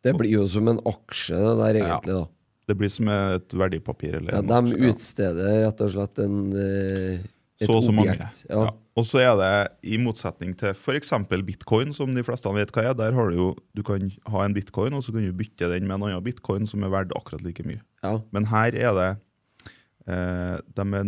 [SPEAKER 2] Det blir jo som en aksje, det der, egentlig. da
[SPEAKER 5] Det blir som et verdipapir. Eller
[SPEAKER 2] ja,
[SPEAKER 5] en aksje,
[SPEAKER 2] De utsteder rett og slett en, eh, et
[SPEAKER 5] så og så mange.
[SPEAKER 2] objekt.
[SPEAKER 5] Ja. Og så er det, i motsetning til f.eks. bitcoin, som de fleste vet hva er, der har du jo, du kan ha en bitcoin, og så kan du bytte den med en annen bitcoin som er verdt akkurat like mye.
[SPEAKER 2] Ja. ja.
[SPEAKER 5] Men her er det eh, de er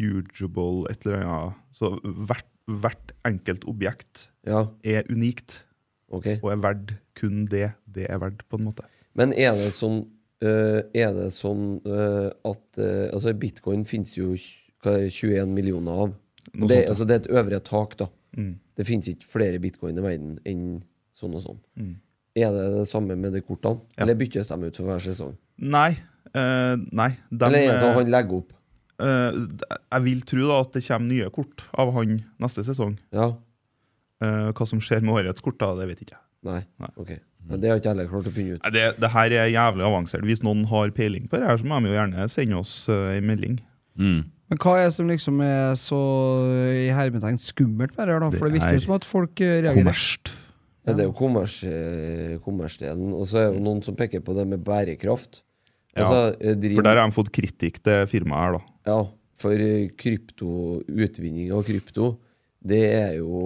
[SPEAKER 5] non-fugible et eller annet. Så hvert, hvert enkelt objekt
[SPEAKER 2] ja.
[SPEAKER 5] er unikt,
[SPEAKER 2] Ok.
[SPEAKER 5] og er verdt kun det det er verdt, på en måte.
[SPEAKER 2] Men er det sånn øh, Er det sånn øh, at øh, Altså, bitcoin finnes jo tj- hva er det, 21 millioner av.
[SPEAKER 5] Noe
[SPEAKER 2] Det,
[SPEAKER 5] sånt, ja.
[SPEAKER 2] altså, det er et øvre tak, da.
[SPEAKER 5] Mm.
[SPEAKER 2] Det finnes ikke flere bitcoin i verden enn sånn og sånn.
[SPEAKER 5] Mm.
[SPEAKER 2] Er det det samme med de kortene? Eller byttes de ut for hver sesong?
[SPEAKER 5] Nei. eh, nei. De,
[SPEAKER 2] Eller er det sånn
[SPEAKER 5] eh,
[SPEAKER 2] at han legger opp?
[SPEAKER 5] eh, jeg vil tro da at det kommer nye kort av han neste sesong.
[SPEAKER 2] Ja?
[SPEAKER 5] Eh, hva som skjer med årets kort, da, det vet ikke jeg.
[SPEAKER 2] Nei?
[SPEAKER 5] Nei.
[SPEAKER 2] Ok. Men det har ikke jeg heller klart å finne ut.
[SPEAKER 5] Nei, Det, det her er jævlig avansert. Hvis noen har peiling på det her, så må de jo gjerne sende oss eh, en melding.
[SPEAKER 3] Men hva er det som liksom er så eh, i hermetegn skummelt med det her, da? For det
[SPEAKER 5] Det
[SPEAKER 3] virker
[SPEAKER 5] er
[SPEAKER 3] jo som at folk eh, reagerer.
[SPEAKER 5] Kommerst.
[SPEAKER 2] Ja, det er jo kommers, eh, kommersdelen. Og så er det jo noen som peker på det med bærekraft.
[SPEAKER 5] Ja,
[SPEAKER 2] Altså, eh, driv-
[SPEAKER 5] For der har de fått kritikk til firmaet her, da.
[SPEAKER 2] Ja, for eh, krypto, utvinning av krypto, det er jo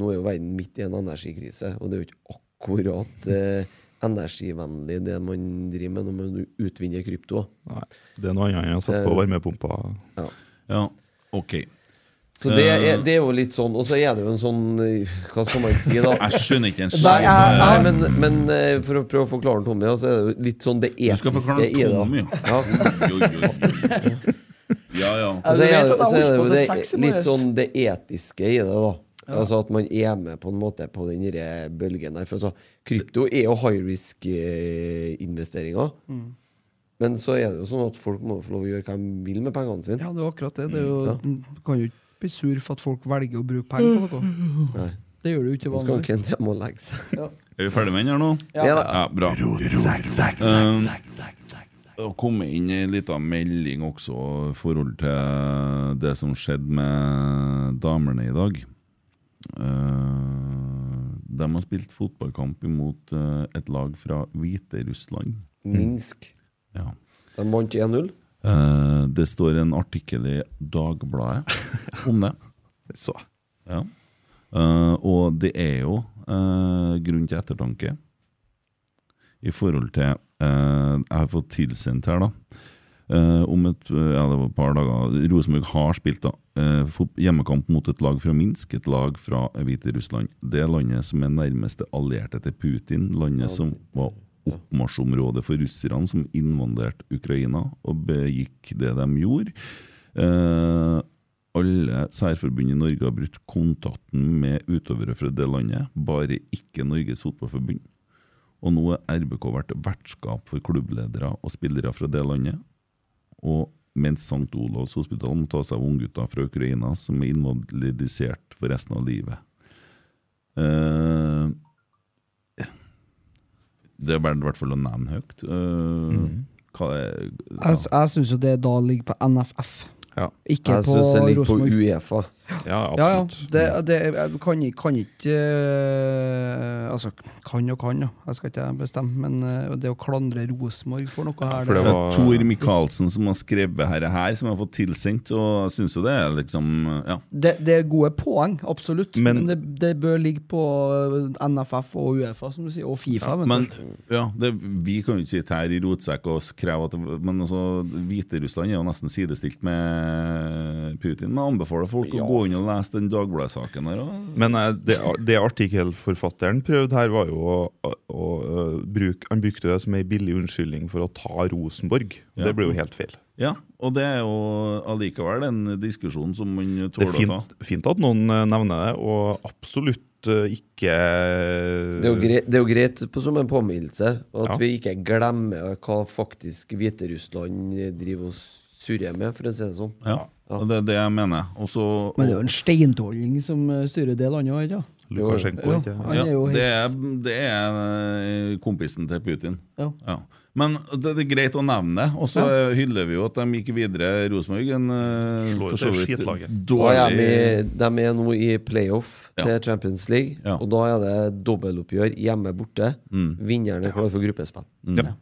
[SPEAKER 2] Nå er jo verden midt i en energikrise, og det er jo ikke akkurat eh, energivennlig det man driver med når man utvinner krypto.
[SPEAKER 5] Nei, det er noe annet enn å sette på
[SPEAKER 3] Eh,
[SPEAKER 5] varmepumpa.
[SPEAKER 4] Ja, OK.
[SPEAKER 2] Så det er, det er jo litt sånn, og så er det jo en sånn eh, Hva skal man si, da?
[SPEAKER 4] Jeg skjønner ikke en
[SPEAKER 2] Nei,
[SPEAKER 4] skjønn
[SPEAKER 2] nei, nei, men, men eh, for å prøve å forklare Tommy, da, så er det jo litt sånn det
[SPEAKER 4] Du skal
[SPEAKER 2] etiske
[SPEAKER 4] forklare
[SPEAKER 2] i det.
[SPEAKER 4] Tommy,
[SPEAKER 2] da. Ja.
[SPEAKER 4] Oi, oi, oi. Ja, ja.
[SPEAKER 2] Og
[SPEAKER 3] Ja, du
[SPEAKER 2] så er
[SPEAKER 3] vet
[SPEAKER 2] det,
[SPEAKER 3] at jeg
[SPEAKER 2] så er
[SPEAKER 3] holdt
[SPEAKER 2] det jo
[SPEAKER 3] på til
[SPEAKER 2] det,
[SPEAKER 3] seks i
[SPEAKER 2] litt
[SPEAKER 3] morges.
[SPEAKER 2] sånn det etiske i det, da. Altså at man er med på en måte på den derre bølgen der. For altså, krypto er jo high risk-investeringer.
[SPEAKER 3] Mm.
[SPEAKER 2] Men så er det jo sånn at folk må få lov å gjøre hva de vil med pengene sine.
[SPEAKER 3] Ja, det er akkurat det. det er jo, Du kan jo ikke bli sur for at folk velger å bruke penger på noe.
[SPEAKER 2] Nei.
[SPEAKER 3] Det gjør du jo ikke
[SPEAKER 2] Så skal
[SPEAKER 3] vanligvis.
[SPEAKER 2] Kent hjem og legge seg.
[SPEAKER 4] Er vi ferdig med den her nå?
[SPEAKER 2] Ja, da.
[SPEAKER 4] Ja, bra. Um, Det har kommet inn ei lita melding også i forhold til det som skjedde med damene i dag. Eh, de har spilt fotballkamp imot eh, et lag fra Hviterussland.
[SPEAKER 2] Minsk.
[SPEAKER 4] Ja.
[SPEAKER 2] De vant 1-0.
[SPEAKER 4] Eh, det står en artikkel i Dagbladet om det.
[SPEAKER 5] Så.
[SPEAKER 4] Ja. Eh, og det er jo eh, grunn til ettertanke i forhold til eh, Jeg har fått tilsendt her, da. eh, om et ja, det var et par dager Rosenborg har spilt da eh, fot- hjemmekamp mot et lag fra Minsk, et lag fra Hviterussland. Det landet som er nærmeste allierte til Putin, landet som var oppmarsjområdet for russerne som invanderte Ukraina og begikk det de gjorde. Eh, alle særforbund i Norge har brutt kontakten med utøvere fra det landet, bare ikke Norges Fotballforbund. Og nå er RBK vært vertskap for klubbledere og spillere fra det landet. Og mens St. Olavs hospital må ta seg av unggutter fra Ukraina som er invalidisert for resten av livet. Eh, Det er verdt i hvert fall å nevne høyt. Eh, Hva er
[SPEAKER 3] Jeg, jeg syns jo det da ligger på NFF,
[SPEAKER 5] Ja,
[SPEAKER 3] ikke
[SPEAKER 2] Jeg
[SPEAKER 3] på
[SPEAKER 2] syns det ligger på
[SPEAKER 3] Rosenborg.
[SPEAKER 2] Uefa.
[SPEAKER 5] ja
[SPEAKER 3] Ja, ja.
[SPEAKER 5] absolutt.
[SPEAKER 3] Det, det, jeg kan, ikke- kan ikke eh, Altså, kan og kan, ja. Jeg skal ikke bestemme, men eh, det å klandre Rosenborg for noe her
[SPEAKER 5] for det
[SPEAKER 4] Det
[SPEAKER 5] var-
[SPEAKER 4] er Tor Michaelsen som har skrevet her, her som jeg har fått tilsendt, og jeg syns jo det er liksom Ja.
[SPEAKER 3] det, det er gode poeng, absolutt,
[SPEAKER 5] Men-
[SPEAKER 3] men, det, det bør ligge på eh, NFF og Uefa, som du sier, og Fifa.
[SPEAKER 4] Men
[SPEAKER 3] eventuelt.
[SPEAKER 4] ja, det, vi kan jo ikke sitte her i rotsekk og s- kreve at det- Men altså, Hviterussland er jo nesten sidestilt med Putin. Men jeg anbefaler folk å gå inn og lese den Dagbladet-saken der. Og,
[SPEAKER 5] Men eh, det, det artikkelforfatteren prøvde her, var jo å, å, å eh, bruke Han brukte det som ei billig unnskyldning for å ta Rosenborg. Og
[SPEAKER 4] Ja.
[SPEAKER 5] Det ble jo helt feil.
[SPEAKER 4] ja, og det er jo allikevel en diskusjon som man
[SPEAKER 5] Det
[SPEAKER 4] tåler
[SPEAKER 5] er
[SPEAKER 4] å ta.
[SPEAKER 5] fint, fint at noen eh, nevner det, og absolutt eh, ikke
[SPEAKER 2] Det er jo greit, det er jo greit på, som en påminnelse at
[SPEAKER 5] Ja.
[SPEAKER 2] vi ikke glemmer hva faktisk Hviterussland driver og surrer med, for å si det sånn.
[SPEAKER 4] Ja, og det er det jeg mener. Og så
[SPEAKER 3] Men det er jo en steintolling som eh, styrer det landet òg, ikke sant?
[SPEAKER 5] Lukasjenko,
[SPEAKER 3] Ja,
[SPEAKER 5] ikke?
[SPEAKER 3] han
[SPEAKER 4] ja,
[SPEAKER 3] er jo
[SPEAKER 4] det,
[SPEAKER 3] helt
[SPEAKER 4] er, det er kompisen til Putin.
[SPEAKER 3] Ja.
[SPEAKER 4] Men det, det er greit å nevne det. Og så eh, hyller vi jo at de gikk videre, Rosenborg. En eh,
[SPEAKER 5] Slår ut
[SPEAKER 4] for så
[SPEAKER 5] det
[SPEAKER 4] vidt
[SPEAKER 5] skitlaget.
[SPEAKER 2] Og de,
[SPEAKER 4] dårlig
[SPEAKER 2] de er nå i playoff
[SPEAKER 4] Ja.
[SPEAKER 2] til Champions League,
[SPEAKER 4] Ja. Mm.
[SPEAKER 2] og da er det dobbeltoppgjør hjemme borte. Vinneren er klar for gruppespill.
[SPEAKER 4] Ja.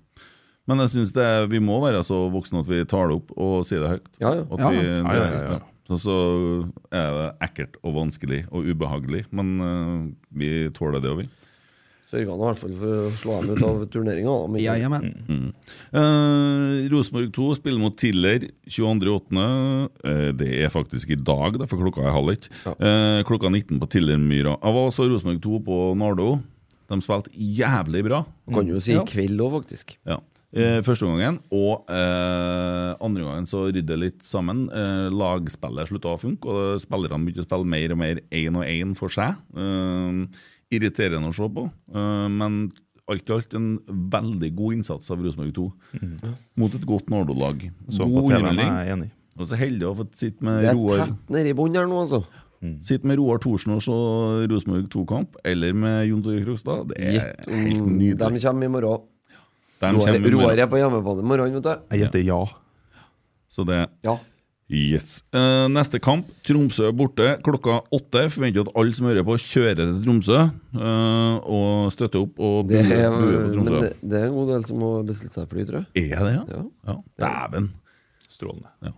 [SPEAKER 4] Men jeg syns vi må være så voksne at vi tar det opp og sier det høyt.
[SPEAKER 2] Ja, ja.
[SPEAKER 4] At
[SPEAKER 3] Ja,
[SPEAKER 4] vi,
[SPEAKER 3] ja.
[SPEAKER 4] det er
[SPEAKER 5] Ja, ja, ja.
[SPEAKER 4] høyt, ja. Så, så er det ekkelt og vanskelig og ubehagelig, men eh, vi tåler det òg, vi.
[SPEAKER 2] Sørga nå i hvert fall for å slå dem ut av turneringa. da, men-
[SPEAKER 3] Ja, ja, men.
[SPEAKER 4] Eh, Rosenborg 2 spiller mot Tiller 22.8. Eh, det er faktisk i dag, da, for klokka er halv ett. Eh, klokka 19 på Tillermyra. Jeg var også Rosenborg 2 på Nardo. De spilte jævlig bra.
[SPEAKER 2] Kan jo si i
[SPEAKER 3] Ja.
[SPEAKER 2] kveld òg, faktisk.
[SPEAKER 4] Ja. Eh, første gangen, og eh, andre gangen så rydde litt sammen. Eh, lagspillet slutta å funke, og spillerne begynte å spille mer og mer én og én for seg. Eh, irriterende å se på, eh, men alt i alt en veldig god innsats av Rosenborg 2.
[SPEAKER 2] Mm.
[SPEAKER 4] Mot et godt Nardo-lag.
[SPEAKER 5] Så
[SPEAKER 4] God
[SPEAKER 5] på TV-en er
[SPEAKER 4] underholdning.
[SPEAKER 5] jeg enig.
[SPEAKER 4] Og så heldig å ha fått sitte med
[SPEAKER 2] Det er
[SPEAKER 4] Roar
[SPEAKER 2] tett nedi bånn her nå, altså.
[SPEAKER 4] Sitte med Roar Thorsen og se Rosenborg 2-kamp, eller med Jon Tore Krogstad. Det er
[SPEAKER 2] Gjett
[SPEAKER 4] helt
[SPEAKER 2] om de
[SPEAKER 4] nydelig.
[SPEAKER 2] kommer i morgen.
[SPEAKER 4] De
[SPEAKER 2] Roar,
[SPEAKER 4] kommer i morgen.
[SPEAKER 2] Roar er på hjemmebane i morgen, vet du.
[SPEAKER 5] Jeg gjetter ja.
[SPEAKER 4] Så det
[SPEAKER 2] Ja.
[SPEAKER 4] Yes. Eh, neste kamp, Tromsø er borte klokka åtte. Forventer at alle som hører på, kjører til Tromsø eh, og støtter opp og
[SPEAKER 2] Det
[SPEAKER 4] buer-
[SPEAKER 2] er,
[SPEAKER 4] buer på
[SPEAKER 2] men
[SPEAKER 4] Tromsø.
[SPEAKER 2] det, det er en god del som må bestille seg fly, tror jeg.
[SPEAKER 4] Er det, ja?
[SPEAKER 2] Ja.
[SPEAKER 4] Dæven.
[SPEAKER 5] Strålende.
[SPEAKER 4] Ja.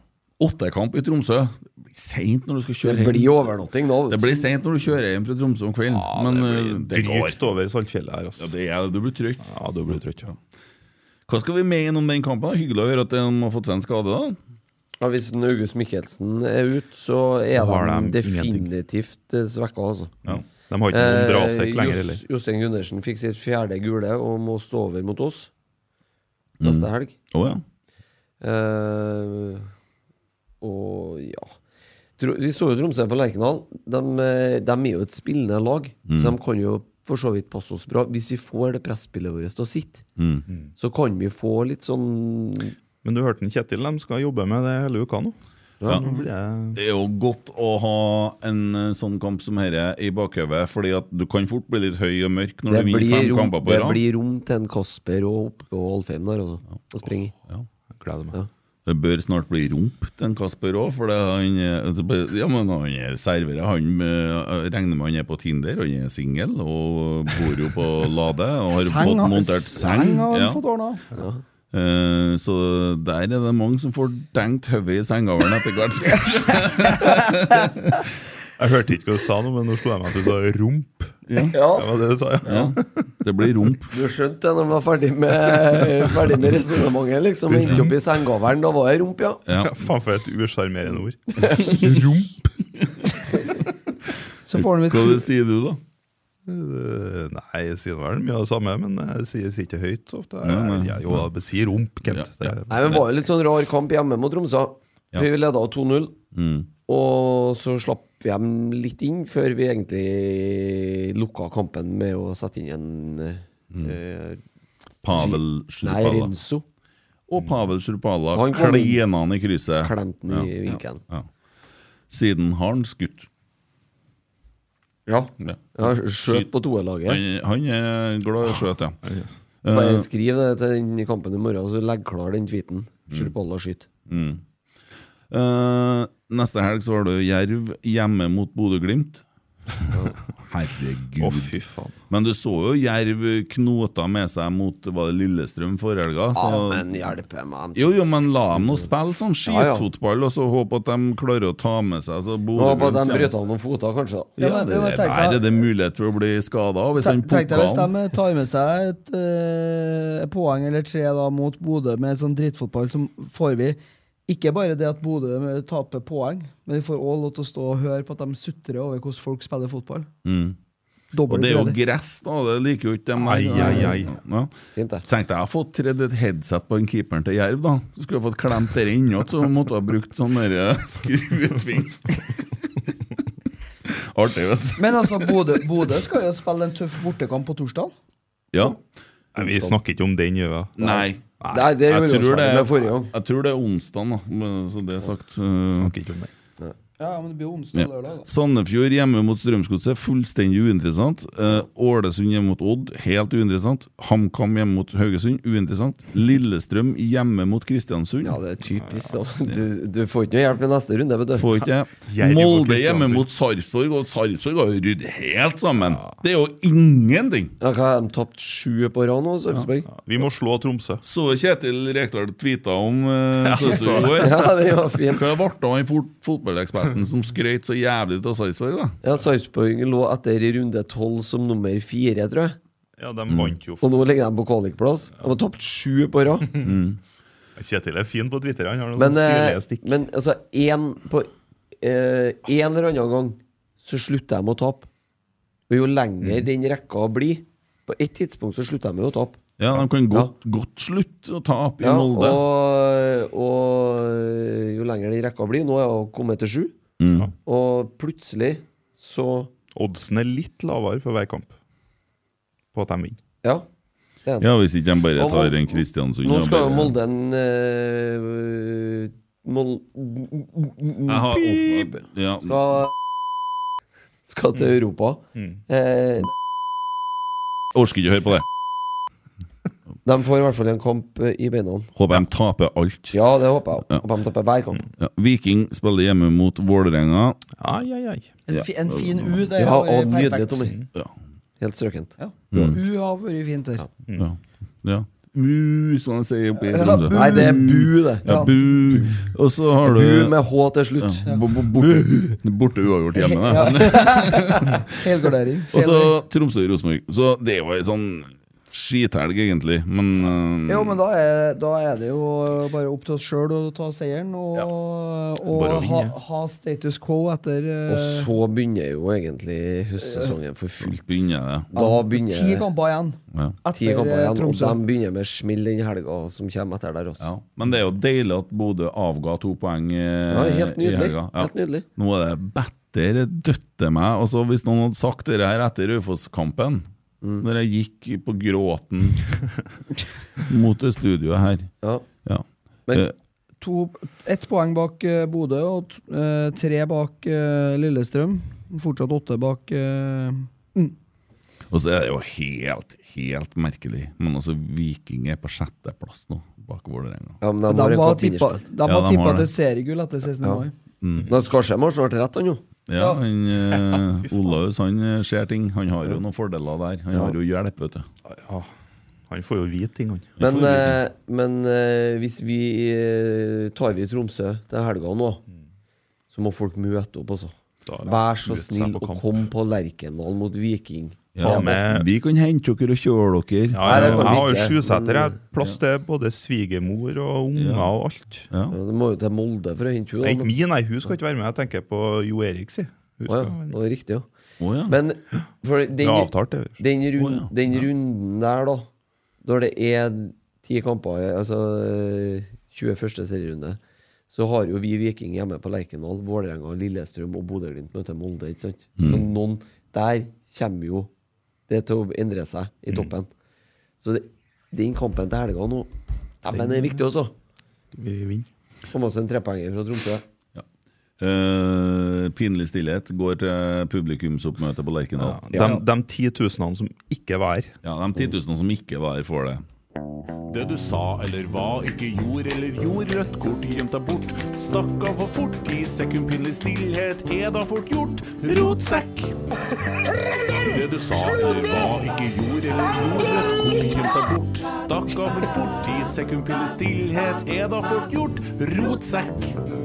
[SPEAKER 4] Åttekamp i Tromsø. Det blir seint når du skal kjøre
[SPEAKER 2] Det
[SPEAKER 4] hjem.
[SPEAKER 2] blir overnatting nå.
[SPEAKER 4] Det blir sent når du kjører hjem fra Tromsø om kvelden, men eh, det går.
[SPEAKER 5] Drygt over Saltfjellet her,
[SPEAKER 4] Ja,
[SPEAKER 5] altså.
[SPEAKER 4] det er det. Du blir trøtt.
[SPEAKER 5] Ja, du blir trøtt. Ja.
[SPEAKER 4] Hva skal vi mene om den kampen? Hyggelig å høre at de har fått seg en skade, da.
[SPEAKER 2] Ja, hvis en August Michelsen er ute, så
[SPEAKER 5] Da
[SPEAKER 2] er
[SPEAKER 5] har
[SPEAKER 2] de
[SPEAKER 5] de ingenting.
[SPEAKER 2] definitivt eh, svekka, altså.
[SPEAKER 5] De har ikke noen drasekk
[SPEAKER 2] Eh,
[SPEAKER 5] lenger
[SPEAKER 2] Jos-
[SPEAKER 5] heller.
[SPEAKER 2] Jostein Gundersen fikk sitt fjerde gule og må stå over mot oss neste
[SPEAKER 5] Mm.
[SPEAKER 2] helg.
[SPEAKER 4] Å ja.
[SPEAKER 2] Eh, og ja Tro- Vi så jo Tromsø på Lerkendal. De, eh, de er jo et spillende lag,
[SPEAKER 5] Mm.
[SPEAKER 2] så de kan jo for så vidt passe oss bra. Hvis vi får det presspillet vårt til å sitte,
[SPEAKER 5] Mm.
[SPEAKER 2] så kan vi få litt sånn
[SPEAKER 5] Men du hørte den Kjetil, de skal jobbe med det hele uka nå.
[SPEAKER 4] Ja.
[SPEAKER 5] Nå blir jeg-
[SPEAKER 4] Det er jo godt å ha en eh, sånn kamp som dette i bakhodet, fordi at du kan fort bli litt høy og mørk når du
[SPEAKER 2] Det
[SPEAKER 4] vinner
[SPEAKER 2] blir,
[SPEAKER 4] fem
[SPEAKER 2] rom,
[SPEAKER 4] kamper på
[SPEAKER 2] det
[SPEAKER 4] rad.
[SPEAKER 2] blir rom til en Kasper og oppe og Alfheim der, altså. Å springe i.
[SPEAKER 4] Ja.
[SPEAKER 5] gleder meg.
[SPEAKER 2] Ja.
[SPEAKER 4] Det bør snart bli rump til en Kasper òg, for det er han eh, det bør- Ja, men han er serverer. Han eh, regner med han er på Tinder, han er singel og bor jo på Lade og har fått montert seng.
[SPEAKER 3] har han
[SPEAKER 4] ja.
[SPEAKER 3] fått ordna.
[SPEAKER 4] Eh, Så der er det mange som får dengt hodet i sengegavlen etter hvert.
[SPEAKER 5] Jeg hørte ikke hva du sa nå, men nå slo jeg meg til å rump. Det var det du sa, ja.
[SPEAKER 4] Ja, det blir rump.
[SPEAKER 2] Du skjønte det når man var ferdig med, ferdig med resonnementet, liksom. og Endte opp i sengegavelen. Da var det rump, ja.
[SPEAKER 4] Ja.
[SPEAKER 5] Faen for et usjarmerende ord. Rump.
[SPEAKER 3] Så får han
[SPEAKER 4] Hva
[SPEAKER 3] litt
[SPEAKER 4] sier du, da?
[SPEAKER 5] Eh, Nei, jeg sier vel mye av det samme, men jeg sier sier ikke høyt så ofte.
[SPEAKER 4] Nei,
[SPEAKER 5] Jeg,
[SPEAKER 4] nei.
[SPEAKER 5] jeg, jo, jeg sier rump, Kent.
[SPEAKER 4] Ja, ja.
[SPEAKER 5] Det-
[SPEAKER 2] Nei, men Det var jo litt sånn rar kamp hjemme mot Tromsø. For Vi leda 2-0,
[SPEAKER 4] Mm.
[SPEAKER 2] og så slapp vi dem litt inn før vi egentlig lukka kampen med å sette inn en
[SPEAKER 4] Mm.
[SPEAKER 2] eh,
[SPEAKER 4] Pavel
[SPEAKER 2] Nei,
[SPEAKER 4] Slupala.
[SPEAKER 2] Renzo.
[SPEAKER 4] Og Pavel Sjurpala
[SPEAKER 2] Han kom inn.
[SPEAKER 4] klina han i krysset.
[SPEAKER 2] Klemte den i
[SPEAKER 4] Ja.
[SPEAKER 2] vinken.
[SPEAKER 4] Ja. Siden har han skutt.
[SPEAKER 2] Ja.
[SPEAKER 4] Ja.
[SPEAKER 2] Skjøt på toerlaget.
[SPEAKER 4] Han, han er glad i å skjøte, ja.
[SPEAKER 2] Bare skriv det til den kampen i morgen, og så legg klar den tweeten. Skyld på alle og skyt.
[SPEAKER 4] Eh, neste helg så har du Jerv hjemme mot Bodø-Glimt. Herregud.
[SPEAKER 5] Å, fy faen.
[SPEAKER 4] Men du så jo Jerv knota med seg mot var det Lillestrøm forrige helga.
[SPEAKER 2] Ja,
[SPEAKER 4] så-
[SPEAKER 2] men hjelpe meg.
[SPEAKER 4] Jo, jo, men la dem nå spille sånn
[SPEAKER 2] Ja, ja.
[SPEAKER 4] skitfotball, og så håpe at de klarer å ta med seg så
[SPEAKER 2] Håper at
[SPEAKER 4] Bodø-Glimt
[SPEAKER 2] de
[SPEAKER 4] kommer.
[SPEAKER 2] brøt av noen foter, kanskje. da.
[SPEAKER 4] Ja,
[SPEAKER 3] Ja, men-
[SPEAKER 4] det,
[SPEAKER 3] ja, men
[SPEAKER 4] det,
[SPEAKER 3] tenk deg-
[SPEAKER 4] der er det mulighet for å bli skada hvis han
[SPEAKER 3] Tenk deg
[SPEAKER 4] pukker
[SPEAKER 3] hvis
[SPEAKER 4] han.
[SPEAKER 3] de tar med seg et eh, poeng eller tre da, mot Bodø med sånn drittfotball, så får vi ikke bare det at Bodø taper poeng, men vi får også lov til å stå og høre på at de sutrer over hvordan folk spiller fotball.
[SPEAKER 4] Og Mm.
[SPEAKER 3] Dobbelt
[SPEAKER 4] det er jo
[SPEAKER 3] glede.
[SPEAKER 4] gress, da. Det liker jo ikke dem.
[SPEAKER 5] Ai, ai, ai.
[SPEAKER 4] Ja.
[SPEAKER 2] Fint, det.
[SPEAKER 4] Tenkte jeg har fått tredd et headset på en keeperen til Jerv, da. Så skulle jeg fått klemt det inn igjen, så måtte jeg ha brukt sånn derre skruetving. Artig, vet du.
[SPEAKER 3] Men altså, Bodø, Bodø skal jo spille en tøff bortekamp på torsdag.
[SPEAKER 4] Ja.
[SPEAKER 5] Nei, vi snakker ikke om den, gjør vi?
[SPEAKER 4] Nei.
[SPEAKER 2] Nei, det gjorde vi
[SPEAKER 4] jeg
[SPEAKER 2] oss
[SPEAKER 4] tror det,
[SPEAKER 2] ferdig med forrige gang.
[SPEAKER 4] jeg tror det er onsdag, da. men Så det er sagt. eh. så-
[SPEAKER 5] Snakker ikke om den.
[SPEAKER 3] Ja, men det blir onsdag
[SPEAKER 4] Ja.
[SPEAKER 3] og lørdag. da.
[SPEAKER 4] Sandefjord hjemme mot Strømsgodset, fullstendig uinteressant. Eh, Ålesund hjemme mot Odd, helt uinteressant. HamKam hjemme mot Haugesund, uinteressant. Lillestrøm hjemme mot Kristiansund.
[SPEAKER 2] Ja, det er typisk. da. Du, du får ikke noe hjelp i neste runde, vet du.
[SPEAKER 4] Får ikke jeg.
[SPEAKER 5] Jerv og
[SPEAKER 4] Molde hjemme
[SPEAKER 5] Kristiansund.
[SPEAKER 4] mot Sarpsborg, og Sarpsborg har jo rydd helt sammen. Det er jo ingenting!
[SPEAKER 2] Ja, hva har de tapt sju på rad nå, Sarpsborg?
[SPEAKER 5] Vi må slå Tromsø.
[SPEAKER 4] Så Kjetil Rekdal tweeta om uh, Sarpsborg i går.
[SPEAKER 2] Ja, det var fint.
[SPEAKER 4] Hva ble det av han fot- fotballeksperten som skrøt så jævlig av Sarpsborg, da?
[SPEAKER 2] Ja, Sarpsborg lå etter i runde tolv som nummer fire, tror jeg.
[SPEAKER 5] Ja, de vant jo.
[SPEAKER 2] Og nå ligger de på kvalikplass. De har tapt sju på rad.
[SPEAKER 5] Kjetil er fin på Twitter. Han har noen
[SPEAKER 2] Men, eh,
[SPEAKER 5] syrlige stikk.
[SPEAKER 2] men altså, en, på eh, en eller annen gang så slutter de å tape. Og jo
[SPEAKER 5] Mm.
[SPEAKER 2] lenger den rekka blir På et tidspunkt så slutter de jo å tape.
[SPEAKER 4] Ja, de kan godt, godt slutte å tape i
[SPEAKER 2] Ja, og,
[SPEAKER 4] Molde.
[SPEAKER 2] og jo lenger den rekka blir Nå er hun kommet til sju.
[SPEAKER 5] Mm.
[SPEAKER 2] Og plutselig så
[SPEAKER 5] Oddsen er litt lavere for hver kamp på at de vinner.
[SPEAKER 2] Ja. Det er den.
[SPEAKER 4] Ja, hvis ikke de bare
[SPEAKER 2] Og Mol-
[SPEAKER 4] tar en Kristiansund.
[SPEAKER 2] Nå
[SPEAKER 4] og
[SPEAKER 2] skal jo
[SPEAKER 4] bare-
[SPEAKER 2] Molde en eh, Mol...
[SPEAKER 4] Jeg har- Mm.
[SPEAKER 2] Pip!
[SPEAKER 4] Ja.
[SPEAKER 2] Skal, skal til Europa.
[SPEAKER 5] Mm.
[SPEAKER 2] Eh,
[SPEAKER 4] Orsker ikke høre på det.
[SPEAKER 2] de får i hvert fall en kamp eh, i beina.
[SPEAKER 4] Håper de taper alt.
[SPEAKER 2] Ja, det håper jeg. Håper de taper hver kamp.
[SPEAKER 4] Ja. Viking spiller hjemme mot Vålerenga.
[SPEAKER 5] Ai, ai, ai.
[SPEAKER 3] En, fi, en fin U, det
[SPEAKER 2] Ja,
[SPEAKER 3] har
[SPEAKER 2] og
[SPEAKER 3] vært
[SPEAKER 2] nydelig,
[SPEAKER 3] perfekt.
[SPEAKER 2] Tommy.
[SPEAKER 4] Ja.
[SPEAKER 2] Helt strøkent.
[SPEAKER 3] Ja.
[SPEAKER 4] Mm.
[SPEAKER 3] U har vært fint her.
[SPEAKER 4] Ja. ja. Bu, som de sier oppe i
[SPEAKER 3] Ja,
[SPEAKER 4] Tromsø.
[SPEAKER 3] bu.
[SPEAKER 2] Nei, det er bu, det.
[SPEAKER 4] Ja, bu. Og så har du
[SPEAKER 2] Bu med H til slutt.
[SPEAKER 4] ja. bo- bo- borte, borte uavgjort hjemme, det.
[SPEAKER 3] Helgardering.
[SPEAKER 4] Og så Tromsø og Rosenborg. Så det er jo ei sånn skithelg, egentlig, men øh,
[SPEAKER 3] Jo, men da er, da er det jo bare opp til oss sjøl å ta seieren og,
[SPEAKER 5] Bare å
[SPEAKER 3] og ha,
[SPEAKER 5] vinne.
[SPEAKER 3] ha status quo etter eh,
[SPEAKER 2] Og så begynner jo egentlig høstsesongen for fullt.
[SPEAKER 4] begynner det.
[SPEAKER 2] Da
[SPEAKER 3] ti
[SPEAKER 2] begynner
[SPEAKER 3] kamper igjen.
[SPEAKER 4] Ja.
[SPEAKER 2] ti
[SPEAKER 3] Etter
[SPEAKER 2] kamper
[SPEAKER 3] eh,
[SPEAKER 2] igjen, og
[SPEAKER 3] Tromsø.
[SPEAKER 2] de begynner med smell den helga som kommer etter der også.
[SPEAKER 4] Ja. Men det er jo deilig at Bodø avga to poeng eh,
[SPEAKER 2] Ja, helt
[SPEAKER 4] i
[SPEAKER 2] nydelig.
[SPEAKER 4] helga.
[SPEAKER 2] Helt nydelig.
[SPEAKER 4] Nå er det bedre døtte meg. Altså, hvis noen hadde sagt det her etter Raufoss-kampen,
[SPEAKER 2] Mm.
[SPEAKER 4] når jeg gikk på gråten mot det studioet her
[SPEAKER 2] Ja.
[SPEAKER 4] ja.
[SPEAKER 2] Men-
[SPEAKER 4] Eh,
[SPEAKER 3] To, ett poeng bak eh, Bodø og t- eh, tre bak eh, Lillestrøm. Fortsatt åtte bak eh,
[SPEAKER 4] og så er det jo helt, helt merkelig. Men altså, Viking er på sjetteplass nå, bak Vålerenga.
[SPEAKER 2] Ja, men de
[SPEAKER 3] De
[SPEAKER 2] har en
[SPEAKER 3] var
[SPEAKER 2] kamp
[SPEAKER 3] tippa,
[SPEAKER 2] innerspilt.
[SPEAKER 3] de
[SPEAKER 4] Ja,
[SPEAKER 3] var
[SPEAKER 4] de
[SPEAKER 3] tippa
[SPEAKER 4] har det.
[SPEAKER 3] til seriegull etter 16.
[SPEAKER 2] Ja.
[SPEAKER 3] mai.
[SPEAKER 4] Mm.
[SPEAKER 2] Nå skal Skjem ha snart rett, han jo.
[SPEAKER 4] Ja, han, eh, Olaus han eh, ser ting. Han har jo noen fordeler der. Han har jo hjelp, vet du.
[SPEAKER 5] Ja. Han får jo vite ting, han.
[SPEAKER 2] Men,
[SPEAKER 4] får
[SPEAKER 2] eh, men eh, hvis vi eh, tar vi Tromsø til helga nå,
[SPEAKER 3] Mm.
[SPEAKER 2] så må folk møte opp, altså.
[SPEAKER 5] Da-
[SPEAKER 2] Vær så
[SPEAKER 5] Møte seg
[SPEAKER 2] snill
[SPEAKER 5] på
[SPEAKER 2] og
[SPEAKER 5] kamp.
[SPEAKER 2] kom på Lerkendal mot Viking.
[SPEAKER 4] Ja,
[SPEAKER 5] med-
[SPEAKER 4] Vi kan hente dere og kjøre dere.
[SPEAKER 5] Ja,
[SPEAKER 2] Nei,
[SPEAKER 5] jeg,
[SPEAKER 2] det kan vi
[SPEAKER 5] har jo
[SPEAKER 2] ikke,
[SPEAKER 5] sjuseter. Jeg
[SPEAKER 2] men-
[SPEAKER 5] har plass til både svigermor og unger og alt.
[SPEAKER 4] Ja.
[SPEAKER 2] Ja, Du må jo til Molde for å hente
[SPEAKER 5] Nei, ikke
[SPEAKER 2] henne. da.
[SPEAKER 5] min, nei. Hun skal ikke være med. Jeg tenker på Jo Erik, si. Hun
[SPEAKER 2] Å
[SPEAKER 5] skal
[SPEAKER 2] ja,
[SPEAKER 5] være med.
[SPEAKER 2] det var riktig, ja.
[SPEAKER 4] Å, ja.
[SPEAKER 2] Men for
[SPEAKER 5] Det er
[SPEAKER 2] den,
[SPEAKER 5] avtalt, det.
[SPEAKER 2] den, run,
[SPEAKER 4] Å, ja.
[SPEAKER 2] den runden der, da, når det er ti kamper, altså eh, 21. serierunde, så har jo vi Viking hjemme på Lerkendal, Vålerenga, Lillestrøm og Bodø-Glimt møter Molde, ikke sant? Så noen der kommer jo det til å endre seg i toppen. Så det, den kampen til helga nå, den er viktig også.
[SPEAKER 5] Vi vinner.
[SPEAKER 2] Kom oss en trepoenger fra Tromsø.
[SPEAKER 4] Eh, pinlig stillhet går til publikumsoppmøte på Lerkendal. Ja.
[SPEAKER 5] De, de 10 000 som ikke var her.
[SPEAKER 4] De 10 000 som ikke var her, får det.
[SPEAKER 9] Det du sa eller hva, ikke gjorde eller gjorde, rødt kort gjemt deg bort. Stakk av for fort, ti sekund pinlig stillhet er da fort gjort. Rotsekk! Det du sa eller hva, ikke gjorde eller gjorde, rødt kort gjemt deg bort. Stakk av for fort, ti sekund pinlig stillhet er da fort gjort. Rotsekk!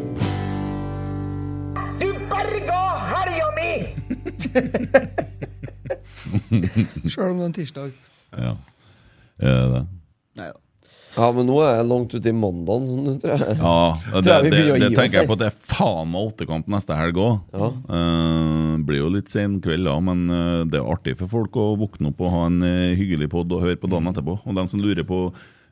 [SPEAKER 10] Du berga helga mi!
[SPEAKER 3] Sjøl om det er en tirsdag.
[SPEAKER 4] Ja. Er det det?
[SPEAKER 3] Nei da.
[SPEAKER 2] Ja, men nå er jeg langt ute i mandagen, sånn, nå, tror jeg.
[SPEAKER 4] Ja, det,
[SPEAKER 2] Tror jeg vi
[SPEAKER 4] det,
[SPEAKER 2] begynner å
[SPEAKER 4] det
[SPEAKER 2] gi oss
[SPEAKER 4] tenker jeg
[SPEAKER 2] her.
[SPEAKER 4] på. at Det er faen meg åttekamp neste helg òg.
[SPEAKER 2] Ja.
[SPEAKER 4] blir jo litt sen kveld, da, men eh, det er artig for folk å våkne opp og ha en eh, hyggelig pod og høre på dagen etterpå. Og dem som lurer på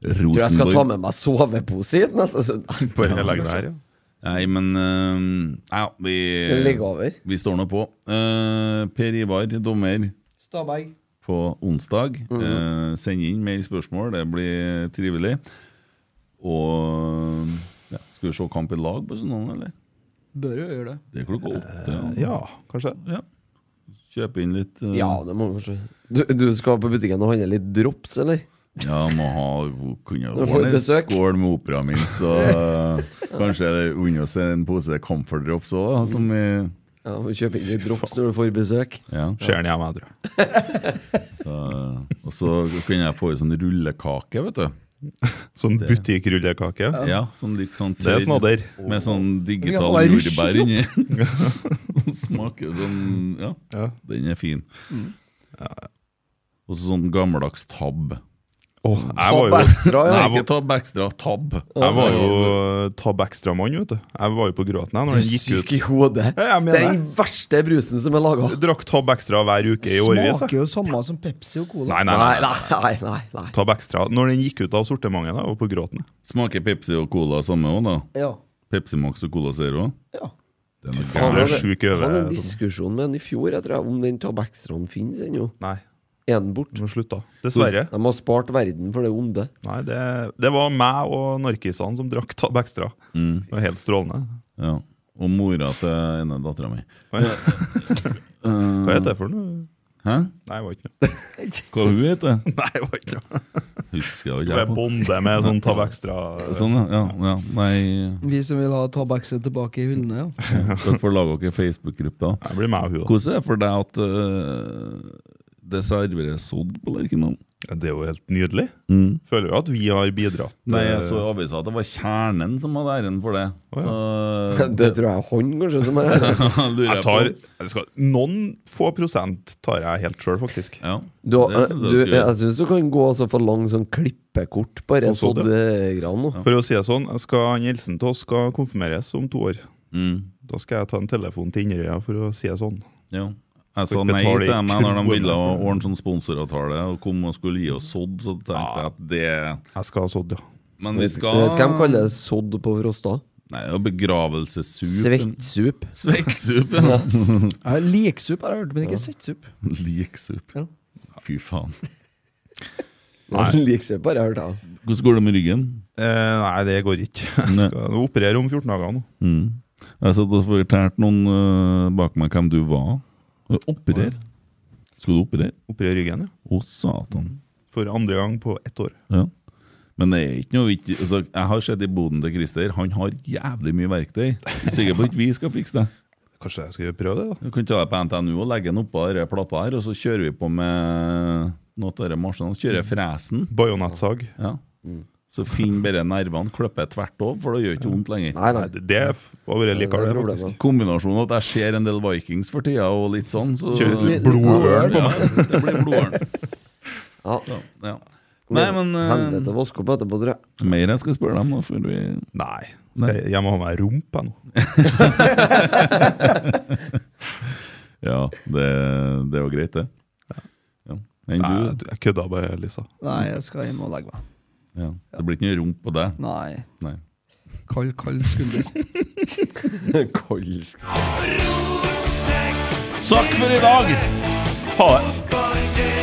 [SPEAKER 2] Tror jeg skal
[SPEAKER 4] Rosenborg
[SPEAKER 2] ta med meg sovepose hit neste søndag.
[SPEAKER 5] Bare legge det her, ja.
[SPEAKER 4] Nei, men eh, ja, vi,
[SPEAKER 2] Ligge over.
[SPEAKER 4] vi står nå på. Eh, per Ivar, dommer
[SPEAKER 3] Stabæk.
[SPEAKER 4] på onsdag.
[SPEAKER 2] Mm.
[SPEAKER 4] Eh, send inn mer spørsmål, det blir trivelig. Og ja, skal vi se kamp i lag på søndag, eller?
[SPEAKER 3] Bør jo gjøre det.
[SPEAKER 4] Det er klokka åtte.
[SPEAKER 5] Eh, Ja, kanskje.
[SPEAKER 4] Ja. Kjøpe inn litt eh,
[SPEAKER 2] Ja, det må vi kanskje du, du skal på butikken og handle litt drops, eller?
[SPEAKER 4] ja, må ha kunne
[SPEAKER 2] Du får
[SPEAKER 4] ordne en
[SPEAKER 2] besøk.
[SPEAKER 4] skål med opera min, så eh, kanskje unne oss en pose Comfort Drops òg, da. Som vi
[SPEAKER 2] Ja, får Kjøpe inn litt drops når du får besøk.
[SPEAKER 4] Ja.
[SPEAKER 5] Ser den hjemme, jeg tror jeg.
[SPEAKER 4] Så, eh, og så kunne jeg få ei sånn rullekake, vet du.
[SPEAKER 5] Sånn butikkrullekake.
[SPEAKER 4] Ja, sånn litt sånn
[SPEAKER 5] Det er
[SPEAKER 4] tørr,
[SPEAKER 5] snadder.
[SPEAKER 4] Med sånn digital
[SPEAKER 3] Vi kan få ei
[SPEAKER 4] jordbær inni. Smaker sånn ja, den er fin. Og så sånn gammeldags tabb.
[SPEAKER 5] Åh, jeg var
[SPEAKER 2] Tabb
[SPEAKER 5] jo
[SPEAKER 2] ekstra, ja.
[SPEAKER 5] Nei,
[SPEAKER 4] Ikke tabb ekstra, tabb.
[SPEAKER 5] Jeg var jo tab extra-mann, vet du. Jeg var jo på gråten jeg når den gikk ut.
[SPEAKER 2] Syk i hodet.
[SPEAKER 5] Ja, jeg
[SPEAKER 2] Det
[SPEAKER 5] mener
[SPEAKER 2] er den verste brusen som er laga.
[SPEAKER 5] Jeg Drakk tab extra hver uke i årevis. jeg.
[SPEAKER 3] Smaker jo samme som Pepsi og Cola.
[SPEAKER 5] Nei, nei, nei.
[SPEAKER 2] Nei, nei, nei. nei, nei.
[SPEAKER 5] Tab extra. Når den gikk ut av sortimentet, da, jeg var på gråten.
[SPEAKER 4] Smaker Pepsi og Cola samme òg, da?
[SPEAKER 3] Ja.
[SPEAKER 4] Pepsi Max og Cola Zero?
[SPEAKER 3] ja.
[SPEAKER 4] Det er noe
[SPEAKER 5] Jeg
[SPEAKER 4] gærent.
[SPEAKER 2] Faen,
[SPEAKER 5] ble
[SPEAKER 2] var det-
[SPEAKER 5] sjuk i sånn.
[SPEAKER 2] Jeg hadde en
[SPEAKER 5] øyet.
[SPEAKER 2] diskusjon med han i fjor jeg tror jeg, om den tabaksranen finnes ennå.
[SPEAKER 5] Nei,
[SPEAKER 2] Er den borte?
[SPEAKER 5] nå slutta. Dessverre.
[SPEAKER 2] De har spart verden for det onde.
[SPEAKER 5] Nei, det, det var meg og narkisene som drakk tab extra. Det var helt strålende.
[SPEAKER 4] Ja. Og mora til ene dattera mi.
[SPEAKER 5] Hva heter det for noe?
[SPEAKER 4] Hæ?
[SPEAKER 5] Nei, det var ikke noe.
[SPEAKER 4] Hva hun heter hun?
[SPEAKER 5] Nei, det var ikke noe.
[SPEAKER 4] Husker jeg
[SPEAKER 5] Og
[SPEAKER 4] ikke.
[SPEAKER 5] Jeg
[SPEAKER 4] på.
[SPEAKER 5] bonde med sånn tab extra.
[SPEAKER 4] Sånn, ja. ja, ja. Nei,
[SPEAKER 3] Vi som vil ha Tabakse tilbake i hyllene, ja.
[SPEAKER 4] dere får lage dere Facebook-gruppe, da.
[SPEAKER 5] Jeg blir meg og hun, da.
[SPEAKER 4] Hvordan er det for deg at øh, det serveres sodd på Lerkendal?
[SPEAKER 5] Ja, Det er jo helt nydelig. Føler jo at vi har bidratt.
[SPEAKER 4] Nei,
[SPEAKER 5] eh,
[SPEAKER 4] jeg så i avisa at det var Kjernen som hadde æren for det. Så
[SPEAKER 2] Det tror jeg er han, kanskje, som er
[SPEAKER 4] lurer
[SPEAKER 5] jeg tar, jeg skal, noen få prosent tar jeg helt sjøl, faktisk.
[SPEAKER 4] Ja,
[SPEAKER 2] Du,
[SPEAKER 4] det
[SPEAKER 2] jeg
[SPEAKER 4] syns
[SPEAKER 2] du,
[SPEAKER 4] jeg du
[SPEAKER 2] jeg
[SPEAKER 4] skal gjøre.
[SPEAKER 2] syns du kan gå og så forlange sånn klippekort, bare
[SPEAKER 5] Og sådd,
[SPEAKER 2] sådd eh, gran nå.
[SPEAKER 5] For å si det sånn, jeg skal, han Elsen til oss skal konfirmeres om to år.
[SPEAKER 4] Mm,
[SPEAKER 5] Da skal jeg ta en telefon til Inderøya for å si det sånn.
[SPEAKER 4] ja. Jeg sa
[SPEAKER 5] Folk
[SPEAKER 4] nei
[SPEAKER 5] betaler
[SPEAKER 4] til dem
[SPEAKER 5] ikke
[SPEAKER 4] når de ville
[SPEAKER 5] kroner for det.
[SPEAKER 4] ordne sånn sponsoravtale og kom og skulle gi oss sodd, så tenkte jeg at det
[SPEAKER 5] Jeg skal ha sådd, ja.
[SPEAKER 4] Men vi
[SPEAKER 2] Du
[SPEAKER 4] skal
[SPEAKER 2] vet hvem kaller det sådd på Frosta?
[SPEAKER 4] Nei, det er jo begravelsessup.
[SPEAKER 2] Svettsup.
[SPEAKER 4] Svettsup, ja.
[SPEAKER 3] ja Liksup har jeg hørt, men ikke søtsup.
[SPEAKER 4] Liksup. Fy faen.
[SPEAKER 2] Liksup har jeg hørt, ja.
[SPEAKER 4] Hvordan går det med ryggen?
[SPEAKER 5] Eh, nei, det går ikke. Jeg
[SPEAKER 4] Nei.
[SPEAKER 5] skal operere om 14 dager nå.
[SPEAKER 4] Mm. Jeg satt og fortalte noen øh, bak meg hvem du var. Operer. Skal du operere?
[SPEAKER 5] Operere ryggen, ja.
[SPEAKER 4] Å, satan.
[SPEAKER 5] For andre gang på ett år.
[SPEAKER 4] Ja. Men det er ikke noe vit- altså, Jeg har sett i boden til Christer, han har jævlig mye verktøy. Jeg er Sikker på at vi skal fikse det.
[SPEAKER 5] Kanskje jeg skal prøve det, da.
[SPEAKER 4] Du kan ta det på NTNU og legge den oppå denne plata her, og så kjører vi på med noe av denne maskinen.
[SPEAKER 2] Mm.
[SPEAKER 4] Kjører fresen.
[SPEAKER 5] Bajonettsag.
[SPEAKER 4] Ja. Så finn bare nervene, klipper tvert over, for det gjør ikke vondt lenger.
[SPEAKER 2] Mm. Nei, nei.
[SPEAKER 5] Nei, det, det har vært likere, det, faktisk.
[SPEAKER 2] Problemet.
[SPEAKER 4] Kombinasjonen at jeg ser en del Vikings for tida, og litt sånn, så
[SPEAKER 5] Kjører ut litt blodørn på meg.
[SPEAKER 4] Ja, det blir blodørn.
[SPEAKER 2] Ja.
[SPEAKER 4] Så, Ja. Nei, men eh,
[SPEAKER 2] Helvete, vask opp etterpå, tror jeg.
[SPEAKER 4] Mer jeg skal spørre dem, da, før vi
[SPEAKER 5] Nei. Skal jeg, jeg må ha meg rump, jeg nå.
[SPEAKER 4] Ja, det, det er jo greit, det. Ja. Enn
[SPEAKER 5] Nei,
[SPEAKER 4] du?
[SPEAKER 5] jeg kødda bare, Lisa.
[SPEAKER 3] Nei, jeg skal hjem og legge meg.
[SPEAKER 4] Ja. Det blir ikke noe rump på deg?
[SPEAKER 3] Nei.
[SPEAKER 4] Nei.
[SPEAKER 3] Kald, kald skulder.
[SPEAKER 2] Kolsk.
[SPEAKER 4] Takk for i dag! Ha det!
[SPEAKER 9] Bare det